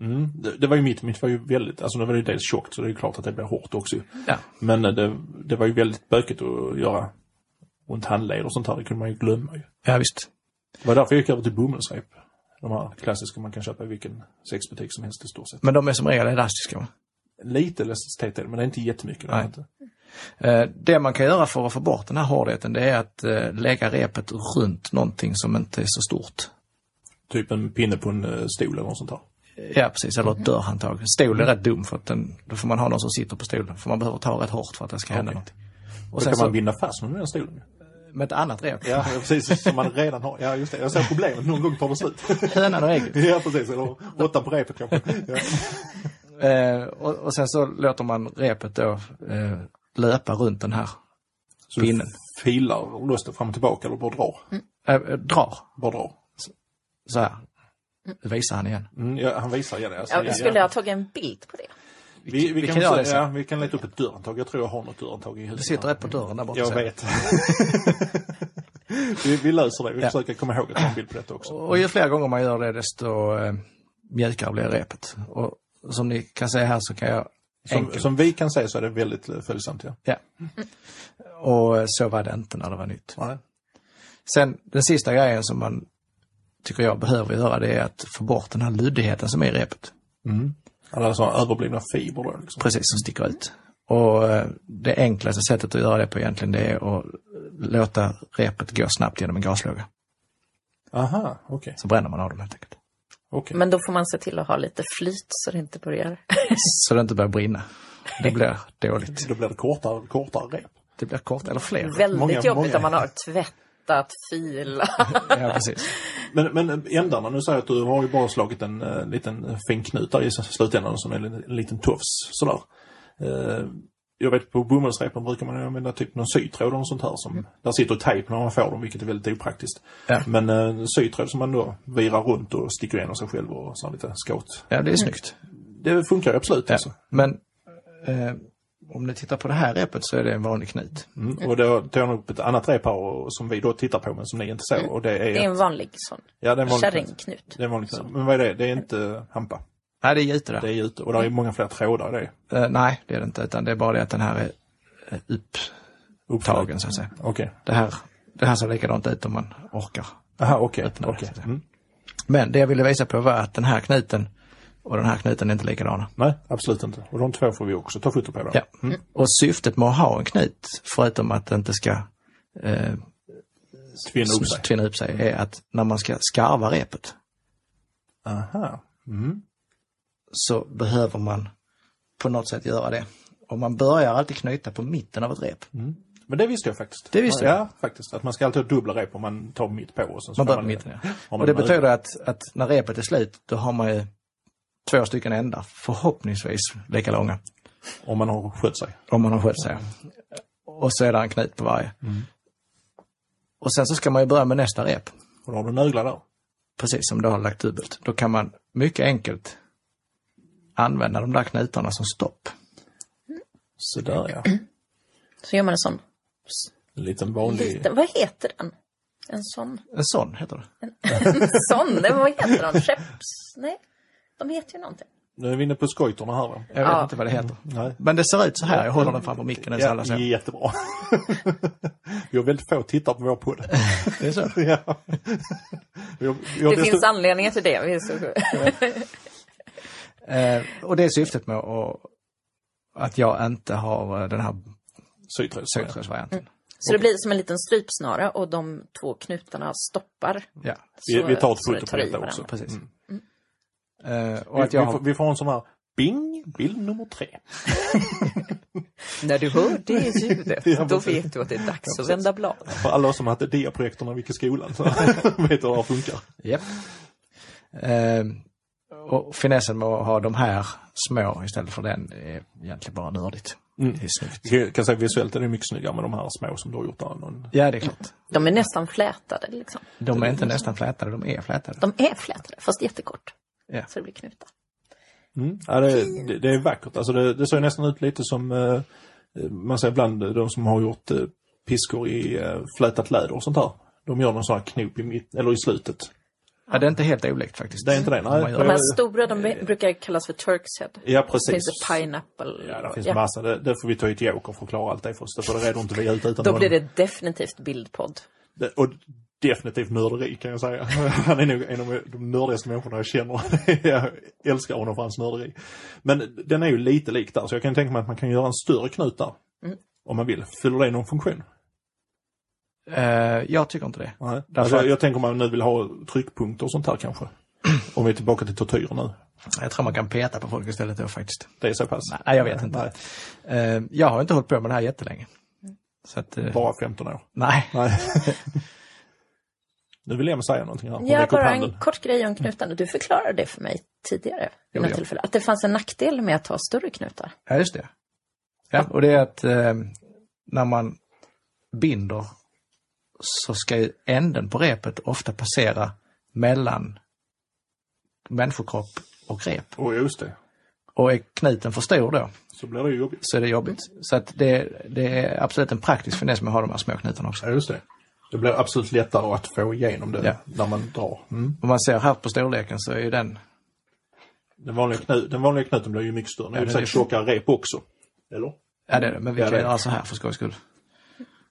[SPEAKER 1] Mm. Det, det var ju mitt, mitt var ju väldigt, alltså det var ju dels tjockt så det är ju klart att det blir hårt också.
[SPEAKER 3] Ja.
[SPEAKER 1] Men eh, det, det var ju väldigt bökigt att göra runt handled och sånt här, det kunde man ju glömma ju.
[SPEAKER 3] Ja visst.
[SPEAKER 1] Det var därför jag gick över till bomullsrep. De här klassiska man kan köpa i vilken sexbutik som helst i stort sett.
[SPEAKER 3] Men de är som regel elastiska. va?
[SPEAKER 1] Lite elasticitet är det, men det är inte jättemycket. det är
[SPEAKER 3] Nej.
[SPEAKER 1] Inte.
[SPEAKER 3] Eh, Det man kan göra för att få bort den här hårdheten det är att eh, lägga repet runt någonting som inte är så stort.
[SPEAKER 1] Typ en pinne på en eh, stol eller något sånt där.
[SPEAKER 3] Ja precis, eller ett dörrhandtag. Stol är rätt dum för att den, då får man ha någon som sitter på stolen. För man behöver ta rätt hårt för att det ska hända
[SPEAKER 1] Okej.
[SPEAKER 3] någonting.
[SPEAKER 1] Och
[SPEAKER 3] Och
[SPEAKER 1] sen
[SPEAKER 3] sen
[SPEAKER 1] kan man
[SPEAKER 3] så,
[SPEAKER 1] binda fast med den stolen.
[SPEAKER 3] med ett annat rep.
[SPEAKER 1] Ja, precis. Som man redan har. Ja, just det. Jag ser problemet. Någon gång tar det slut. *laughs*
[SPEAKER 3] Hönan och ägget.
[SPEAKER 1] ja, precis. Eller åtta på repet kanske. Ja.
[SPEAKER 3] Eh, och, och sen så låter man repet då eh, löpa runt den här.
[SPEAKER 1] Så
[SPEAKER 3] Pinnen.
[SPEAKER 1] filar och loss det fram och tillbaka eller bara drar.
[SPEAKER 2] Mm.
[SPEAKER 3] Eh, eh, drar,
[SPEAKER 1] Bara drar.
[SPEAKER 3] så här. Nu visar han igen.
[SPEAKER 1] Mm, ja, han visar igen. Alltså,
[SPEAKER 2] Ja, skulle jag ha tagit en bild på det?
[SPEAKER 1] Vi, vi,
[SPEAKER 3] vi
[SPEAKER 1] kan,
[SPEAKER 3] kan göra det
[SPEAKER 1] se-
[SPEAKER 3] sen.
[SPEAKER 1] ja, vi kan leta upp ett dörrhandtag. Jag tror jag har något dörrhandtag i
[SPEAKER 3] Det
[SPEAKER 1] huset.
[SPEAKER 3] sitter ett på dörren där borta.
[SPEAKER 1] Jag
[SPEAKER 3] ser jag.
[SPEAKER 1] vet. vi, vi löser det. Vi
[SPEAKER 3] Ja.
[SPEAKER 1] försöker komma ihåg att ta en bild på detta också.
[SPEAKER 3] Och ju fler gånger man gör det desto eh, mjukare blir repet. Och som ni kan se här så kan jag
[SPEAKER 1] Som,
[SPEAKER 3] enkelt.
[SPEAKER 1] som vi kan säga så är det väldigt eh, följsamt. Ja.
[SPEAKER 3] Ja. Och eh, så var det inte när det var nytt.
[SPEAKER 1] Nej.
[SPEAKER 3] Sen den sista grejen som man tycker jag behöver göra det är att få bort den här luddigheten som är i repet.
[SPEAKER 1] Mm. Alla sådana överblivna fibrer då. Liksom.
[SPEAKER 3] Precis, som sticker ut. Och eh, det enklaste sättet att göra det på egentligen det är att låta repet gå snabbt genom en gaslåga.
[SPEAKER 1] Aha, okej.
[SPEAKER 3] Så bränner man av dem helt enkelt.
[SPEAKER 1] okej.
[SPEAKER 2] Men då får man se till att ha lite flyt så det inte börjar. *laughs*
[SPEAKER 3] Så det inte börjar brinna. Det blir
[SPEAKER 2] Mm.
[SPEAKER 3] dåligt.
[SPEAKER 1] Då blir det kortare, kortare rep.
[SPEAKER 3] Det blir kort eller fler.
[SPEAKER 2] Väldigt
[SPEAKER 1] Många-
[SPEAKER 2] jobbigt
[SPEAKER 1] många-
[SPEAKER 2] om man har tvättat, filat.
[SPEAKER 3] Ja, precis.
[SPEAKER 1] Men, men ändarna, nu säger jag att du har ju bara slagit en eh, liten fin knut där i slutändan som är en, en liten tofs sådär. Eh, jag vet på bomullsrepen brukar man ju använda typ någon sytråd och sånt här som, där sitter tejp när man får dem vilket är väldigt opraktiskt.
[SPEAKER 3] Ja.
[SPEAKER 1] Men eh, sytråd som man då virar runt och sticker igenom sig själv och så här lite skott.
[SPEAKER 3] Ja, det är snyggt.
[SPEAKER 1] Mm. Det funkar ju absolut
[SPEAKER 3] Ja.
[SPEAKER 1] alltså.
[SPEAKER 3] Men eh, om ni tittar på det här repet så är det en vanlig knut.
[SPEAKER 1] Mm. Och då tar jag nog upp ett annat rep här och, som vi då tittar på men som ni inte ser och det är...
[SPEAKER 2] Det är en vanlig sån
[SPEAKER 1] ja, det är en vanlig knut.
[SPEAKER 2] kärringknut.
[SPEAKER 1] Det är en vanlig knut. Men vad är det? Det är inte hampa.
[SPEAKER 3] Nej, det är jute där.
[SPEAKER 1] Det är ute och det är många fler trådar i det.
[SPEAKER 3] Eh, nej, det är det inte. Utan det är bara det att den här är eh, upptagen så att säga.
[SPEAKER 1] Okej.
[SPEAKER 3] Det här, det här ser likadant ut om man orkar.
[SPEAKER 1] Aha, okej.
[SPEAKER 3] Öppna det,
[SPEAKER 1] okej.
[SPEAKER 3] så att säga.
[SPEAKER 1] Mm.
[SPEAKER 3] Men det jag ville visa på var att den här knuten och den här knuten är inte likadana.
[SPEAKER 1] Nej, absolut inte. Och de två får vi också ta foto på. Då.
[SPEAKER 3] Ja. Och syftet med att ha en knut, förutom att det inte ska eh,
[SPEAKER 1] Tvinna upp sig.
[SPEAKER 3] tvinna upp sig, är att när man ska skarva repet
[SPEAKER 1] Aha.
[SPEAKER 3] så behöver man på något sätt göra det. Och man börjar alltid knyta på mitten av ett rep.
[SPEAKER 1] Mm. Men det visste jag faktiskt.
[SPEAKER 3] Det visste
[SPEAKER 1] ja,
[SPEAKER 3] jag.
[SPEAKER 1] Ja, faktiskt. Att man ska alltid ha dubbla rep om man tar mitt på. Och sen så
[SPEAKER 3] Man
[SPEAKER 1] får
[SPEAKER 3] börjar på mitten, ja.
[SPEAKER 1] har man
[SPEAKER 3] Och det
[SPEAKER 1] den här
[SPEAKER 3] betyder att, att när repet är slut, då har man ju två stycken ändar, förhoppningsvis lika långa,
[SPEAKER 1] ut, Om man har skött sig.
[SPEAKER 3] om man har skött sig. Och så är det en knut på varje.
[SPEAKER 1] Mm.
[SPEAKER 3] Och sen så ska man ju börja med nästa rep,
[SPEAKER 1] Och då har du nöglar där.
[SPEAKER 3] precis som du har lagt dubbelt. Då kan man mycket enkelt använda de där knutarna som stopp.
[SPEAKER 1] Så där ja.
[SPEAKER 2] Så gör man en sån
[SPEAKER 1] En liten vanlig...
[SPEAKER 2] liten, vad heter den? En sån, *laughs*
[SPEAKER 3] En sån heter det.
[SPEAKER 2] sån, nej, men vad heter de? Skepps? Nej, de heter ju någonting.
[SPEAKER 1] Nu är vi inne på skojtorna här va?
[SPEAKER 3] Jag vet
[SPEAKER 2] Ja.
[SPEAKER 3] inte vad det heter.
[SPEAKER 1] Nej.
[SPEAKER 3] Men det ser ut så här. Jag håller den framför micken nu så alla
[SPEAKER 1] Ja,
[SPEAKER 3] ser.
[SPEAKER 1] jättebra. *laughs* vi har väldigt få tittare på vår
[SPEAKER 3] *laughs*
[SPEAKER 1] podd.
[SPEAKER 3] Det är så.
[SPEAKER 1] ja. vi har, vi har
[SPEAKER 2] Det finns anledningar till det. Vi är så-
[SPEAKER 3] Eh, och det är syftet med att, att jag inte har eh, den här
[SPEAKER 1] Sytråd.
[SPEAKER 3] sötrådsvarianten.
[SPEAKER 1] Mm.
[SPEAKER 2] Så det blir som en liten strypsnara och de två knutarna stoppar.
[SPEAKER 3] Ja,
[SPEAKER 1] Vi,
[SPEAKER 2] så-
[SPEAKER 1] vi tar ett
[SPEAKER 2] så det
[SPEAKER 1] foto på
[SPEAKER 2] tar i
[SPEAKER 1] detta
[SPEAKER 2] varandra.
[SPEAKER 1] också.
[SPEAKER 3] precis.
[SPEAKER 1] Mm.
[SPEAKER 3] Eh, och
[SPEAKER 1] Vi,
[SPEAKER 3] att jag
[SPEAKER 1] vi, får,
[SPEAKER 3] har...
[SPEAKER 1] vi får en sån här Bing, bild nummer tre.
[SPEAKER 2] När du hör det *laughs* ljudet,
[SPEAKER 1] Ja,
[SPEAKER 2] då
[SPEAKER 1] precis.
[SPEAKER 2] vet du att det är dags att vända blad.
[SPEAKER 1] För alla som hade diaprojektorerna vid skolan så *laughs* vet hur det här funkar.
[SPEAKER 3] Japp. Eh, och finessen med att ha de här små istället för den är egentligen bara nördigt.
[SPEAKER 1] Mm.
[SPEAKER 3] Det är snyggt.
[SPEAKER 1] Jag kan säga visuellt är det mycket snyggare med de här små som du har gjort där. Någon...
[SPEAKER 3] Ja, det är klart.
[SPEAKER 2] De är nästan flätade liksom.
[SPEAKER 3] De är inte nästan flätade, de är flätade.
[SPEAKER 2] De är flätade, fast jättekort.
[SPEAKER 3] Ja.
[SPEAKER 2] Så det blir knutar.
[SPEAKER 1] Ja, det, det, det är vackert. Alltså det, det ser nästan ut lite som eh, man ser ibland de som har gjort eh, piskor i eh, flätat läder och sånt här. De gör någon sån här knop i mitt, eller i slutet.
[SPEAKER 3] Ja, det är inte helt olikt faktiskt.
[SPEAKER 1] Det är inte det, nej.
[SPEAKER 3] Man gör
[SPEAKER 2] De här
[SPEAKER 1] Eh,
[SPEAKER 2] stora, de br- brukar kallas för Turks head.
[SPEAKER 1] Ja,
[SPEAKER 2] Det
[SPEAKER 1] precis.
[SPEAKER 2] finns det pineapple.
[SPEAKER 1] Ja, det
[SPEAKER 2] och-
[SPEAKER 1] finns
[SPEAKER 2] ja.
[SPEAKER 1] massa. Det, det får vi ta i ett joker för att klara allt det först. För det reder inte vi ut utan
[SPEAKER 2] Då
[SPEAKER 1] någon-
[SPEAKER 2] blir det definitivt bildpodd.
[SPEAKER 1] Det- Och definitivt nörderi kan jag säga. *laughs* Han är nog en av de nördigaste människorna jag känner. *laughs* jag älskar honom för hans nörderi. Men den är ju lite lik där, så jag kan tänka mig att man kan göra en större knut där.
[SPEAKER 2] Mm.
[SPEAKER 1] Om man vill. Fyller det någon funktion?
[SPEAKER 3] Eh, jag tycker inte det.
[SPEAKER 1] Nej. Alltså,
[SPEAKER 3] Därför
[SPEAKER 1] jag,
[SPEAKER 3] att-
[SPEAKER 1] jag tänker om man nu vill ha tryckpunkter och sånt här
[SPEAKER 3] *clears throat*
[SPEAKER 1] kanske. om vi är tillbaka till tortyr nu.
[SPEAKER 3] Jag tror man kan peta på folk istället då faktiskt.
[SPEAKER 1] Det är så pass.
[SPEAKER 3] Nej, jag vet inte.
[SPEAKER 1] Nej,
[SPEAKER 3] Eh, jag har inte hållit på med det här jättelänge.
[SPEAKER 1] Mm.
[SPEAKER 3] Så att, eh,
[SPEAKER 1] bara 15 år.
[SPEAKER 3] nej. *laughs*
[SPEAKER 1] Nej. nu vill Emma säga någonting här. Hon
[SPEAKER 2] Ja,
[SPEAKER 1] räcker upp
[SPEAKER 2] bara en
[SPEAKER 1] handen.
[SPEAKER 2] kort grej om knutarna. Du förklarade det för mig tidigare. vid något
[SPEAKER 3] ja.
[SPEAKER 2] tillfälle. Att det fanns en nackdel med att ha större knutar.
[SPEAKER 3] Ja, just det. Ja, och det är att eh, när man binder så ska ju änden på repet ofta passera mellan människokropp och rep.
[SPEAKER 1] Åh, just det.
[SPEAKER 3] Och är knuten för stor då
[SPEAKER 1] Så blir det ju jobbigt.
[SPEAKER 3] så är det jobbigt. Så att det, det är absolut en praktisk finess med att ha de här små knutarna också.
[SPEAKER 1] Ja, just det. Det blir absolut lättare att få igenom det
[SPEAKER 3] Ja.
[SPEAKER 1] när man drar. Mm.
[SPEAKER 3] Om man ser här på storleken så är ju den
[SPEAKER 1] Den, vanliga knu, den vanliga knuten blir ju mycket större. Den är
[SPEAKER 3] Ja,
[SPEAKER 1] ju
[SPEAKER 3] det
[SPEAKER 1] säkert
[SPEAKER 3] är det.
[SPEAKER 1] tjockare rep också. Eller?
[SPEAKER 3] Ja, det är det. Men vi
[SPEAKER 1] Ja,
[SPEAKER 3] kan
[SPEAKER 1] det är
[SPEAKER 3] göra så här för skojs skull.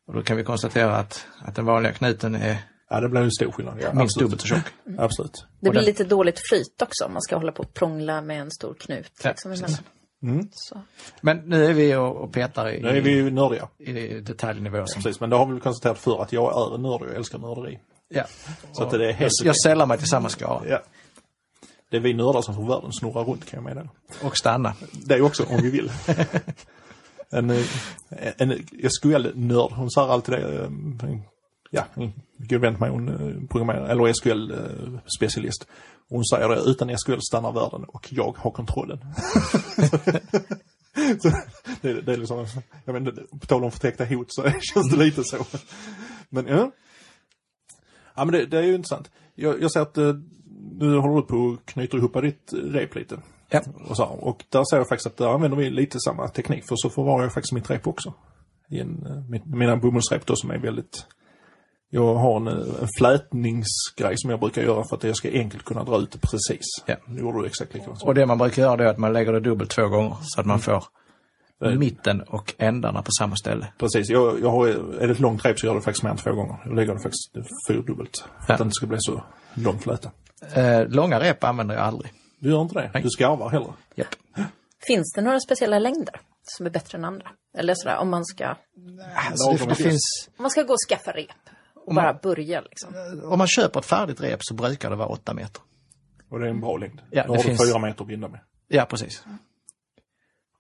[SPEAKER 3] Och då kan vi konstatera att, att den vanliga knuten är
[SPEAKER 1] Ja, det blir ju en stor skillnad. Ja, absolut.
[SPEAKER 3] minst
[SPEAKER 1] Mm.
[SPEAKER 3] dubbelt så tjock.
[SPEAKER 1] Absolut.
[SPEAKER 2] Det
[SPEAKER 3] Och
[SPEAKER 2] blir
[SPEAKER 3] den-
[SPEAKER 2] lite dåligt flyt också om man ska hålla på och prångla med en stor knut.
[SPEAKER 3] Ja,
[SPEAKER 2] liksom,
[SPEAKER 3] Mm. precis.
[SPEAKER 2] emellan. Så.
[SPEAKER 3] Men nu är vi och, och petar i,
[SPEAKER 1] Nu är vi ju nördiga.
[SPEAKER 3] i detaljnivå. Som,
[SPEAKER 1] Precis, men det har vi väl konstaterat förr att jag är en nörd och jag älskar nörderi.
[SPEAKER 3] ja.
[SPEAKER 1] Så att det är helt
[SPEAKER 3] Jag, jag sällar mig till samma skara
[SPEAKER 1] Ja. Det är vi nördar som får världen snurra runt kan jag meddela.
[SPEAKER 3] och stanna.
[SPEAKER 1] Det också, om vi vill. *laughs* En, eh, en SQL-nörd, hon säger alltid det. eh, en- Ja, en god vän till mig, hon eh, programmerar, eller SQL-specialist. Hon säger det, utan SQL stannar världen och jag har kontrollen. *laughs* så, det, det är liksom, jag menar, på tal om förtäckta hot så *laughs* känns det lite så. Men ja. Ja men det, det är ju intressant. Jag, jag ser att eh, nu håller du på och knyter ihop ditt eh, rep lite.
[SPEAKER 3] Ja.
[SPEAKER 1] Och, så, här. och där ser jag faktiskt att där använder vi lite samma teknik för så förvarar jag faktiskt mitt rep också. I en, eh, mitt, mina bomullsrep då som är väldigt... Jag har en, eh, en flätningsgrej som jag brukar göra för att jag ska enkelt kunna dra ut det precis.
[SPEAKER 3] Ja.
[SPEAKER 1] Nu gjorde du exakt likadant.
[SPEAKER 3] Och det man brukar göra då är att man lägger det dubbelt två gånger så att
[SPEAKER 1] Mm.
[SPEAKER 3] man får mitten och ändarna på samma ställe.
[SPEAKER 1] Precis, jag, jag har, är det ett långt rep så gör jag det faktiskt mer än två gånger. Jag lägger det faktiskt fyrdubbelt. För
[SPEAKER 3] Ja.
[SPEAKER 1] att det inte ska bli så lång fläta.
[SPEAKER 3] Eh, långa rep använder jag aldrig.
[SPEAKER 1] Du gör inte det? Du skarvar heller?
[SPEAKER 3] Japp.
[SPEAKER 1] Äh,
[SPEAKER 2] Finns det några speciella längder som är bättre än andra? Eller sådär, om man ska,
[SPEAKER 3] Alltså, det, det finns,
[SPEAKER 2] om man ska gå och skaffa rep och bara börja liksom.
[SPEAKER 3] eh, om man köper ett färdigt rep så brukar det vara åtta meter.
[SPEAKER 1] Och det är en bra längd.
[SPEAKER 3] Ja,
[SPEAKER 1] Då
[SPEAKER 3] det
[SPEAKER 1] har du
[SPEAKER 3] finns-
[SPEAKER 1] fyra meter att binda med.
[SPEAKER 3] Ja, precis.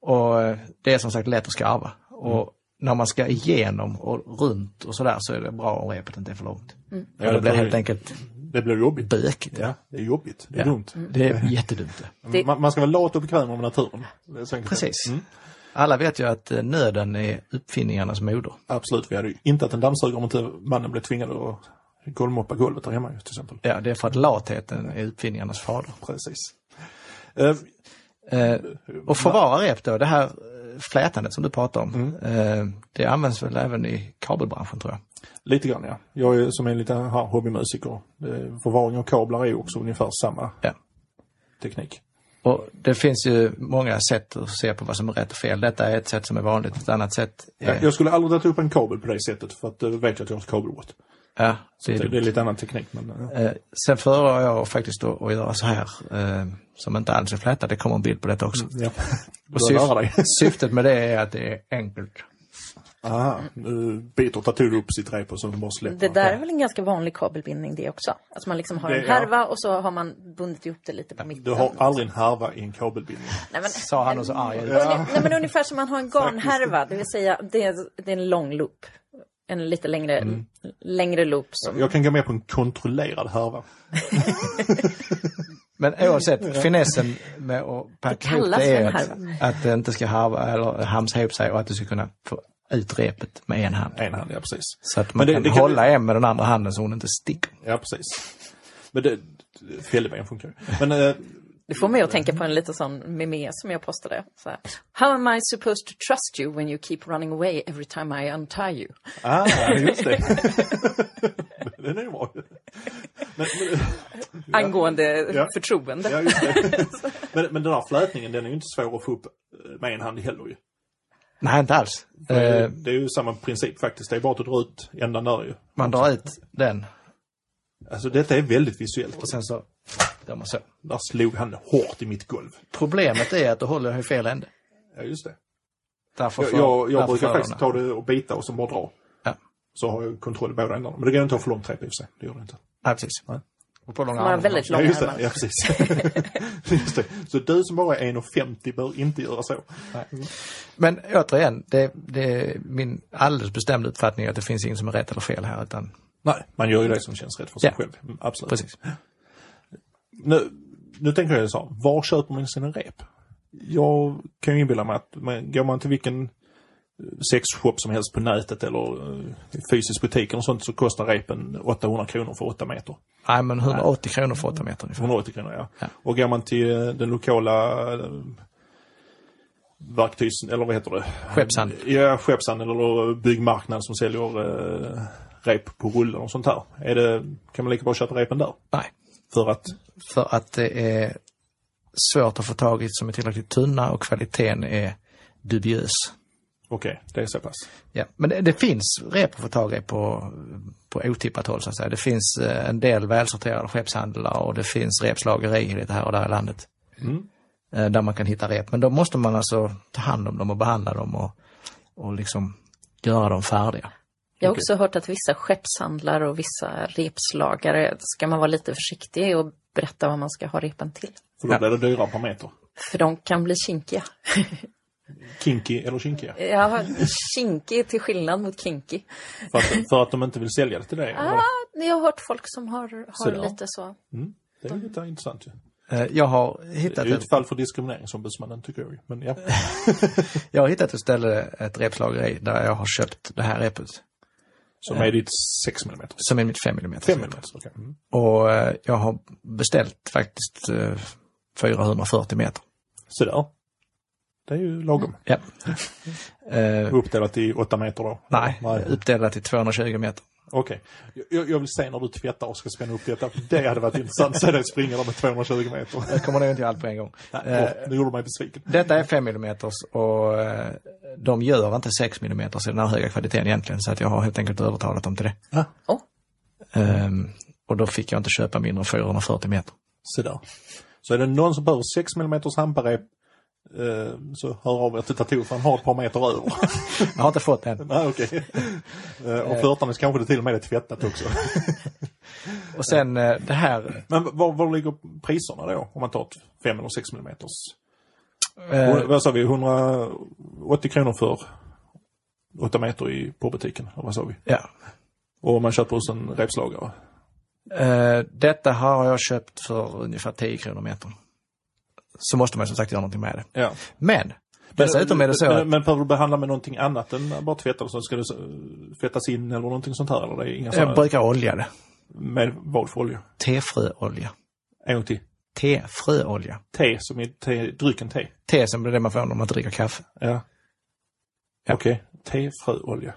[SPEAKER 3] Och eh, det är som sagt lätt att skarva. Och
[SPEAKER 1] Mm.
[SPEAKER 3] när man ska igenom och runt och sådär så är det bra om repet inte är för långt.
[SPEAKER 1] Mm. Ja,
[SPEAKER 3] det,
[SPEAKER 1] det
[SPEAKER 3] blir
[SPEAKER 1] tror
[SPEAKER 3] helt
[SPEAKER 1] jag.
[SPEAKER 3] enkelt
[SPEAKER 1] Det blir jobbigt.
[SPEAKER 3] bökigt.
[SPEAKER 1] Ja, det är jobbigt. Det är
[SPEAKER 3] Ja.
[SPEAKER 1] dumt.
[SPEAKER 3] Det är jättedumt. det.
[SPEAKER 2] Det-
[SPEAKER 1] Man, man ska vara lat och bekväm av naturen. Det är så enkelt.
[SPEAKER 3] Precis. Mm. Alla vet ju att eh, nöden är uppfinningarnas moder.
[SPEAKER 1] Absolut, vi hade ju inte att en dammsugare om inte mannen blev tvingad att golvmoppa golvet där hemma ju, till exempel.
[SPEAKER 3] Ja, det är för att latheten är uppfinningarnas fader.
[SPEAKER 1] Precis. Eh,
[SPEAKER 3] Eh, och förvara rep då, det här eh, flätandet som du pratar om,
[SPEAKER 1] Mm.
[SPEAKER 3] eh, det används väl även i kabelbranschen tror jag.
[SPEAKER 1] lite grann ja. Jag är som en liten här, hobbymusiker. Eh, Förvaring av kablar är ju också ungefär samma
[SPEAKER 3] Ja.
[SPEAKER 1] teknik.
[SPEAKER 3] Och det finns ju många sätt att se på vad som är rätt och fel. Detta är ett sätt som är vanligt, ett annat sätt är...
[SPEAKER 1] Jag- Jag skulle aldrig dra upp en kabel på det sättet för att eh, då vet jag att jag har ett kabelbrott.
[SPEAKER 3] Ja, det är
[SPEAKER 1] Det,
[SPEAKER 3] dumt.
[SPEAKER 1] det är lite annan teknik. Men, eh,
[SPEAKER 3] Eh, sen föredrar jag faktiskt att, att göra så här, eh, som inte alls är flätat. Det kommer en bild på detta också.
[SPEAKER 1] *laughs* ja.
[SPEAKER 3] Och
[SPEAKER 1] Börja lära Mm. dig. *laughs*
[SPEAKER 3] syftet med det är att det är enkelt. Ah.
[SPEAKER 1] Aha, *laughs* nu biter Tatur upp sitt rep och så bara släpper
[SPEAKER 2] Det
[SPEAKER 1] han.
[SPEAKER 2] där är väl en ganska vanlig kabelbindning det också? Att man liksom har
[SPEAKER 1] Det-
[SPEAKER 2] en härva och så har man bundit ihop det lite på mitten.
[SPEAKER 1] Du har aldrig en härva i en kabelbindning.
[SPEAKER 2] Nej, men,
[SPEAKER 3] Sa han och så arg ut.
[SPEAKER 1] Ja.
[SPEAKER 2] nej, men ungefär som man har en garnhärva, det vill säga det är, det är en lång loop. En lite längre,
[SPEAKER 3] Mm.
[SPEAKER 2] längre loop som...
[SPEAKER 1] Jag kan gå med på en kontrollerad härva.
[SPEAKER 3] Men oavsett, finessen med att packa ihop
[SPEAKER 2] kallas
[SPEAKER 3] det är
[SPEAKER 2] en
[SPEAKER 3] att, att det inte ska harva eller hamsa ihop sig och att du ska kunna få ut repet med en hand.
[SPEAKER 1] En hand, ja precis.
[SPEAKER 3] Så att
[SPEAKER 1] Men
[SPEAKER 3] man
[SPEAKER 1] det-
[SPEAKER 3] kan
[SPEAKER 1] det kan
[SPEAKER 3] hålla en med den andra handen så hon inte sticker.
[SPEAKER 1] Ja, precis. Men det... Fjällben funkar ju. Men eh,
[SPEAKER 2] Det får mig att tänka på en liten sån meme som jag postade. Så här, How am I supposed to trust you when you keep running away every time I untie you?
[SPEAKER 1] Ah, just
[SPEAKER 3] *laughs*
[SPEAKER 1] det. *laughs* Den är ju bra. Men, eh, men,
[SPEAKER 2] Angående
[SPEAKER 1] Ja.
[SPEAKER 2] förtroende.
[SPEAKER 1] ja, just det. *laughs* Men, men den här flätningen den är ju inte svår att få upp eh, med en hand heller ju.
[SPEAKER 3] Nej, inte alls.
[SPEAKER 1] Det är
[SPEAKER 3] Eh,
[SPEAKER 1] ju- Det är ju samma princip faktiskt. Det är bara att dra ut ändan där ju.
[SPEAKER 3] man drar ut den
[SPEAKER 1] Alltså detta är väldigt visuellt. Alltså,
[SPEAKER 3] Och sen så gör man så.
[SPEAKER 1] Där slog han hårt i mitt golv.
[SPEAKER 3] Problemet är att du håller i fel ände.
[SPEAKER 1] Ja, just det.
[SPEAKER 3] Därför
[SPEAKER 1] Jag,
[SPEAKER 3] för-
[SPEAKER 1] jag, jag
[SPEAKER 3] därför
[SPEAKER 1] brukar
[SPEAKER 3] för
[SPEAKER 1] faktiskt ta
[SPEAKER 3] öronen.
[SPEAKER 1] det och bita och sen bara dra.
[SPEAKER 3] Ja.
[SPEAKER 1] Så har jag kontroll i båda ändarna. Men det går inte att ha för långt träp i och för sig. Det gör det inte.
[SPEAKER 3] Nej, precis.
[SPEAKER 1] Nej.
[SPEAKER 3] Och på långa
[SPEAKER 2] Man har
[SPEAKER 3] armar.
[SPEAKER 2] väldigt
[SPEAKER 1] Ja,
[SPEAKER 2] långa
[SPEAKER 1] just det.
[SPEAKER 2] armar.
[SPEAKER 1] Ja, precis. *laughs* just det. Så du som bara är 1,50 bör inte göra så.
[SPEAKER 3] Men återigen, det, det är min alldeles bestämda uppfattning att det finns ingen som är rätt eller fel här. Utan,
[SPEAKER 1] Nej, man gör ju det som känns rätt för sig
[SPEAKER 3] Ja.
[SPEAKER 1] själv. Mm, Absolut.
[SPEAKER 3] precis.
[SPEAKER 1] Nu, nu tänker jag så här, var köper man sina rep? Jag kan ju inbilla mig att man, går man till vilken eh, sexshop som helst på nätet eller eh, fysisk butik och sånt så kostar repen 800 kronor för 8 meter.
[SPEAKER 3] Nej, men 180 kronor för 8 meter ungefär.
[SPEAKER 1] 180 kronor ja.
[SPEAKER 3] Ja.
[SPEAKER 1] Och går man till eh, den lokala eh, verktygs... eller vad heter det?
[SPEAKER 3] Skeppshandel.
[SPEAKER 1] Ja, skeppshandel eller byggmarknaden som säljer eh, rep på rullar och sånt här. Är det, kan man lika bra köpa repen där?
[SPEAKER 3] Nej,
[SPEAKER 1] För att
[SPEAKER 3] för att det är svårt att få tag i som är tillräckligt tunna och kvaliteten är dubiös.
[SPEAKER 1] Okej, det är så pass.
[SPEAKER 3] Ja, men det, det finns rep att få tag i på, på otippat håll så att säga. Det finns eh, en del välsorterade skeppshandlar och det finns repslageri lite här och där i landet. Eh, Där man kan hitta rep. Men då måste man alltså ta hand om dem och behandla dem och, och liksom göra dem färdiga.
[SPEAKER 2] Jag har också hört att vissa skeppshandlare och vissa repslagare ska man vara lite försiktig och berätta vad man ska ha repen till.
[SPEAKER 1] För då
[SPEAKER 3] Ja.
[SPEAKER 1] blir det dyrare per meter.
[SPEAKER 2] För de kan bli kinkiga.
[SPEAKER 1] Kinky eller kinkiga.
[SPEAKER 2] *laughs* Ja, kinkig till skillnad mot kinky.
[SPEAKER 1] För att, för att de inte vill sälja det till dig.
[SPEAKER 2] Ah, jag har hört folk som har, har
[SPEAKER 1] Sådär.
[SPEAKER 2] lite så.
[SPEAKER 1] Mm, det är lite intressant ju.
[SPEAKER 3] Eh, Jag har
[SPEAKER 1] Det är
[SPEAKER 3] hittat
[SPEAKER 1] ju
[SPEAKER 3] ett,
[SPEAKER 1] ett fall för diskrimineringsombudsmannen tycker jag ju. Men ja.
[SPEAKER 3] jag har hittat ett ställe, ett repslageri, där jag har köpt det här repet.
[SPEAKER 1] Som är ditt 6 mm.
[SPEAKER 3] Som är mitt 5 mm.
[SPEAKER 1] 5 mm, okej. Mm.
[SPEAKER 3] Och eh, jag har beställt faktiskt eh, 440 meter.
[SPEAKER 1] Sådär. Det är ju lagom.
[SPEAKER 3] Ja. *laughs* Eh,
[SPEAKER 1] Uppdelat i 8 meter då?
[SPEAKER 3] Nej, uppdelat i 220 meter.
[SPEAKER 1] Okej. Jag, jag vill se när du tvättar och ska spänna upp detta. Det hade varit intressant att se dig springa där med 220 meter.
[SPEAKER 3] Jag kommer nog inte göra allt på en gång.
[SPEAKER 1] Nej,
[SPEAKER 3] Eh,
[SPEAKER 1] åh, nu gjorde du mig besviken.
[SPEAKER 3] Detta är 5 mm och eh, de gör inte 6 mm i den här höga kvaliteten egentligen så att jag har helt enkelt övertalat dem till det.
[SPEAKER 1] Ja,
[SPEAKER 2] Oh,
[SPEAKER 3] Ehm, och då fick jag inte köpa mindre än 440 meter.
[SPEAKER 1] sådär. Så är det någon som behöver 6 mm hamparep eh, så hör av er till Tattoo för han har ett par meter *laughs* över.
[SPEAKER 3] Jag har inte fått det än.
[SPEAKER 1] Nej, okej. Eh, Och flörtarnas kanske det till och med är tvättat också.
[SPEAKER 3] Och sen eh, det här,
[SPEAKER 1] Men var, var ligger priserna då? Om man tar ett 5 eller 6 mm?
[SPEAKER 3] eh,
[SPEAKER 1] Vad sa vi? 180 kronor för 8 meter i, på butiken. eller Vad sa vi?
[SPEAKER 3] ja.
[SPEAKER 1] Och om man köper hos en repslagare.
[SPEAKER 3] Eh, detta har jag köpt för ungefär 10 kronor metern. Så måste man som sagt göra någonting med det.
[SPEAKER 1] Ja.
[SPEAKER 3] Men, dessutom är det så
[SPEAKER 1] men,
[SPEAKER 3] att
[SPEAKER 1] men behöver du behandla med någonting annat än bara tvätta och så ska det så- tvättas in eller någonting sånt här? Eller det är inga
[SPEAKER 3] jag
[SPEAKER 1] sådana?
[SPEAKER 3] brukar olja det.
[SPEAKER 1] Med vad för olja?
[SPEAKER 3] Tefröolja.
[SPEAKER 1] En gång till.
[SPEAKER 3] Tefröolja.
[SPEAKER 1] Te som är te, drycken te.
[SPEAKER 3] Te som är det man får när man dricker kaffe.
[SPEAKER 1] Ja. Okej. Tefröolja.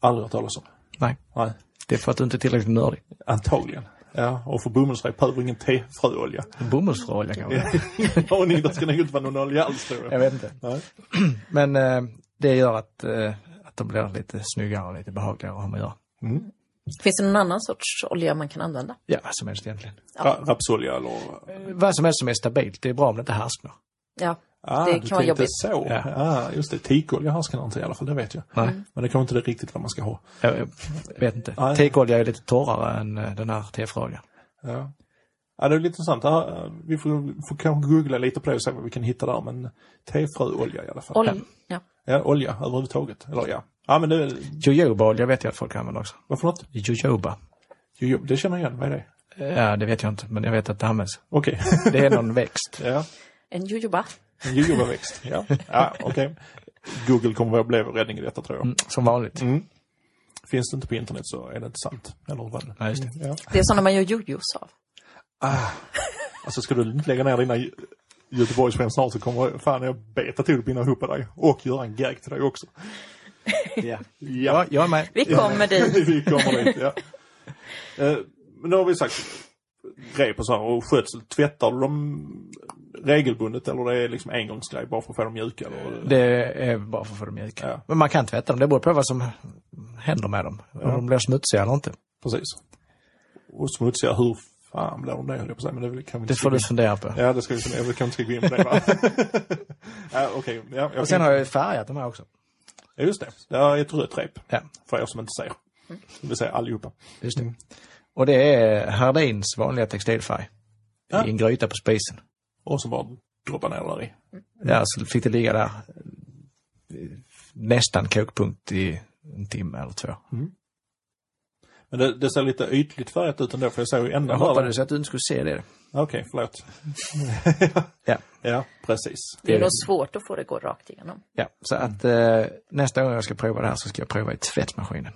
[SPEAKER 1] Aldrig hört talas om.
[SPEAKER 3] Nej,
[SPEAKER 1] Mm. Nej.
[SPEAKER 3] det är för att du inte är tillräckligt nördig.
[SPEAKER 1] Antagligen. Ja, och för bomullsrep behöver ingen *laughs* tefröolja.
[SPEAKER 3] Bomullsfröolja kanske?
[SPEAKER 1] Ingen aning, det ska nog inte vara någon olja alls tror
[SPEAKER 3] *laughs* Jag
[SPEAKER 1] jag.
[SPEAKER 3] vet inte.
[SPEAKER 1] Nej.
[SPEAKER 3] Men eh, det gör att, eh, att de blir lite snyggare och lite behagligare att ha med att göra.
[SPEAKER 2] Finns det någon annan sorts olja man kan använda?
[SPEAKER 3] Ja, vad som helst egentligen.
[SPEAKER 1] Ra- Rapsolja eller...
[SPEAKER 3] Eh, Vad som helst som är stabilt, det är bra om det inte härsknar.
[SPEAKER 2] Ja,
[SPEAKER 1] Ah,
[SPEAKER 2] det
[SPEAKER 1] du
[SPEAKER 2] kan vara
[SPEAKER 1] tänkte
[SPEAKER 2] jobbigt.
[SPEAKER 1] så. Ja.
[SPEAKER 3] Ja.
[SPEAKER 1] Ah, just det, tikolja härskar inte i alla fall, det vet jag. Mm.
[SPEAKER 3] Nej.
[SPEAKER 1] Men det kanske inte är riktigt vad man ska ha.
[SPEAKER 3] Jag eh, vet inte.
[SPEAKER 1] Nej.
[SPEAKER 3] Tekolja är lite torrare än eh, den här tefröoljan.
[SPEAKER 1] Ja. Ja, det är lite intressant. Ah, vi får, får kanske googla lite på det och se vad vi kan hitta där. Men tefröolja i alla fall.
[SPEAKER 2] olja. Ja.
[SPEAKER 1] Ja, olja överhuvudtaget. Eller ja. Ja, men det...
[SPEAKER 3] Jojobaolja vet jag att folk använder också.
[SPEAKER 1] Vad för något?
[SPEAKER 3] Jojoba.
[SPEAKER 1] Jo, jo, det känner jag igen. Vad är det?
[SPEAKER 3] Ja, det vet jag inte, men jag vet att det används.
[SPEAKER 1] Okej. *laughs*
[SPEAKER 3] Det är någon växt.
[SPEAKER 1] ja.
[SPEAKER 2] En jojoba.
[SPEAKER 1] En jojobaväxt. ja, ja okej. Google kommer att bli räddningen i detta tror jag.
[SPEAKER 3] Mm, Som vanligt.
[SPEAKER 1] Finns det inte på internet så är det inte sant. Eller vad?
[SPEAKER 3] Nej, just det.
[SPEAKER 1] Ja.
[SPEAKER 2] Det är sådana man gör jojos av.
[SPEAKER 1] Alltså ska du inte lägga ner dina Gö- Göteborgsskämt snart så kommer jag- fan jag beta till att binda ihop dig och göra en gag till dig också.
[SPEAKER 3] Ja.
[SPEAKER 1] Ja,
[SPEAKER 3] Ja, jag är med.
[SPEAKER 2] Vi kommer
[SPEAKER 3] *laughs*
[SPEAKER 1] *laughs*
[SPEAKER 2] dit.
[SPEAKER 1] vi kommer dit. Ja. Eh, Men nu har vi sagt rep och så här och skötsel. Tvättar du dem regelbundet eller det är liksom engångsgrej bara för att få dem mjuka? Eller?
[SPEAKER 3] Det är bara för att få dem mjuka.
[SPEAKER 1] Ja.
[SPEAKER 3] Men man kan tvätta dem, det beror på vad som händer med dem. Om de blir smutsiga eller inte.
[SPEAKER 1] Precis. Och smutsiga, hur fan blir de det höll jag på att säga, men det kan vi inte
[SPEAKER 3] Det får du fundera på.
[SPEAKER 1] Ja, det ska vi fundera på. Vi kanske inte ska gå in på det
[SPEAKER 3] *laughs*
[SPEAKER 1] va? ja, Okej, ja, jag
[SPEAKER 3] Och sen
[SPEAKER 1] kan-
[SPEAKER 3] har jag ju färgat de här också.
[SPEAKER 1] ja, just det. Det är ett rött rep,
[SPEAKER 3] Ja, Mm.
[SPEAKER 1] för er som inte ser. Det vill säga allihopa.
[SPEAKER 3] just det. Och det är Hardins vanliga textilfärg.
[SPEAKER 1] Ja.
[SPEAKER 3] I en gryta på spisen.
[SPEAKER 1] Och så bara droppa ner där i.
[SPEAKER 3] Ja, så fick det ligga där eh, nästan kokpunkt i en timme eller två.
[SPEAKER 1] Men det, det ser lite ytligt färgat ut ändå, för jag såg ju ändå
[SPEAKER 3] Jag hoppades att du inte skulle se det.
[SPEAKER 1] Okej, förlåt.
[SPEAKER 3] Ja.
[SPEAKER 1] *laughs* Ja, precis.
[SPEAKER 2] Det är
[SPEAKER 3] Det-
[SPEAKER 2] nog svårt att få det gå rakt igenom.
[SPEAKER 3] Ja, så att eh, nästa gång jag ska prova det här så ska jag prova i tvättmaskinen.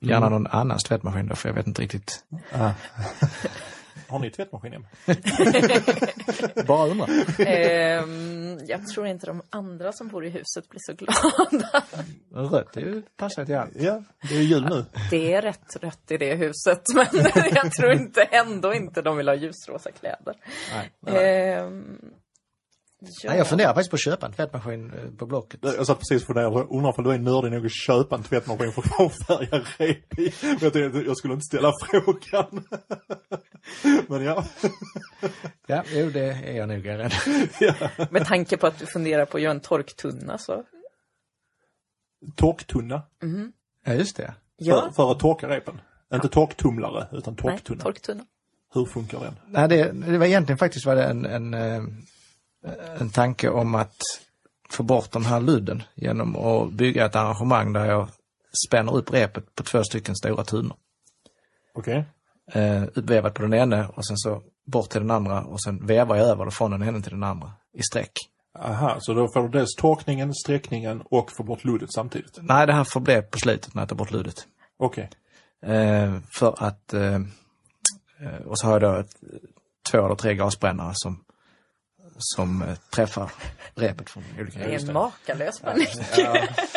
[SPEAKER 3] Gärna någon annans tvättmaskin då, för jag vet inte riktigt.
[SPEAKER 1] Har ni tvättmaskin hemma?
[SPEAKER 3] Bara undrar.
[SPEAKER 2] Ehm, jag tror inte de andra som bor i huset blir så glada. *laughs*
[SPEAKER 3] Rött, det är ju- passar ju till allt.
[SPEAKER 1] Ja, det är ju jul nu.
[SPEAKER 2] Det är rätt rött i det huset, *laughs* men jag tror inte ändå inte de vill ha ljusrosa kläder.
[SPEAKER 3] Nej.
[SPEAKER 2] Ehm, ja.
[SPEAKER 3] Nej, jag funderar faktiskt på att köpa en tvättmaskin eh, på Blocket.
[SPEAKER 1] Jag satt precis på det och undrar om du är nördig nog att köpa en tvättmaskin för att färga rep i. Men jag tänkte att jag skulle inte ställa frågan. *laughs* Men ja.
[SPEAKER 3] Ja, jo, det är jag nog *laughs* jag är rädd.
[SPEAKER 2] Med tanke på att du funderar på att göra en torktunna så.
[SPEAKER 1] Torktunna.
[SPEAKER 3] Ja, just det.
[SPEAKER 1] För,
[SPEAKER 2] Ja,
[SPEAKER 1] för att torka repen. Inte torktumlare, utan
[SPEAKER 2] nej,
[SPEAKER 1] torktunna.
[SPEAKER 2] torktunna.
[SPEAKER 1] Hur funkar den?
[SPEAKER 3] Nej, det, det var egentligen faktiskt var det en, en, eh, en tanke om att få bort de här ludden genom att bygga ett arrangemang där jag spänner upp repet på två stycken stora tunnor.
[SPEAKER 1] Okej.
[SPEAKER 3] eh, utvevad på den ene och sen så bort till den andra och sen vevar jag över det från den ene till den andra i sträck.
[SPEAKER 1] Aha, så då får du dels torkningen, sträckningen och får bort luddet samtidigt.
[SPEAKER 3] Nej, det här får bli på slutet när jag tar bort luddet.
[SPEAKER 1] Okej.
[SPEAKER 3] Eh, för att, eh, eh, och så har jag då ett, två eller tre gasbrännare som, som eh, träffar repet från olika
[SPEAKER 2] Det är en
[SPEAKER 3] håll.
[SPEAKER 2] makalös panik.
[SPEAKER 1] Eh,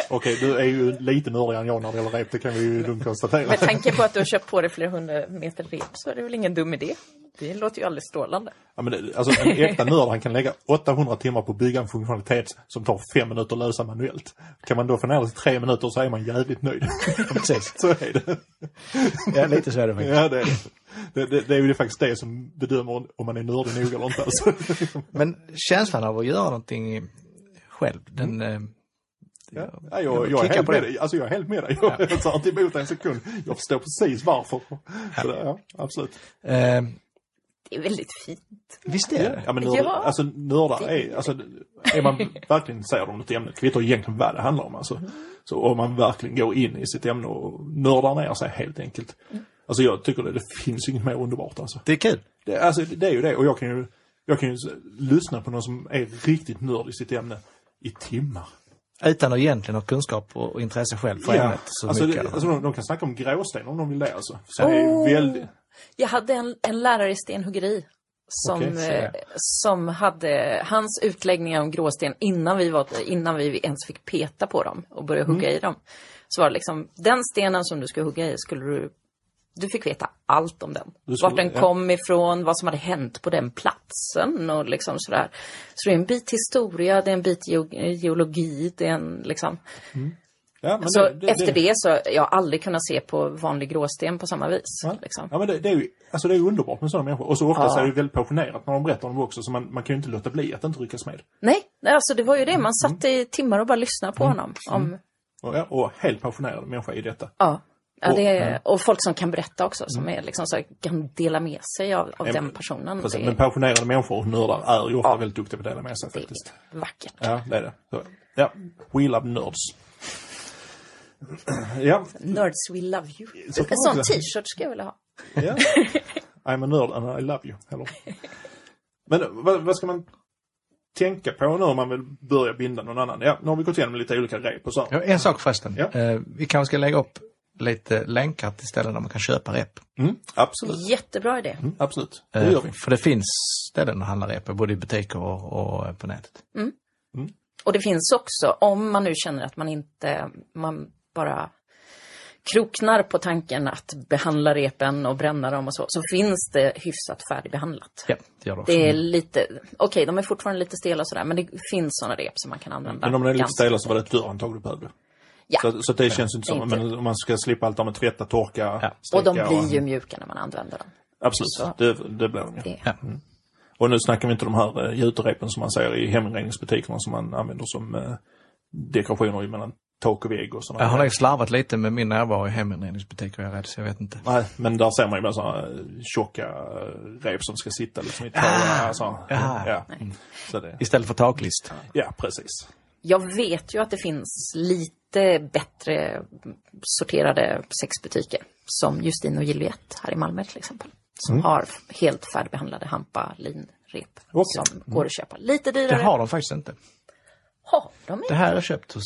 [SPEAKER 1] Okej, du är ju lite nördigare än jag när det gäller rep, det kan vi ju lugnt konstatera.
[SPEAKER 2] Med tanke på att du har köpt på dig flera hundra meter rep så är det väl ingen dum idé. Det låter ju alldeles strålande.
[SPEAKER 1] Ja, men det, alltså, en äkta nörd han kan lägga 800 timmar på att bygga en funktionalitet som tar fem minuter att lösa manuellt. Kan man då få ner det till tre minuter så är man jävligt nöjd. *laughs*
[SPEAKER 3] Precis,
[SPEAKER 1] så är det.
[SPEAKER 3] ja, lite så är det faktiskt.
[SPEAKER 1] Ja, det, är det. Det, det, det är ju faktiskt det som bedömer om man är nördig nog eller inte. Alltså.
[SPEAKER 3] Men känslan av att göra någonting själv, den,
[SPEAKER 1] Mm.
[SPEAKER 3] eh,
[SPEAKER 1] Ja, jag, jag, är
[SPEAKER 3] kicka
[SPEAKER 1] helt
[SPEAKER 3] på
[SPEAKER 1] med
[SPEAKER 3] det.
[SPEAKER 1] dig. Alltså, jag är helt med dig. Jag, jag tar inte emot en sekund. Jag förstår precis varför. Så, det- ja, absolut.
[SPEAKER 3] eh,
[SPEAKER 2] Det är väldigt fint.
[SPEAKER 3] visst är det?
[SPEAKER 1] Ja, men nörd,
[SPEAKER 2] Ja.
[SPEAKER 1] alltså, nördar är, alltså, är man verkligen intresserad av något ämne, kvittar egentligen vad det handlar om alltså. Så om man verkligen går in i sitt ämne och nördar ner sig helt enkelt. Alltså jag tycker det, det finns inget mer underbart alltså.
[SPEAKER 3] Det är kul.
[SPEAKER 1] Det, alltså det är ju det och jag kan ju, jag kan ju s- lyssna på någon som är riktigt nörd i sitt ämne i timmar.
[SPEAKER 3] Utan att egentligen ha kunskap och och intresse själv för ämnet så
[SPEAKER 1] alltså,
[SPEAKER 3] mycket.
[SPEAKER 1] det, alltså de, de kan snacka om gråsten om de vill det alltså. Så det är
[SPEAKER 2] Oh.
[SPEAKER 1] ju väldigt,
[SPEAKER 2] Jag hade en, en lärare i stenhuggeri som,
[SPEAKER 1] Okej, så-
[SPEAKER 2] eh, som hade hans utläggningar om gråsten innan vi, var, innan vi ens fick peta på dem och börja hugga
[SPEAKER 1] Mm.
[SPEAKER 2] i dem. Så var det liksom, den stenen som du skulle hugga i skulle du du fick veta allt om den.
[SPEAKER 1] Du skulle-
[SPEAKER 2] Vart den
[SPEAKER 1] ja.
[SPEAKER 2] kom ifrån, vad som hade hänt på den platsen och liksom sådär. Så det är en bit historia, det är en bit geo- geologi, det är en liksom...
[SPEAKER 1] ja, men
[SPEAKER 2] så Alltså, efter det så, jag har aldrig kunnat se på vanlig gråsten på samma vis.
[SPEAKER 1] Ja.
[SPEAKER 2] Liksom.
[SPEAKER 1] Ja, men det, det, är ju, alltså det är ju underbart med sådana människor. Och så ofta så är det ju väldigt passionerat när de berättar om det också, så man, man kan ju inte låta bli att inte ryckas med.
[SPEAKER 2] Nej, nej, alltså det var ju
[SPEAKER 1] Mm.
[SPEAKER 2] det. Man satt i timmar och bara lyssnade på honom. Om,
[SPEAKER 1] Och, ja, och helt passionerad människa i detta.
[SPEAKER 2] ja. Ja,
[SPEAKER 1] Och- mm.
[SPEAKER 2] det är, och folk som kan berätta också, som är liksom så här, kan dela med sig av, av
[SPEAKER 1] Ja,
[SPEAKER 2] den
[SPEAKER 1] men- Precis,
[SPEAKER 2] personen. Det
[SPEAKER 1] Alltså, men
[SPEAKER 2] är
[SPEAKER 1] passionerade människor och nördar är ju ofta väldigt duktiga på att dela med sig faktiskt.
[SPEAKER 2] vackert.
[SPEAKER 1] Ja, det är det. Så, ja, we love nerds. *clears throat* ja,
[SPEAKER 2] Nerds we love you.
[SPEAKER 1] Så kan man
[SPEAKER 2] en sån
[SPEAKER 1] också-
[SPEAKER 2] t-shirt ska jag vilja ha.
[SPEAKER 1] ja. *laughs* I'm a nerd and I love you. Eller? Men vad, vad ska man tänka på nu om man vill börja binda någon annan? Ja, nu har vi gått igenom lite olika rep och så.
[SPEAKER 3] Ja, en sak förresten.
[SPEAKER 1] Ja.
[SPEAKER 3] Eh, vi kanske ska lägga upp lite länkar till ställen där man kan köpa rep.
[SPEAKER 1] Mm, absolut,
[SPEAKER 2] Jättebra idé.
[SPEAKER 1] mm, absolut. Det
[SPEAKER 3] Eh,
[SPEAKER 1] gör vi.
[SPEAKER 3] För det finns ställen att handla rep på, både i butiker och, och eh, på nätet.
[SPEAKER 2] Och det finns också, om man nu känner att man inte, man bara kroknar på tanken att behandla repen och bränna dem och så, så finns det hyfsat färdigbehandlat.
[SPEAKER 3] Ja, det gör det också.
[SPEAKER 2] Det är lite, okej de är fortfarande lite stela och sådär men det finns sådana rep som man kan använda.
[SPEAKER 1] Men om den är lite
[SPEAKER 2] ganska-
[SPEAKER 1] stel så var det ett dörrhandtag du behövde.
[SPEAKER 2] Ja.
[SPEAKER 1] Så, så det känns inte som,
[SPEAKER 2] Inte.
[SPEAKER 1] men om man ska slippa allt det här med tvätta, torka,
[SPEAKER 3] Ja.
[SPEAKER 2] Och de
[SPEAKER 1] steka
[SPEAKER 2] blir ju mjuka när man använder dem. så.
[SPEAKER 1] Absolut, det, det blir de ju. Mm.
[SPEAKER 2] Det.
[SPEAKER 3] Ja.
[SPEAKER 1] Och nu snackar vi inte de här eh, gjuterepen som man ser i heminredningsbutikerna som man använder som eh, dekorationer i mellan tak och vägg och sådana
[SPEAKER 3] Mm. Jag har nog slarvat lite med min närvaro i heminredningsbutiker, jag är rädd, så jag vet inte.
[SPEAKER 1] Nej, men där ser man ju ibland sådana tjocka eh, rep som ska sitta liksom i
[SPEAKER 2] Ah,
[SPEAKER 1] tårna. så.
[SPEAKER 3] Ja.
[SPEAKER 1] Ja. Så det,
[SPEAKER 3] Istället för taklist.
[SPEAKER 1] ja, precis.
[SPEAKER 2] Jag vet ju att det finns lite bättre sorterade sexbutiker. Som Justine och Juliette här i Malmö till exempel. Som
[SPEAKER 3] Mm.
[SPEAKER 2] har helt färdigbehandlade hampa, lin, rep.
[SPEAKER 1] Okej.
[SPEAKER 2] Som
[SPEAKER 3] Mm.
[SPEAKER 2] går att köpa. Lite
[SPEAKER 3] Det
[SPEAKER 2] dyrare.
[SPEAKER 3] har de faktiskt inte.
[SPEAKER 2] Har de
[SPEAKER 3] Det
[SPEAKER 2] inte?
[SPEAKER 3] här är köpt hos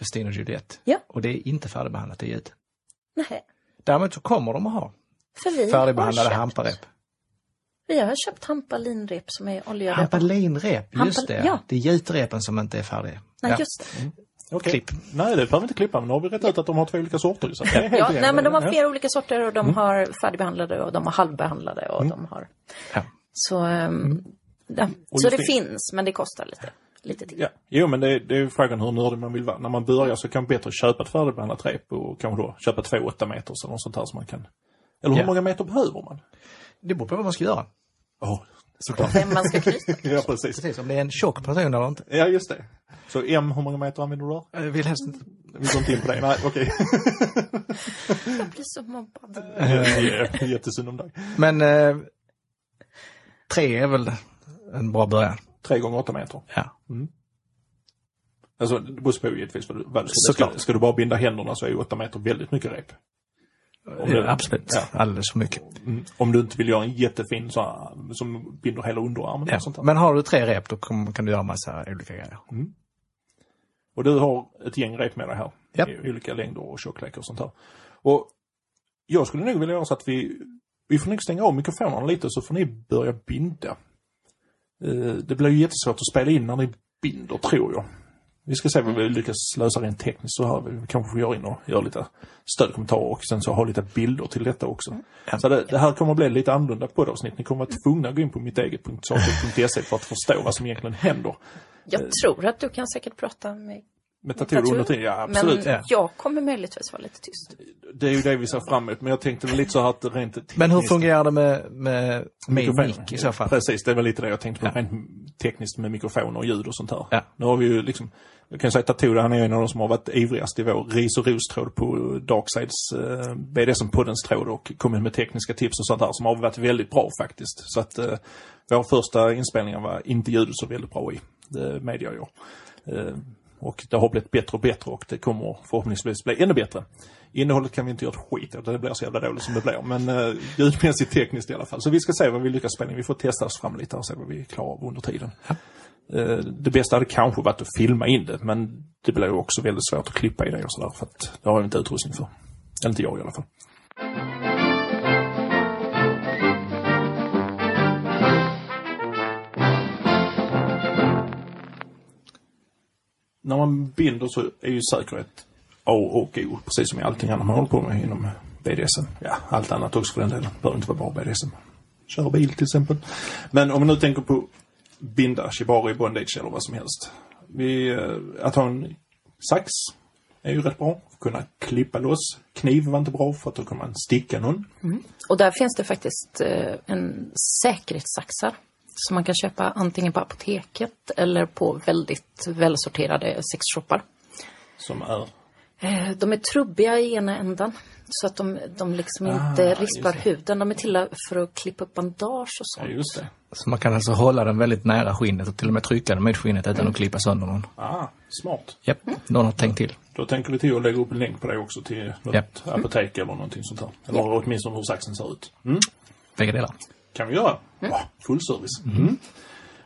[SPEAKER 3] Justine och Juliette.
[SPEAKER 2] Ja.
[SPEAKER 3] Och det är inte färdigbehandlat i ljud.
[SPEAKER 2] Nej.
[SPEAKER 3] Däremot så kommer de att ha
[SPEAKER 2] För vi
[SPEAKER 3] färdigbehandlade
[SPEAKER 2] har köpt-
[SPEAKER 3] hamparep.
[SPEAKER 2] Vi har köpt hampa, linrep som är oljade.
[SPEAKER 3] Hampalinrep, just
[SPEAKER 2] Hampal-
[SPEAKER 3] det.
[SPEAKER 2] ja.
[SPEAKER 3] Det är gjutrepen som inte är färdiga.
[SPEAKER 2] Nej,
[SPEAKER 3] Ja.
[SPEAKER 2] just det.
[SPEAKER 1] Okej.
[SPEAKER 3] Klipp.
[SPEAKER 1] Nej, det behöver vi inte klippa, men nu har vi rätt ut att de har två olika sorter. Så det Mm. är helt
[SPEAKER 2] Ja,
[SPEAKER 1] rätt.
[SPEAKER 2] nej, men de har flera olika sorter och de har färdigbehandlade och de har halvbehandlade
[SPEAKER 1] Mm.
[SPEAKER 2] och de har...
[SPEAKER 3] Ja.
[SPEAKER 2] Så, ehm, ja.
[SPEAKER 1] Och
[SPEAKER 2] så
[SPEAKER 1] just
[SPEAKER 2] det,
[SPEAKER 1] det-
[SPEAKER 2] finns, men det kostar lite. Lite till.
[SPEAKER 1] Ja. Jo, men det, är- det är ju frågan hur nördig man vill vara. När man börjar så kan man bättre köpa ett färdigbehandlat rep och kanske då köpa två åtta meter eller något sånt här som man kan. Eller hur
[SPEAKER 3] Ja.
[SPEAKER 1] många meter behöver man?
[SPEAKER 3] Det beror på vad man ska göra.
[SPEAKER 1] Ja, såklart.
[SPEAKER 2] Vem man ska knyta.
[SPEAKER 1] *laughs* ja, precis.
[SPEAKER 3] Precis, om det är en tjock person eller inte.
[SPEAKER 1] Ja, just det. Så M, hur många meter använder du där?
[SPEAKER 3] Jag vill helst inte.
[SPEAKER 1] Vi går inte in på det. Nej, *laughs* okej.
[SPEAKER 2] Jag blir så mobbad.
[SPEAKER 1] Okay. Jättesynd om dig.
[SPEAKER 3] Men eh, tre är väl en bra början.
[SPEAKER 1] Tre gånger åtta meter.
[SPEAKER 3] Ja.
[SPEAKER 1] Alltså, det beror på givetvis vad du, vad du ska, ska,
[SPEAKER 3] Såklart.
[SPEAKER 1] ska du bara binda händerna så är ju åtta meter väldigt mycket rep. Om
[SPEAKER 3] Eh,
[SPEAKER 1] du,
[SPEAKER 3] Absolut,
[SPEAKER 1] Ja.
[SPEAKER 3] alldeles för mycket.
[SPEAKER 1] Mm. Om du inte vill göra en jättefin så här, som binder hela underarmen
[SPEAKER 3] Ja.
[SPEAKER 1] och sånt Mm. där.
[SPEAKER 3] Men har du tre rep då kom- kan du göra massa olika grejer.
[SPEAKER 1] Och du har ett gäng rep med dig här.
[SPEAKER 3] Japp.
[SPEAKER 1] I olika längder och tjocklekar och sånt här. Och jag skulle nog vilja göra så att vi, vi får nog stänga av mikrofonerna lite så får ni börja binda. Eh, Det blir ju jättesvårt att spela in när ni binder tror jag. Vi ska se vad vi lyckas lösa rent tekniskt så här. Vi kanske får göra in och göra lite stödkommentarer och sen så ha lite bilder till detta också. Så det, det här kommer att bli lite annorlunda poddavsnitt. Ni kommer att vara tvungna att gå in på mitteget.saker.se för att förstå vad som egentligen händer.
[SPEAKER 2] Jag tror att du kan säkert prata med
[SPEAKER 1] Med tatorer under tiden, ja absolut.
[SPEAKER 2] Men
[SPEAKER 3] ja.
[SPEAKER 2] jag kommer möjligtvis vara lite tyst.
[SPEAKER 1] Det är ju det vi ser fram emot, men jag tänkte väl lite så här att rent tekniskt.
[SPEAKER 3] Men hur fungerar det med, med, med
[SPEAKER 1] mikrofoner?
[SPEAKER 3] mick i så fall?
[SPEAKER 1] Precis, det är väl lite det jag tänkte på rent tekniskt med mikrofoner och ljud och sånt här.
[SPEAKER 3] Ja.
[SPEAKER 1] Nu har vi ju liksom, jag kan ju säga att Tattoo, han är ju en av de som har varit ivrigast i vår ris och rostråd på Darksides eh, BDSM-poddens tråd och kommit med tekniska tips och sånt där som har varit väldigt bra faktiskt. Så att eh, vår första inspelning var inte ljudet så väldigt bra i, det medger jag. Eh, och det har blivit bättre och bättre och det kommer förhoppningsvis bli ännu bättre. Innehållet kan vi inte göra ett skit åt, det blir så jävla dåligt som det blir. Men eh, ljudmässigt tekniskt i alla fall. Så vi ska se vad vi lyckas spela in. Vi får testa oss fram lite här och se vad vi klarar av under tiden. Eh, det bästa hade kanske varit att filma in det, men det blir ju också väldigt svårt att klippa i det och sådär. För att det har jag inte utrustning för. Eller inte jag i alla fall. när man binder så är ju säkerhet A och O, precis som i allting annat man håller på med inom BDSM. Ja, allt annat också för den delen. Behöver inte vara bara BDSM. Köra bil till exempel. Men om man nu tänker på binda, shibari, bondage eller vad som helst. Vi, eh, att ha en sax är ju rätt bra. Kunna klippa loss. Kniv var inte bra för att då kan man sticka någon.
[SPEAKER 2] Och där finns det faktiskt eh, en säkerhetssaxar som man kan köpa antingen på apoteket eller på väldigt välsorterade sexshoppar.
[SPEAKER 1] Som är...
[SPEAKER 2] Eh, De är trubbiga i ena änden så att de, de liksom inte rispar huden. De är till för att klippa upp bandage och
[SPEAKER 1] Ja,
[SPEAKER 2] sånt.
[SPEAKER 1] just det.
[SPEAKER 3] Så man kan alltså hålla den väldigt nära skinnet och till och med trycka den mot skinnet
[SPEAKER 1] Mm.
[SPEAKER 3] utan att klippa sönder någon.
[SPEAKER 1] Ah, smart.
[SPEAKER 3] Japp, någon har tänkt till.
[SPEAKER 1] Då tänker du till att lägga upp en länk på det också till något
[SPEAKER 3] Japp.
[SPEAKER 1] apotek eller någonting sånt här. Eller åtminstone hur saxen ser ut.
[SPEAKER 3] Bägge delar.
[SPEAKER 1] kan vi göra. Ja, full service. Mm.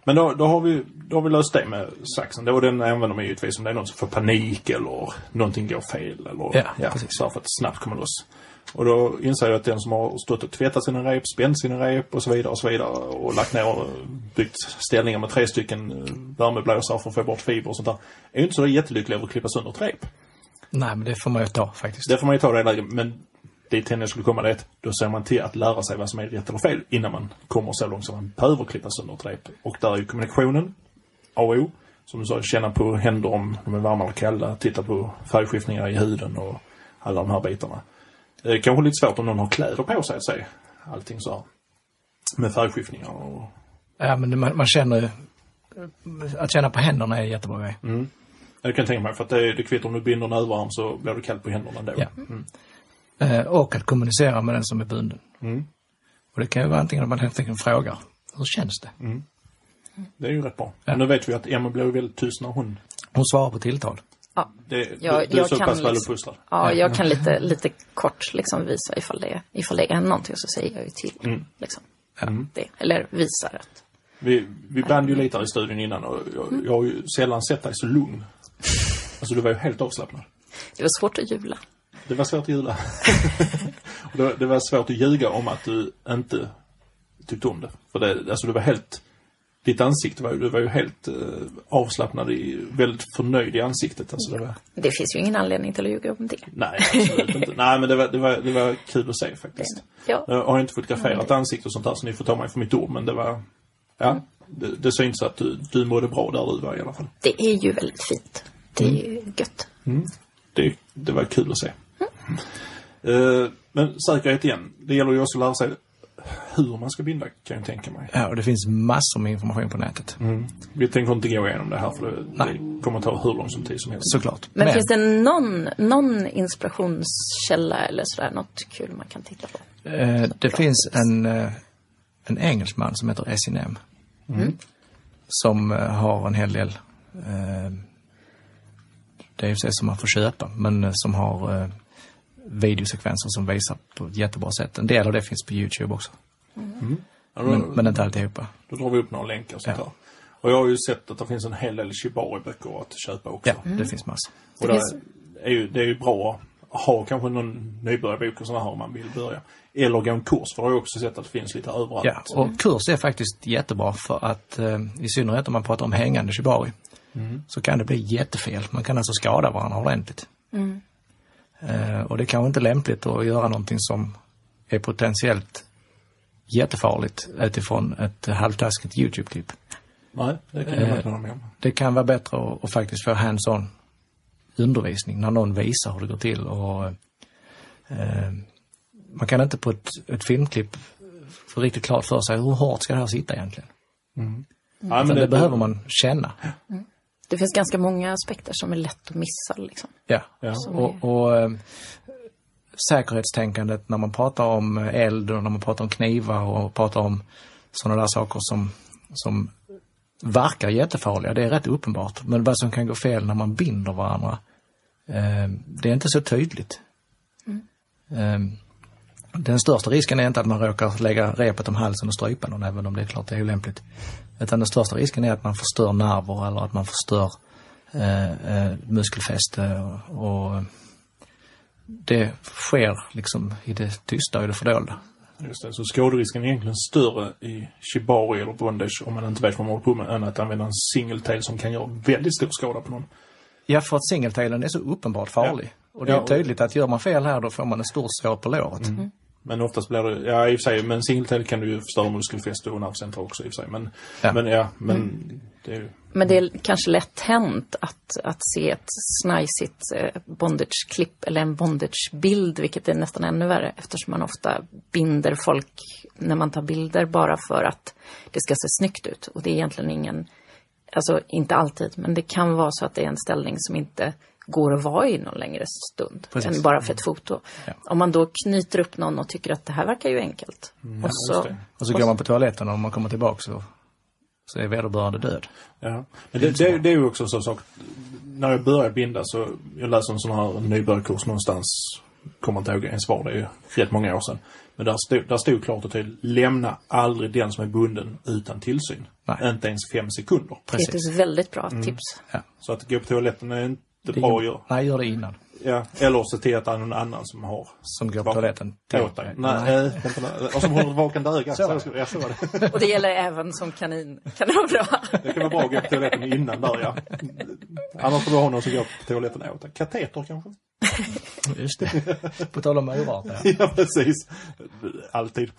[SPEAKER 1] Men då, då, har vi, då har vi löst det med saxen. Då den använder man givetvis om det är någon som får panik eller någonting går fel. Eller,
[SPEAKER 3] Ja, precis.
[SPEAKER 1] så här för att snabbt komma loss. Och då inser jag att den som har stått och tvättat sina rep, spänt sina rep och så vidare och så vidare och lagt ner och byggt ställningar med tre stycken eh, värmeblåsare för att få bort fiber och sånt där. Är ju inte så jättelycklig över att klippa sönder ett rep.
[SPEAKER 3] Nej, men det får man ju ta faktiskt.
[SPEAKER 1] Det får man ju ta det läget, men dit hen jag skulle komma det då ser man till att lära sig vad som är rätt eller fel innan man kommer så långt som man behöver klippa sönder ett rep. Och där är ju kommunikationen, A och O, som du sa, känna på händer om de är varma eller kalla, titta på färgskiftningar i huden och alla de här bitarna. Eh, kanske lite svårt om någon har kläder på sig att se allting så här. Med färgskiftningar och...
[SPEAKER 3] Ja, men man, man känner ju... Att känna på händerna är en jättebra grej.
[SPEAKER 1] Jag kan tänka mig, för att det, är- det kvittar om du binder en överarm så blir du kall på händerna ändå.
[SPEAKER 3] Ja. Eh, Och att kommunicera med den som är bunden. Och det kan ju vara antingen att man helt enkelt frågar. Hur känns det?
[SPEAKER 1] Det är ju rätt bra.
[SPEAKER 3] Ja.
[SPEAKER 1] Men nu vet vi att Emma blir ju väldigt tyst när hon...
[SPEAKER 3] Hon svarar på tilltal.
[SPEAKER 2] Ja.
[SPEAKER 1] Det,
[SPEAKER 2] Jag-
[SPEAKER 1] du, du är
[SPEAKER 2] jag
[SPEAKER 1] så
[SPEAKER 2] kan
[SPEAKER 1] pass väl
[SPEAKER 2] liksom-
[SPEAKER 1] uppfostrad.
[SPEAKER 2] Ja, jag kan lite, lite kort liksom visa ifall det, ifall det är någonting så säger jag ju till. Liksom. Det, eller visar att
[SPEAKER 1] Vi, vi band ju lite här i studion innan och jag, jag har ju sällan sett dig så lugn. Alltså du var ju helt avslappnad.
[SPEAKER 2] det var svårt att jula.
[SPEAKER 1] Det var svårt att
[SPEAKER 2] *laughs*
[SPEAKER 1] ljuga. Och det, var- det var svårt att ljuga om att du inte tyckte om det. För det, alltså du var helt... Ditt ansikte var ju, du var ju helt eh, avslappnad, i, väldigt förnöjd i ansiktet. Alltså, det var,
[SPEAKER 2] Det finns ju ingen anledning till att ljuga om det.
[SPEAKER 1] nej, absolut
[SPEAKER 2] *laughs*
[SPEAKER 1] inte. Nej, men det var, det, var, det var kul att se faktiskt.
[SPEAKER 2] Ja. Mm.
[SPEAKER 1] Jag har inte fotograferat ansikte och sånt där så ni får ta mig för mitt ord, men det var... Ja, det, det syns att du, du mådde bra där du var i alla fall.
[SPEAKER 2] Det är ju väldigt fint. Det är ju gött.
[SPEAKER 1] det, det var kul att se.
[SPEAKER 2] Mm.
[SPEAKER 1] Eh, men säkerhet igen. Det gäller ju också att lära sig hur man ska binda kan jag tänka mig.
[SPEAKER 3] Ja, och det finns massor med information på nätet.
[SPEAKER 1] Vi tänker inte gå igenom det här för det, det kommer ta hur lång som tid som helst.
[SPEAKER 3] Såklart.
[SPEAKER 2] Men, finns det någon, någon inspirationskälla eller sådär, något kul man kan titta på?
[SPEAKER 3] Eh, det finns en, eh, en engelsman som heter Essinem.
[SPEAKER 2] Mm.
[SPEAKER 3] Som eh, har en hel del, eh, det är ju så som man får köpa, men eh, som har eh, videosekvenser som visar på ett jättebra sätt. En del av det finns på Youtube också,
[SPEAKER 1] Ja, då,
[SPEAKER 3] men, men inte alltihopa.
[SPEAKER 1] då drar vi upp några länkar och sånt
[SPEAKER 3] Ja.
[SPEAKER 1] där. Och jag har ju sett att det finns en hel del Shibari-böcker att köpa också.
[SPEAKER 3] Ja,
[SPEAKER 2] Mm.
[SPEAKER 3] det finns massor.
[SPEAKER 1] Och det, är ju, det är ju bra att ha kanske någon nybörjarbok och sådana här om man vill börja. Eller gå en kurs, för jag har ju också sett att det finns lite överallt.
[SPEAKER 3] Ja, och kurs är faktiskt jättebra för att eh, i synnerhet om man pratar om hängande shibari så kan det bli jättefel. Man kan alltså skada varandra ordentligt. Eh, och det är kanske inte lämpligt att göra någonting som är potentiellt jättefarligt utifrån ett halvtaskigt YouTube-klipp.
[SPEAKER 1] Nej, det kan jag
[SPEAKER 3] Eh,
[SPEAKER 1] inte hålla med om.
[SPEAKER 3] Det kan vara bättre att, att faktiskt få hands-on undervisning när någon visar hur det går till. Och, eh, man kan inte på ett, ett filmklipp få riktigt klart för sig hur hårt ska det här sitta egentligen.
[SPEAKER 1] Nej,
[SPEAKER 3] Men det,
[SPEAKER 1] det-
[SPEAKER 3] behöver man känna.
[SPEAKER 2] Det finns ganska många aspekter som är lätt att missa. Liksom.
[SPEAKER 3] Ja.
[SPEAKER 1] Ja.
[SPEAKER 3] Och, och eh, säkerhetstänkandet när man pratar om eh, eld och när man pratar om knivar och pratar om sådana där saker som, som verkar jättefarliga, det är rätt uppenbart. Men vad som kan gå fel när man binder varandra, eh, det är inte så tydligt. Eh, den största risken är inte att man råkar lägga repet om halsen och strypa någon, även om det är klart det är olämpligt. Utan den största risken är att man förstör nerver eller att man förstör eh, eh, muskelfäste och, och det sker liksom i det tysta och i det fördolda.
[SPEAKER 1] Just det, så skaderisken är egentligen större i shibari eller bondage om man inte vet vad man håller på med än att använda en singeltail som kan göra väldigt stor skada på någon.
[SPEAKER 3] Ja, för att singeltailen är så uppenbart farlig. Och det
[SPEAKER 1] Ja,
[SPEAKER 3] är
[SPEAKER 1] och- Mm.
[SPEAKER 3] tydligt att gör man fel här då får man ett stort sår på låret.
[SPEAKER 1] Men oftast blir det, ja i och för sig, men singeltail kan du ju förstöra muskelfäste och nervcentrum också i och för sig. Men ja,
[SPEAKER 3] Ja. Mm.
[SPEAKER 1] men, ja, men det är ju...
[SPEAKER 2] Men det är kanske lätt hänt att, att se ett snajsigt eh, bondage-klipp eller en bondage-bild, vilket är nästan ännu värre eftersom man ofta binder folk när man tar bilder bara för att det ska se snyggt ut. Och det är egentligen ingen, alltså inte alltid, men det kan vara så att det är en ställning som inte går att vara i någon längre stund
[SPEAKER 3] Precis.
[SPEAKER 2] än bara för
[SPEAKER 1] Mm.
[SPEAKER 2] ett foto. Om man då knyter upp någon och tycker att det här verkar ju enkelt. och
[SPEAKER 1] Mm. just
[SPEAKER 2] så,
[SPEAKER 1] det.
[SPEAKER 3] Och så går man på toaletten och om man kommer tillbaka så, så är vederbörande död.
[SPEAKER 1] Ja. Men det, det, det är ju också en sån sak. När jag började binda så, jag läste en sån här nybörjarkurs någonstans, kommer inte ihåg ens var, det är ju rätt många år sedan. Men där stod, där stod klart och tydligt, lämna aldrig den som är bunden utan tillsyn.
[SPEAKER 3] Nej.
[SPEAKER 1] Inte ens fem sekunder.
[SPEAKER 2] det är ett väldigt bra
[SPEAKER 1] Mm.
[SPEAKER 2] tips.
[SPEAKER 1] Så att gå på toaletten är inte
[SPEAKER 3] Det
[SPEAKER 1] bra
[SPEAKER 3] gör-
[SPEAKER 1] att göra.
[SPEAKER 3] Nej, gör det innan.
[SPEAKER 1] Ja. Eller se till att det är någon annan som har
[SPEAKER 3] Som går på
[SPEAKER 1] Vapen.
[SPEAKER 3] toaletten. till-
[SPEAKER 1] åt dig. Nej, eh, vänta, nej. Och som håller ett vakande öga. Så. Så, ja, så var det.
[SPEAKER 2] Och det gäller även som kanin. Kan det vara bra?
[SPEAKER 1] det kan vara bra att gå på toaletten *laughs* innan där ja. Annars får du ha någon som går på toaletten åt dig. Kateter kanske?
[SPEAKER 3] Just det. På tal om urarter. ja.
[SPEAKER 1] *laughs* Ja, precis. Alltid.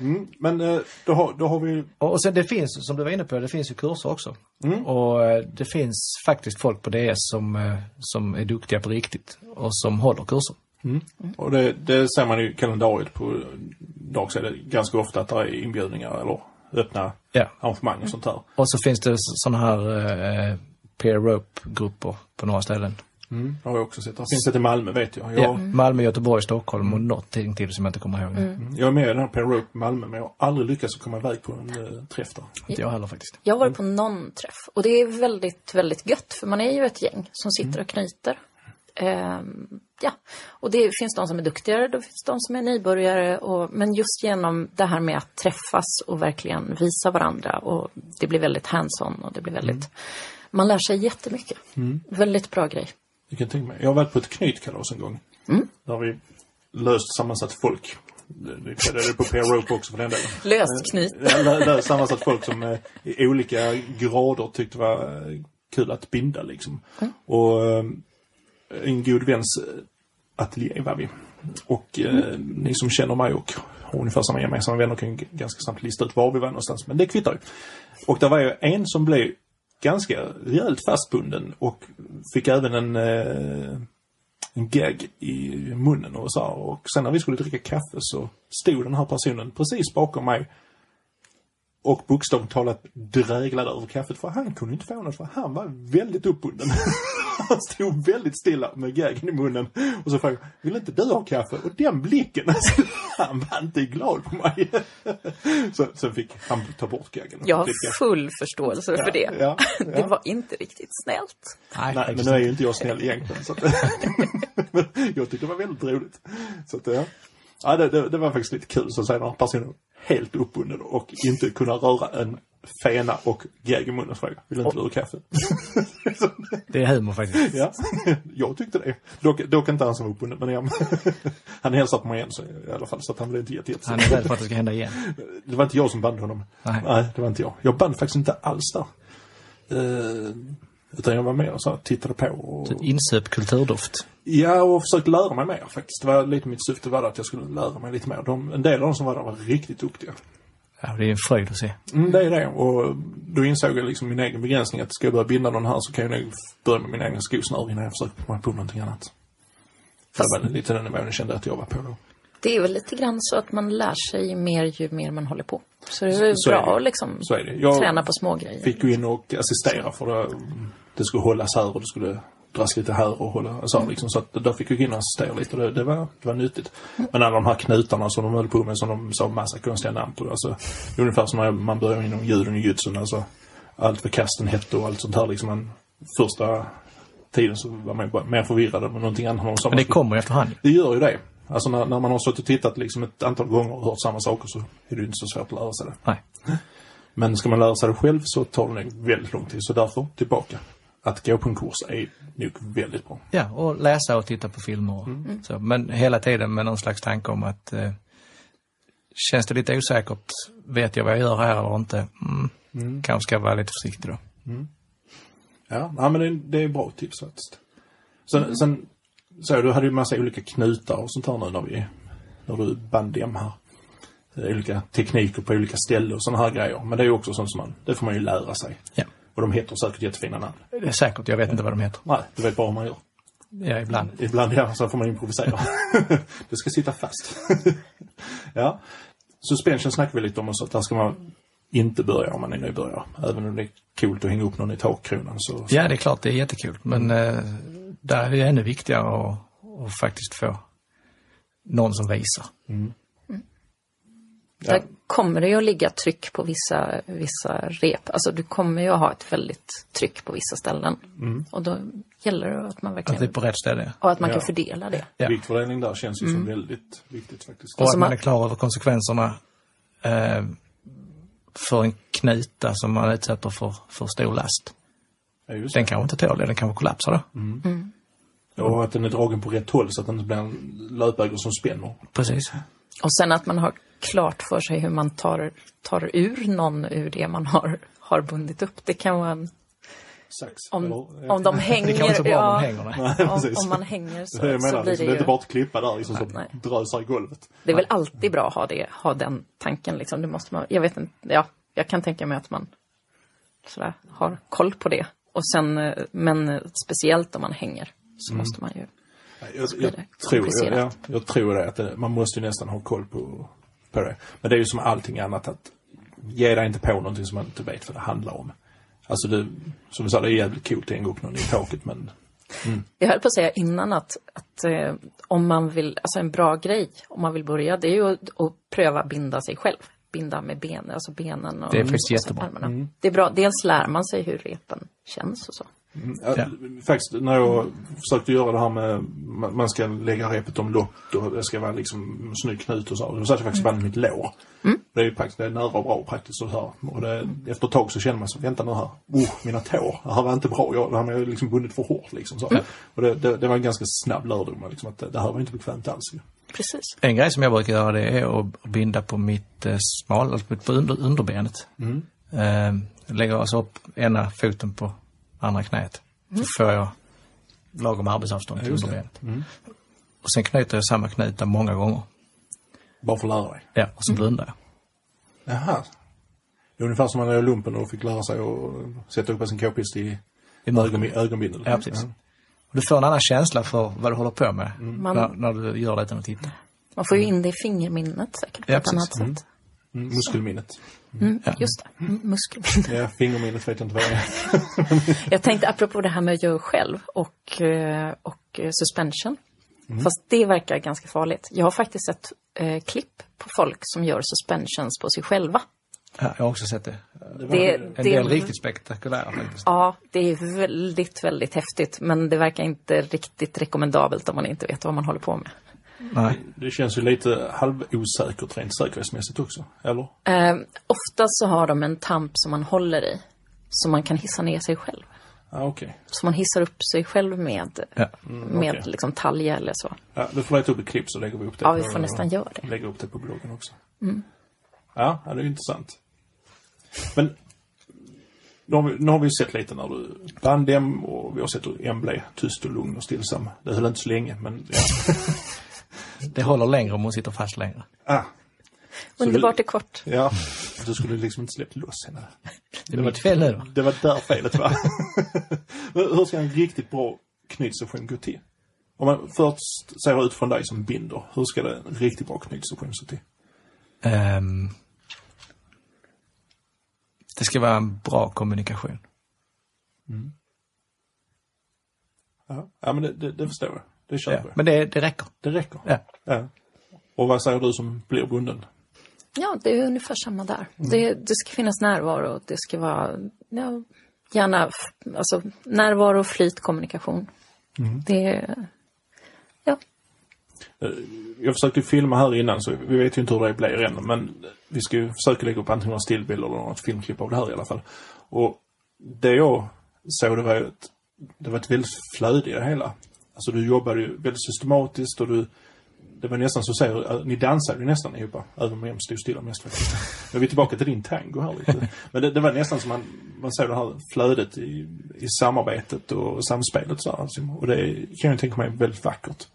[SPEAKER 1] Mm, men eh, då har, då har vi...
[SPEAKER 3] Och och sen det finns, som du var inne på, det finns ju kurser också.
[SPEAKER 1] Mm.
[SPEAKER 3] Och eh, det finns faktiskt folk på DS som, eh, som är duktiga på riktigt och som håller kurser.
[SPEAKER 1] Och det, det ser man i kalendariet på Darkside ganska ofta att det är inbjudningar eller öppna
[SPEAKER 3] Ja.
[SPEAKER 1] arrangemang och sånt där.
[SPEAKER 3] Och så finns det sådana här eh, peer rope-grupper på några ställen.
[SPEAKER 1] Mm. Det har jag också sett. Det finns ett i Malmö vet jag. Jag,
[SPEAKER 3] Ja. Malmö, Göteborg, Stockholm och någonting till som jag inte kommer ihåg nu.
[SPEAKER 1] jag är med i den här Peer Rope i Malmö men jag har aldrig lyckats att komma iväg på en eh, träff där.
[SPEAKER 3] Inte jag heller faktiskt.
[SPEAKER 2] Jag har varit på någon träff och det är väldigt, väldigt gött för man är ju ett gäng som
[SPEAKER 1] Mm.
[SPEAKER 2] sitter och knyter. Ehm, ja, och det finns de som är duktigare, det finns de som är nybörjare. Och, men just genom det här med att träffas och verkligen visa varandra och det blir väldigt hands-on och det blir
[SPEAKER 1] Mm.
[SPEAKER 2] väldigt... Man lär sig jättemycket. Väldigt bra grej.
[SPEAKER 1] Jag kan tänka mig. Jag har varit på ett knytkalas en gång.
[SPEAKER 3] Mm.
[SPEAKER 1] Där har vi löst sammansatt folk. Det det kallade det på Peer Rope också för den delen.
[SPEAKER 2] Löst knyt.
[SPEAKER 1] Eh, Ja, lö- lö- sammansatt folk som eh, i olika grader tyckte var eh, kul att binda liksom. Och eh, en god väns eh, ateljé var vi. Och eh, ni som känner mig och har ungefär samma gemensamma vänner kan g- ganska snabbt lista ut var vi var någonstans. Men det kvittar ju. Och där var ju en som blev ganska rejält fastbunden och fick även en eh, en gag i munnen och så här. Och sen när vi skulle dricka kaffe så stod den här personen precis bakom mig och bokstavligt talat dräglade över kaffet för han kunde inte få något för han var väldigt uppbunden. *laughs* Han stod väldigt stilla med gaggen i munnen och så frågade jag, vill inte du ha kaffe? Och den blicken, *laughs* alltså, han var inte glad på mig. *laughs* Så, sen fick han ta bort gaggen. och
[SPEAKER 2] Jag har
[SPEAKER 1] dricka.
[SPEAKER 2] full förståelse för det.
[SPEAKER 1] ja, ja.
[SPEAKER 2] *laughs* Det var inte riktigt snällt.
[SPEAKER 1] Nej, men
[SPEAKER 3] faktiskt
[SPEAKER 1] nu är ju inte jag snäll
[SPEAKER 3] *laughs*
[SPEAKER 1] egentligen. Så att, men *laughs* jag tyckte det var väldigt roligt. Så att, ja. Ja, det, det, det var faktiskt lite kul. Så sen var personen helt uppbunden och inte kunna röra en fena och gag i munnen. Så jag vill inte du ha kaffe? *laughs* Så,
[SPEAKER 3] Det är
[SPEAKER 1] *laughs*
[SPEAKER 3] humor faktiskt.
[SPEAKER 1] ja, jag tyckte det. Dock, dock inte han som var uppbunden. Men jag, *laughs* han hälsade på mig igen så, i alla fall. Så att han blev inte jätte, jätte-
[SPEAKER 3] Han är rädd för att det ska hända igen.
[SPEAKER 1] det var inte jag som band honom.
[SPEAKER 3] Nej.
[SPEAKER 1] det var inte jag. Jag band faktiskt inte alls där. Eh, utan jag var med och så här, tittade på. Och...
[SPEAKER 3] Insöp kulturdoft.
[SPEAKER 1] Ja, och försökt lära mig mer faktiskt. Det var lite mitt syfte var det att jag skulle lära mig lite mer. De, en del av de som var där var riktigt duktiga.
[SPEAKER 3] Ja, det är en fröjd att se.
[SPEAKER 1] Mm, det är det. Och då insåg jag liksom min egen begränsning att ska jag börja binda någon här så kan jag nog börja med min egen skosnör innan jag försöker komma på någonting annat. För det var lite den nivån jag kände att jag var på då.
[SPEAKER 2] Det är väl lite grann så att man lär sig mer ju mer man håller på. Så det är väl
[SPEAKER 1] Så är
[SPEAKER 2] bra
[SPEAKER 1] det.
[SPEAKER 2] att liksom
[SPEAKER 1] Så är det. Jag-
[SPEAKER 2] träna på små grejer.
[SPEAKER 1] Fick gå in och assistera för det, det skulle hållas här och det skulle dras lite här och hålla så
[SPEAKER 3] Mm.
[SPEAKER 1] här, liksom. Så att då fick jag gå in och assistera lite och det, det, var, det var nyttigt. Men alla de här knutarna som de höll på med som de sa massa konstiga namn på. Alltså, ungefär som när man börjar inom juden i judsen. Alltså, allt vad kasten hette och allt sånt här liksom. Men första tiden så var man ju bara mer förvirrad än någonting annat. Man sa,
[SPEAKER 3] Men det kommer ju efterhand.
[SPEAKER 1] det gör ju det. Alltså när, när man har suttit och tittat liksom ett antal gånger och hört samma saker så är det ju inte så svårt att lära sig det.
[SPEAKER 3] Nej.
[SPEAKER 1] Men ska man lära sig det själv så tar det nog väldigt lång tid. Så därför, tillbaka. Att gå på en kurs är nog väldigt bra.
[SPEAKER 3] Ja, och läsa och titta på filmer. och Så, men hela tiden med någon slags tanke om att eh, känns det lite osäkert, vet jag vad jag gör här eller inte? Mm. Kanske ska jag vara lite försiktig då.
[SPEAKER 1] Ja, ja men det, det är bra tips faktiskt. Sen, sen så du hade ju massa olika knutar och sånt här nu när vi, när du band hem här. Eh, Olika tekniker på olika ställen och såna här grejer. Men det är ju också sånt som man, det får man ju lära sig.
[SPEAKER 3] Ja.
[SPEAKER 1] Och de heter säkert jättefina namn.
[SPEAKER 3] Det är säkert, jag vet inte vad de heter.
[SPEAKER 1] Nej, du vet bara hur man gör.
[SPEAKER 3] Ja, ibland.
[SPEAKER 1] Ibland ja, så får man improvisera. *laughs* det ska sitta fast. *laughs* ja. Suspension snackar vi lite om och så att där ska man inte börja om man är nybörjare. Även om det är coolt att hänga upp någon i takkronan så...
[SPEAKER 3] Ja, det är klart, det är jättekul. Men eh, där är det ännu viktigare att, att faktiskt få någon som visar.
[SPEAKER 1] Ja.
[SPEAKER 2] Där kommer det ju att ligga tryck på vissa, vissa rep. Alltså du kommer ju att ha ett väldigt tryck på vissa ställen. Och då gäller det att man
[SPEAKER 3] Att
[SPEAKER 2] verkligen...
[SPEAKER 3] det är på rätt ställe.
[SPEAKER 2] Och att man
[SPEAKER 1] Mm. Ja.
[SPEAKER 2] kan fördela det.
[SPEAKER 3] Ja. Mm.
[SPEAKER 1] Viktfördelning där känns ju som väldigt viktigt faktiskt.
[SPEAKER 3] Och
[SPEAKER 2] Alltså
[SPEAKER 3] att man
[SPEAKER 2] man-
[SPEAKER 3] är klar över konsekvenserna eh, för en knuta som man utsätter för, för stor last.
[SPEAKER 1] Ja, just det.
[SPEAKER 3] Den kanske inte tål det, den kanske kollapsar då.
[SPEAKER 1] Och att den är dragen på rätt håll så att den inte blir en löpägare som spänner.
[SPEAKER 3] Precis.
[SPEAKER 2] Och sen att man har klart för sig hur man tar, tar ur någon ur det man har, har bundit upp. Det kan vara en
[SPEAKER 1] sax.
[SPEAKER 2] Om,
[SPEAKER 1] eller, *laughs*
[SPEAKER 2] om de
[SPEAKER 3] Det kan inte
[SPEAKER 2] hänger,
[SPEAKER 3] så bra om de
[SPEAKER 2] ja,
[SPEAKER 3] hänger. nej.
[SPEAKER 1] Nej,
[SPEAKER 2] om,
[SPEAKER 1] precis. *laughs*
[SPEAKER 2] om man hänger
[SPEAKER 1] Jag
[SPEAKER 2] så,
[SPEAKER 1] menar,
[SPEAKER 2] så blir det
[SPEAKER 1] liksom, det är
[SPEAKER 2] ju...
[SPEAKER 1] inte bara att klippa där liksom, som
[SPEAKER 2] Nej.
[SPEAKER 1] drösar i golvet.
[SPEAKER 2] Det är väl alltid bra att ha, det, ha den tanken. Liksom. Det måste man, jag vet inte, ja, jag kan tänka mig att man sådär, har koll på det. Och sen, eh, men eh, speciellt om man hänger så
[SPEAKER 3] Mm.
[SPEAKER 2] måste man ju...
[SPEAKER 1] Nej, Jag,
[SPEAKER 2] blir
[SPEAKER 1] jag, tror,
[SPEAKER 2] det
[SPEAKER 1] jag, jag,
[SPEAKER 2] komplicerat.
[SPEAKER 1] jag tror det, att det, man måste ju nästan ha koll på, på det. Men det är ju som allting annat att ge dig inte på någonting som man inte vet vad det handlar om. Alltså det, som vi sa, det är jävligt coolt att hänga upp någon i taket men
[SPEAKER 2] Jag höll på att säga innan att, att eh, om man vill, alltså en bra grej om man vill börja det är ju att, att pröva binda sig själv. Binda med ben, alltså benen och,
[SPEAKER 3] Det är faktiskt
[SPEAKER 2] och så
[SPEAKER 3] jättebra. Mm.
[SPEAKER 2] armarna. Det är bra, dels lär man sig hur repen känns och så.
[SPEAKER 1] Ja,
[SPEAKER 3] Ja.
[SPEAKER 1] Faktiskt, när jag försökte göra det här med ma- man ska lägga repet omlott och det ska vara liksom snygg knut och så. Då satt jag faktiskt band i mitt lår.
[SPEAKER 3] Mm.
[SPEAKER 1] Det är ju praktiskt, det är nära och bra och praktiskt och så här. Och det, efter ett tag så känner man så, vänta nu här, oh, mina tår, det här var inte bra, jag, det här har jag liksom bundit för hårt liksom. Så. Och det, det, det var en ganska snabb lärdom, liksom, att det, det här var inte bekvämt alls. ju.
[SPEAKER 2] Precis.
[SPEAKER 3] En grej som jag brukar göra det är att binda på mitt eh, smal, alltså på under, underbenet. Mm. Eh, lägger alltså upp ena foten på andra knät.
[SPEAKER 2] Mm.
[SPEAKER 3] Så får jag lagom arbetsavstånd till underbenet. Och sen knyter jag samma knyta många gånger.
[SPEAKER 1] Bara för att lära dig.
[SPEAKER 3] Ja, och så blundar jag.
[SPEAKER 1] Jaha. Det är ungefär som när jag var i lumpen och fick lära sig att sätta upp sin k-pist i
[SPEAKER 3] I
[SPEAKER 1] ögon,
[SPEAKER 3] mörker.
[SPEAKER 1] ögonbindel.
[SPEAKER 3] Ja, Mm. precis. Och du får en annan känsla för vad du håller på med
[SPEAKER 2] Man-
[SPEAKER 3] när, när du gör det utan att titta.
[SPEAKER 2] Man får ju in det i fingerminnet säkert på
[SPEAKER 3] Mm.
[SPEAKER 2] ett
[SPEAKER 3] Ja,
[SPEAKER 2] annat
[SPEAKER 3] precis.
[SPEAKER 2] sätt.
[SPEAKER 1] Mm, muskelminnet.
[SPEAKER 2] Mm, Just det, mm, muskelminne.
[SPEAKER 1] Ja, fingerminnet vet jag inte vad det är.
[SPEAKER 2] Jag tänkte apropå det här med att göra själv och, eh, och eh, suspension. Fast det verkar ganska farligt. Jag har faktiskt sett eh, klipp på folk som gör suspensions på sig själva.
[SPEAKER 3] Ja, jag har också sett det.
[SPEAKER 2] Det,
[SPEAKER 3] En
[SPEAKER 2] det-
[SPEAKER 3] del riktigt spektakulära faktiskt.
[SPEAKER 2] Ja, det är väldigt, väldigt häftigt. Men det verkar inte riktigt rekommendabelt om man inte vet vad man håller på med.
[SPEAKER 3] Nej.
[SPEAKER 1] Det känns ju lite halvosäkert rent säkerhetsmässigt också, eller?
[SPEAKER 2] Eh, ofta så har de en tamp som man håller i. Så man kan hissa ner sig själv.
[SPEAKER 1] Ja, okej.
[SPEAKER 2] Så man hissar upp sig själv med,
[SPEAKER 3] Ja.
[SPEAKER 2] med
[SPEAKER 1] okej.
[SPEAKER 2] liksom talja eller så.
[SPEAKER 1] Ja, du får leta upp ett klipp så lägger vi upp det.
[SPEAKER 2] Ja, vi får nästan göra det. Mm.
[SPEAKER 1] Lägger upp det på bloggen också. Ja, ja, det är ju intressant. Men nu har, vi, nu har vi ju sett lite när du band dem och vi har sett hur M blev tyst och lugn och stillsam. Det höll inte så länge, men ja.
[SPEAKER 3] Det håller längre om hon sitter fast längre.
[SPEAKER 1] Ah,
[SPEAKER 2] Underbart är kort.
[SPEAKER 1] ja. Du skulle liksom inte släppt loss henne. Mm.
[SPEAKER 3] Det är mitt fel nu då.
[SPEAKER 1] Det var där felet var. Men Hur ska en riktigt bra knytsession gå till? Om man först ser ut från dig som binder, hur ska det en riktigt bra knytsession se till?
[SPEAKER 3] Ehm, det ska vara en bra kommunikation.
[SPEAKER 1] Ja, ja men det, det, det förstår jag. Det
[SPEAKER 3] Ja.
[SPEAKER 1] köper jag.
[SPEAKER 3] Men det, det räcker.
[SPEAKER 1] Det räcker.
[SPEAKER 3] Ja.
[SPEAKER 1] Ja. Och vad säger du som blir bunden?
[SPEAKER 2] Ja, det är ungefär samma där. Det, det ska finnas närvaro. och Det ska vara ja, gärna f- alltså, närvaro, flyt, kommunikation. Det, ja,
[SPEAKER 1] Jag försökte filma här innan så vi vet ju inte hur det blir än. Men vi ska ju försöka lägga upp antingen några stillbilder eller något filmklipp av det här i alla fall. Och det jag såg det var ju ett, det var ett väldigt flöde i det hela. Alltså du jobbade ju väldigt systematiskt och du det var nästan så att säga, eh, ni dansade ju nästan ihop, även om jag stod stilla mest faktiskt. Men vi är tillbaka till din tango här lite. Men det, det var nästan som man, man såg det här flödet i, i samarbetet och samspelet så här, alltså. Och det kan jag tänka mig är väldigt vackert.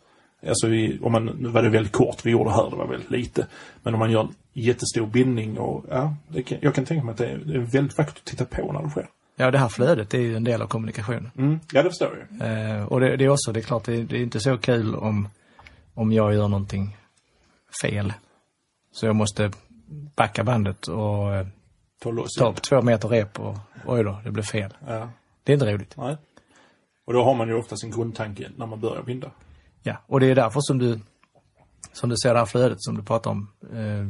[SPEAKER 1] Alltså vi, om man, nu var det väldigt kort vi gjorde här, det var väldigt lite. Men om man gör en jättestor bindning och ja, det kan, jag kan tänka mig att det är, det är väldigt vackert att titta på när det sker.
[SPEAKER 3] Ja, det här flödet är ju en del av kommunikationen.
[SPEAKER 1] Mm. Ja, det förstår jag.
[SPEAKER 3] Ehm, och det, det är också, det är klart, det, det är inte så kul om, om jag gör någonting fel. Så jag måste backa bandet och eh,
[SPEAKER 1] Ta loss.
[SPEAKER 3] ta upp två meter rep och oj då, det blev fel.
[SPEAKER 1] Ja.
[SPEAKER 3] Det är inte roligt.
[SPEAKER 1] Nej. Och då har man ju ofta sin grundtanke när man börjar binda.
[SPEAKER 3] Ja, och det är därför som du, som du ser det här flödet som du pratar om. Eh,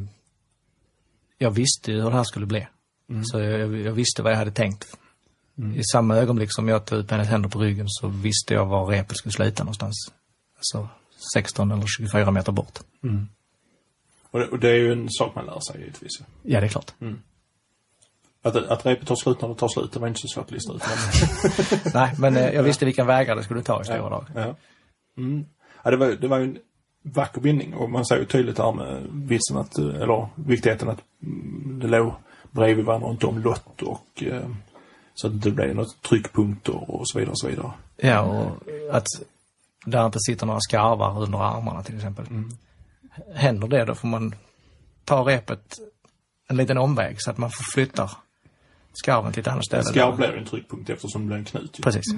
[SPEAKER 3] jag visste ju hur det här skulle bli. Så jag, jag visste vad jag hade tänkt. I samma ögonblick som jag tog upp hennes händer på ryggen så visste jag var repet skulle sluta någonstans. Alltså 16 eller 24 meter bort.
[SPEAKER 1] Och det, och det är ju en sak man lär sig givetvis. ju.
[SPEAKER 3] Ja, det är klart. Mm.
[SPEAKER 1] Att, att repet tar slut när det tar slut, det var inte så svårt att lista ut. Men,
[SPEAKER 3] Nej, men *laughs* eh, jag visste vilka vägar det skulle ta i stora drag.
[SPEAKER 1] ja. Mm. Ja, det, var, ju- det var ju en vacker bindning och man ser ju tydligt här med vitsen att, eh, eller viktigheten att mm, det låg bredvid varandra och inte omlott och eh, Så att det inte blir något tryckpunkter och så vidare. Och så vidare.
[SPEAKER 3] Ja, och att där inte sitter några skarvar under armarna till exempel. Händer det då får man ta repet en liten omväg så att man flyttar skarven till ett annat ställe.
[SPEAKER 1] Skarv blir ju en tryckpunkt eftersom det blir en knut. ju.
[SPEAKER 3] Precis.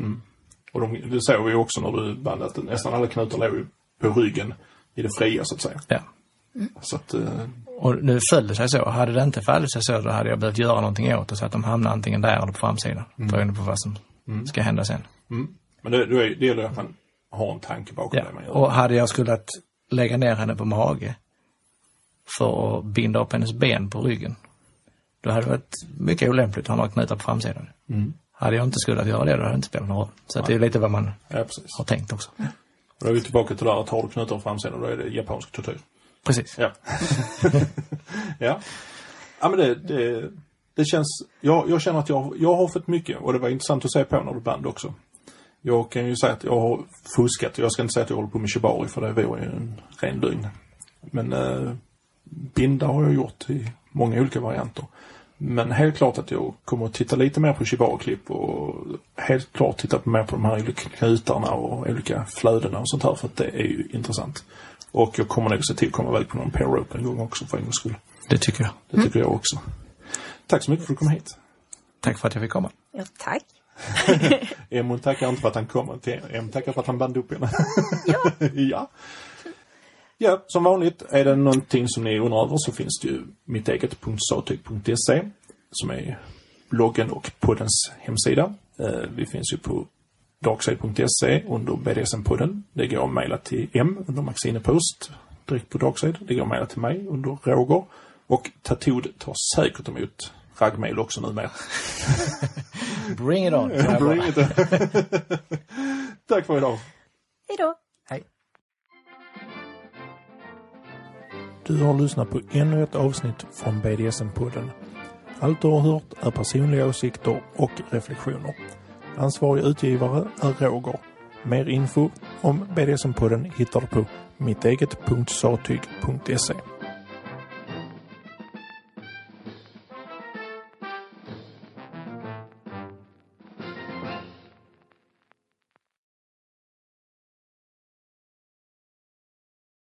[SPEAKER 1] Och de, det såg vi ju också när du band att nästan alla knutar låg ju på ryggen i det fria så att säga.
[SPEAKER 3] Ja.
[SPEAKER 1] Så att, eh,
[SPEAKER 3] Och nu föll det sig så. Hade det inte fallit sig så då hade jag behövt göra någonting åt det så att de hamnar antingen där eller på framsidan. Beroende på vad som ska hända sen.
[SPEAKER 1] mm. Men det, det, är- det gäller ju att man har en tanke bakom
[SPEAKER 3] Ja.
[SPEAKER 1] det man gör.
[SPEAKER 3] Och hade jag skulle att lägga ner henne på mage för att binda upp hennes ben på ryggen. Då hade det varit mycket olämpligt att ha några knutar på framsidan.
[SPEAKER 1] Mm.
[SPEAKER 3] Hade jag inte skulle att göra det, då hade det inte spelat någon roll. Så att det är lite vad man
[SPEAKER 1] Ja, precis.
[SPEAKER 3] har tänkt också.
[SPEAKER 1] Och då är vi tillbaka till det här att har du knutar på framsidan då är det japansk tortyr.
[SPEAKER 3] Precis.
[SPEAKER 1] Ja. *laughs* ja. Ja men det, det, det känns, jag, jag känner att jag, jag har fått mycket och det var intressant att se på när du band också. Jag kan ju säga att jag har fuskat. Jag ska inte säga att jag håller på med shibari för det vore ju en ren lögn. Men eh, binda har jag gjort i många olika varianter. Men helt klart att jag kommer att titta lite mer på shibari-klipp och helt klart titta på mer på de här olika knutarna och olika flödena och sånt här för att det är ju intressant. Och jag kommer nog se till att komma iväg på någon pair rope en gång också för en gångs skull.
[SPEAKER 3] Det tycker jag.
[SPEAKER 1] Det tycker jag också. Tack så mycket för att du kom hit.
[SPEAKER 3] Tack för att jag fick komma.
[SPEAKER 2] Ja, tack.
[SPEAKER 1] Emon tackar inte för att han kom. Emon tackar för att han band upp henne. Ja. *laughs* ja. Ja, som vanligt är det någonting som ni undrar över så finns det ju mitteget.satyg.se som är bloggen och poddens hemsida. Eh, Vi finns ju på darkside.se under BDSM-podden. Det går att mejla till M under Maxinepost direkt på Darkside. Det går att mejla till mig under Roger. Och Tatod tar säkert emot raggmail också numera.
[SPEAKER 3] Bring it on!
[SPEAKER 1] *laughs* Bring it. *laughs* Tack för idag.
[SPEAKER 2] Hej då.
[SPEAKER 3] Hej.
[SPEAKER 1] Du har lyssnat på ännu ett avsnitt från BDSM-podden. Allt du har hört är personliga åsikter och reflektioner. Ansvarig utgivare är Roger. Mer info om BDSM-podden hittar du på mitteget.satyg.se.